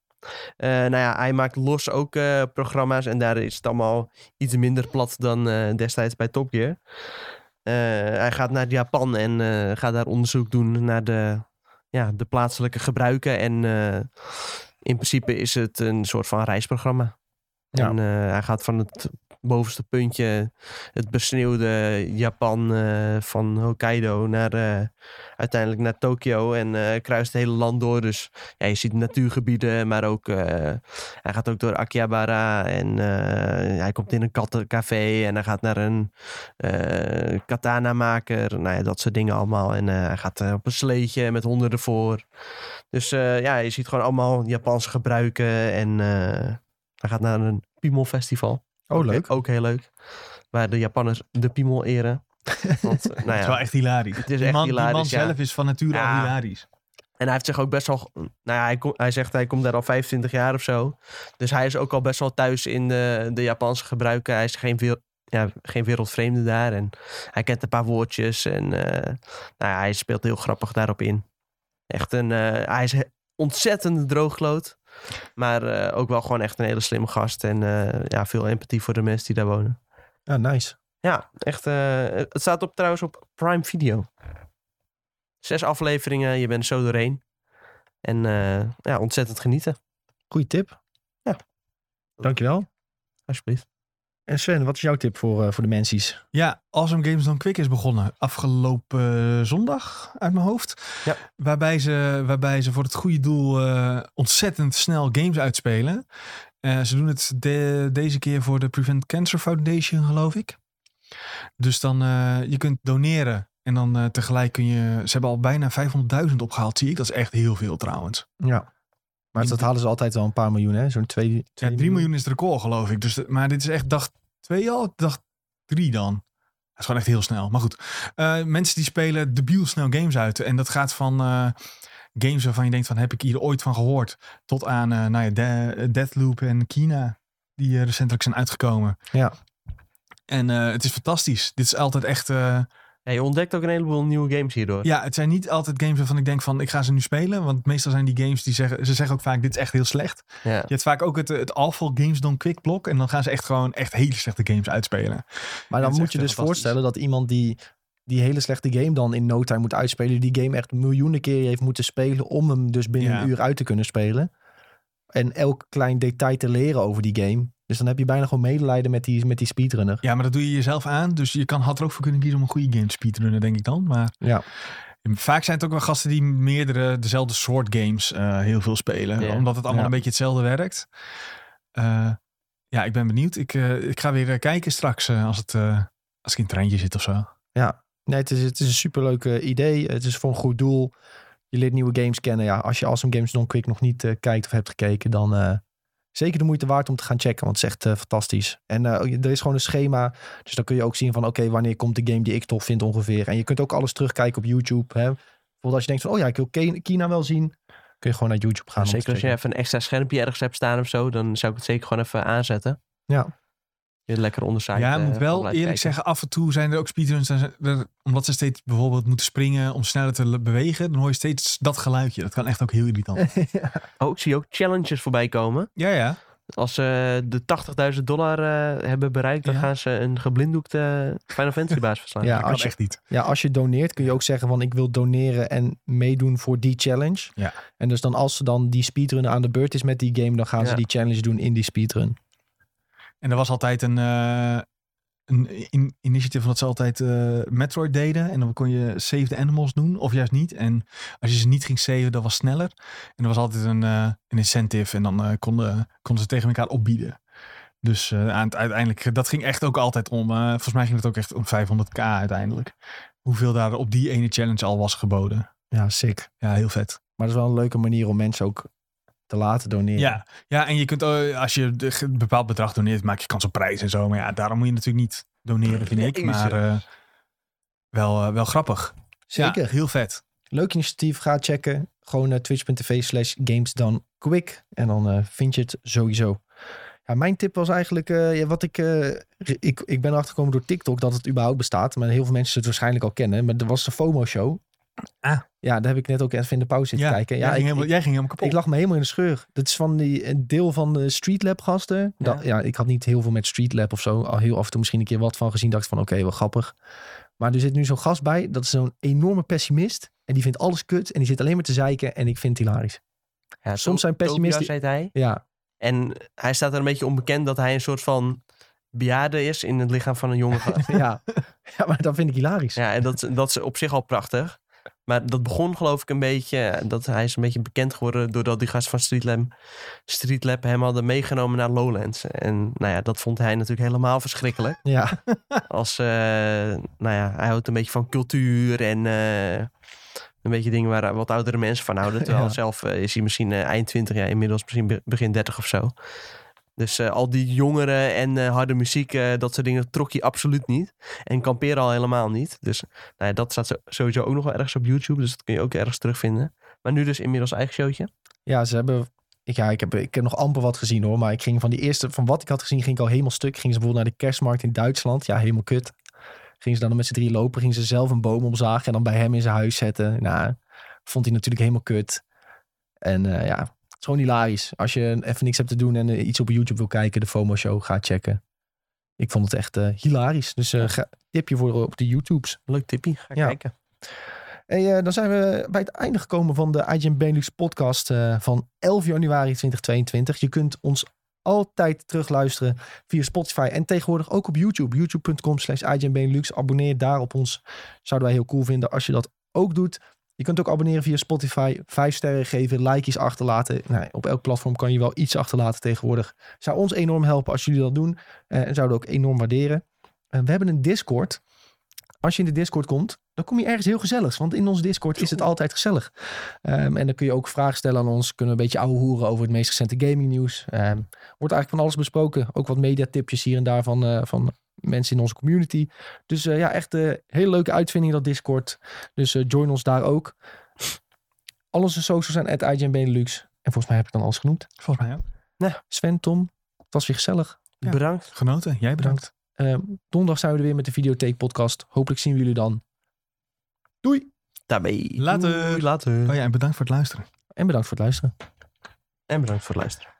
Speaker 3: Eh, nou ja, hij maakt los ook eh, programma's en daar is het allemaal iets minder plat dan eh, destijds bij Top Gear. Eh, hij gaat naar Japan en eh, gaat daar onderzoek doen naar de, ja, de plaatselijke gebruiken. En eh, in principe is het een soort van reisprogramma.
Speaker 1: Ja.
Speaker 3: En eh, hij gaat van het bovenste puntje, het besneeuwde Japan eh, van Hokkaido, naar, eh, uiteindelijk naar Tokio en eh, kruist het hele land door. Dus ja, je ziet natuurgebieden, maar ook eh, hij gaat ook door Akihabara en eh, hij komt in een kattencafé en hij gaat naar een eh, katana-maker. Nou ja, dat soort dingen allemaal. En eh, hij gaat eh, op een sleetje met honden ervoor. Dus eh, ja, je ziet gewoon allemaal Japanse gebruiken en eh, hij gaat naar een Piemel-festival.
Speaker 1: Oh, leuk.
Speaker 3: Ook, ook heel leuk. Waar de Japanners de Piemel eren. Want, nou
Speaker 2: Het is
Speaker 3: ja,
Speaker 2: wel echt hilarisch. Het
Speaker 3: is
Speaker 2: die
Speaker 3: echt
Speaker 2: man,
Speaker 3: hilarisch,
Speaker 2: Die man
Speaker 3: ja.
Speaker 2: zelf is van nature al
Speaker 3: Ja.
Speaker 2: hilarisch.
Speaker 3: En hij heeft zich ook best wel. Nou ja, hij, kom- hij zegt hij komt daar al 25 jaar of zo. Dus hij is ook al best wel thuis in de, de Japanse gebruiken. Hij is geen, wereld, ja, geen wereldvreemde daar. En hij kent een paar woordjes. En eh, nou ja, hij speelt heel grappig daarop in. Echt een. eh, hij is he- ontzettend droogloot. Maar eh, ook wel gewoon echt een hele slimme gast. En eh, ja, veel empathie voor de mensen die daar wonen.
Speaker 1: Ja, nice.
Speaker 3: Ja, echt. eh, het staat op, trouwens op Prime Video. Zes afleveringen, je bent er zo doorheen. En eh, ja, ontzettend genieten,
Speaker 1: Goeie tip.
Speaker 3: Ja.
Speaker 1: Dankjewel.
Speaker 3: alsjeblieft.
Speaker 1: En Sven, wat is jouw tip voor, eh, voor de mensies?
Speaker 2: Ja, Awesome Games Done Quick is begonnen afgelopen eh, zondag uit mijn hoofd.
Speaker 3: Ja.
Speaker 2: Waarbij, ze, waarbij ze voor het goede doel eh, ontzettend snel games uitspelen. Eh, ze doen het de- deze keer voor de Prevent Cancer Foundation, geloof ik. Dus dan, eh, je kunt doneren en dan eh, tegelijk kun je... Ze hebben al bijna 500.000 opgehaald, zie ik. Dat is echt heel veel trouwens.
Speaker 1: Ja. Maar dat halen ze altijd wel een paar miljoen, hè? Zo'n twee,
Speaker 2: Ja,
Speaker 1: twee
Speaker 2: 3 miljoen is het record, geloof ik. Dus, de- maar dit is echt dag 2 al, dag 3 dan. Dat is gewoon echt heel snel. Maar goed, Eh, mensen die spelen debiel snel games uit. En dat gaat van eh, games waarvan je denkt van heb ik hier ooit van gehoord. Tot aan eh, nou ja, De- Deathloop en Kina, die eh, recentelijk zijn uitgekomen.
Speaker 1: Ja.
Speaker 2: En eh, het is fantastisch. Dit is altijd echt... eh,
Speaker 3: Ja, je ontdekt ook een heleboel nieuwe games hierdoor.
Speaker 2: ja, het zijn niet altijd games waarvan ik denk van ik ga ze nu spelen. Want meestal zijn die games die zeggen... Ze zeggen ook vaak dit is echt heel slecht.
Speaker 3: Ja. Dus
Speaker 2: Je hebt vaak ook het, het awful games done quick blok. En dan gaan ze echt gewoon echt hele slechte games uitspelen.
Speaker 1: Maar
Speaker 2: Ja,
Speaker 1: dan
Speaker 2: dat is
Speaker 1: moet
Speaker 2: echt
Speaker 1: je dus
Speaker 2: fantastisch.
Speaker 1: voorstellen dat iemand die die hele slechte game dan in no time moet uitspelen, die game echt miljoenen keer heeft moeten spelen om hem dus binnen
Speaker 2: Ja.
Speaker 1: een uur uit te kunnen spelen. En elk klein detail te leren over die game. Dus dan heb je bijna gewoon medelijden met die, met die speedrunner.
Speaker 2: Ja, maar dat doe je jezelf aan. Dus je kan, had er ook voor kunnen kiezen om een goede game te speedrunnen, denk ik dan. Maar
Speaker 1: Ja.
Speaker 2: vaak zijn het ook wel gasten die meerdere dezelfde soort games eh, heel veel spelen.
Speaker 3: Ja.
Speaker 2: Omdat het allemaal
Speaker 1: Ja.
Speaker 2: een beetje hetzelfde werkt. Eh, ja, ik ben benieuwd. Ik, eh, ik ga weer eh, kijken straks eh, als, het, eh, als ik in het treintje zit of zo.
Speaker 1: Nee, het is, het is een superleuk eh, idee. Het is voor een goed doel. Je leert nieuwe games kennen. Ja, als je Awesome Games Don't Quick nog niet eh, kijkt of hebt gekeken, dan eh, zeker de moeite waard om te gaan checken. Want het is echt eh, fantastisch. En eh, er is gewoon een schema. Dus dan kun je ook zien van oké, wanneer komt de game die ik tof vind ongeveer. En je kunt ook alles terugkijken op YouTube. Hè. Bijvoorbeeld als je denkt van oh ja, ik wil Ke- Kina wel zien. Kun je gewoon naar YouTube gaan. om te
Speaker 3: zeker als je
Speaker 1: checken.
Speaker 3: even een extra schermpje ergens hebt staan of zo, dan zou ik het zeker gewoon even aanzetten.
Speaker 1: Ja.
Speaker 3: Weer lekker eh, onderzijden.
Speaker 2: Ja, ik moet wel eerlijk zeggen, af en toe zijn er ook speedruns. dan zijn er- omdat ze steeds bijvoorbeeld moeten springen om sneller te le- bewegen, dan hoor je steeds dat geluidje. Dat kan echt ook heel irritant.
Speaker 3: Oh, ik zie ook challenges voorbij komen.
Speaker 2: ja, ja.
Speaker 3: Als ze de 80.000 dollar eh, hebben bereikt, dan
Speaker 2: Ja.
Speaker 3: gaan ze een geblinddoekte Final Fantasy baas verslaan.
Speaker 1: Ja,
Speaker 2: dat kan
Speaker 1: als je-
Speaker 2: echt niet.
Speaker 1: Ja, als je doneert kun je ook zeggen van ik wil doneren en meedoen voor die challenge.
Speaker 2: Ja.
Speaker 1: En dus dan als ze dan die speedrun aan de beurt is met die game, dan gaan ze
Speaker 3: Ja.
Speaker 1: die challenge doen in die speedrun.
Speaker 2: En er was altijd een, eh, een in- initiatief dat ze altijd eh, Metroid deden. En dan kon je Save the Animals doen, of juist niet. En als je ze niet ging saven, dat was sneller. En er was altijd een, eh, een incentive. En dan eh, konden, konden ze tegen elkaar opbieden. Dus eh, aan het, uiteindelijk, dat ging echt ook altijd om. eh, volgens mij ging het ook echt om 500k uiteindelijk. Hoeveel daar op die ene challenge al was geboden.
Speaker 1: Ja, sick.
Speaker 2: Ja, heel vet.
Speaker 1: Maar dat is wel een leuke manier om mensen ook te laten doneren.
Speaker 2: Ja, ja en je kunt, eh, als je de- een bepaald bedrag doneert, maak je kans op prijs en zo. Maar ja, daarom moet je natuurlijk niet doneren, vind ik.
Speaker 3: Jezus.
Speaker 2: Maar eh, wel, eh, wel grappig.
Speaker 1: Zeker.
Speaker 2: Ja, heel vet.
Speaker 1: Leuk initiatief, ga checken. Gewoon naar twitch.tv slash games dan quick. En dan eh, vind je het sowieso. Ja, mijn tip was eigenlijk, eh, ja, wat ik, eh, re- ik, ik ben erachter gekomen door TikTok dat het überhaupt bestaat. Maar heel veel mensen het waarschijnlijk al kennen. Maar er was de FOMO-show.
Speaker 2: Ah.
Speaker 1: Ja, daar heb ik net ook even in de pauze zitten
Speaker 2: Ja,
Speaker 1: kijken.
Speaker 2: jij,
Speaker 1: Ja,
Speaker 2: ging
Speaker 1: ik,
Speaker 2: helemaal, jij ging helemaal kapot.
Speaker 1: Ik lag me helemaal in de scheur. Dat is van die een deel van de Streetlab gasten.
Speaker 3: Ja.
Speaker 1: Dat, ja, ik had niet heel veel met Streetlab of zo. Al heel af en toe misschien een keer wat van gezien. Dacht ik van oké, wel grappig. Maar er zit nu zo'n gast bij. Dat is zo'n enorme pessimist. En die vindt alles kut. En die zit alleen maar te zeiken. En ik vind het hilarisch.
Speaker 3: Ja,
Speaker 1: soms zijn
Speaker 3: Tobias
Speaker 1: pessimisten-
Speaker 3: heet hij.
Speaker 1: Ja,
Speaker 3: En hij staat er een beetje onbekend dat hij een soort van bejaarde is in het lichaam van een jonge gast.
Speaker 1: ja. ja, maar dat vind ik hilarisch. Ja,
Speaker 3: ja, en dat, dat is op zich al prachtig. Maar dat begon geloof ik een beetje, eh, dat hij is een beetje bekend geworden doordat die gast van Streetlab, Streetlab hem hadden meegenomen naar Lowlands. En nou ja, dat vond hij natuurlijk helemaal verschrikkelijk.
Speaker 1: ja.
Speaker 3: Als, eh, nou ja, hij houdt een beetje van cultuur en eh, een beetje dingen waar wat oudere mensen van houden. Terwijl
Speaker 1: Ja.
Speaker 3: zelf eh, is hij misschien eh, eind 20 jaar, inmiddels misschien be- begin 30 of zo. Dus eh, al die jongeren en eh, harde muziek, eh, dat soort dingen trok hij absoluut niet. En kamperen al helemaal niet. Dus nou ja, dat staat zo- sowieso ook nog wel ergens op YouTube. Dus dat kun je ook ergens terugvinden. Maar nu dus inmiddels eigen showtje.
Speaker 1: ja, ze hebben... Ik, ja, ik heb, ik heb nog amper wat gezien hoor. Maar ik ging van die eerste... Van wat ik had gezien ging ik al helemaal stuk. Gingen ze bijvoorbeeld naar de kerstmarkt in Duitsland. Ja, helemaal kut. Gingen ze dan met z'n drie lopen. Gingen ze zelf een boom omzagen. En dan bij hem in zijn huis zetten. Nou, vond hij natuurlijk helemaal kut. En eh, ja, het is gewoon hilarisch. Als je even niks hebt te doen en eh, iets op YouTube wil kijken. De FOMO Show, ga checken. Ik vond het echt eh, hilarisch. Dus eh, ga- tipje voor op de YouTubes.
Speaker 3: Leuk tippie, ga
Speaker 1: Ja.
Speaker 3: kijken.
Speaker 1: Hey, eh, dan zijn we bij het einde gekomen van de IGN Benelux podcast eh, van 11 januari 2022. Je kunt ons altijd terugluisteren via Spotify en tegenwoordig ook op YouTube. YouTube.com slash IGN Benelux. Abonneer daar op ons. Zouden wij heel cool vinden als je dat ook doet. Je kunt ook abonneren via Spotify. Vijf sterren geven, likejes achterlaten. Nou, op elk platform kan je wel iets achterlaten tegenwoordig. Zou ons enorm helpen als jullie dat doen. eh, en zouden we ook enorm waarderen. Eh, we hebben een Discord. Als je in de Discord komt, dan kom je ergens heel gezelligs. Want in ons Discord is het altijd gezellig. Ehm, en dan kun je ook vragen stellen aan ons. Kunnen we een beetje ouwe hoeren over het meest recente gaming nieuws. Ehm, wordt eigenlijk van alles besproken. Ook wat mediatipjes hier en daar van, eh, van mensen in onze community. Dus eh, ja, echt een hele leuke uitvinding dat Discord. Dus eh, join ons daar ook. Al onze socials zijn at IGN Benelux. En volgens mij heb ik dan alles genoemd.
Speaker 2: Volgens mij ook.
Speaker 1: Sven, Tom, het was weer gezellig.
Speaker 2: Ja.
Speaker 3: Bedankt.
Speaker 2: Genoten, jij bedankt.
Speaker 1: Eh, donderdag zijn we er weer met de Videotheek podcast. Hopelijk zien we jullie dan. Doei
Speaker 3: Daarbij.
Speaker 2: Later.
Speaker 3: Doei, Later.
Speaker 2: Oh ja, en bedankt voor het luisteren.
Speaker 1: en bedankt voor het luisteren.
Speaker 3: En bedankt voor het luisteren.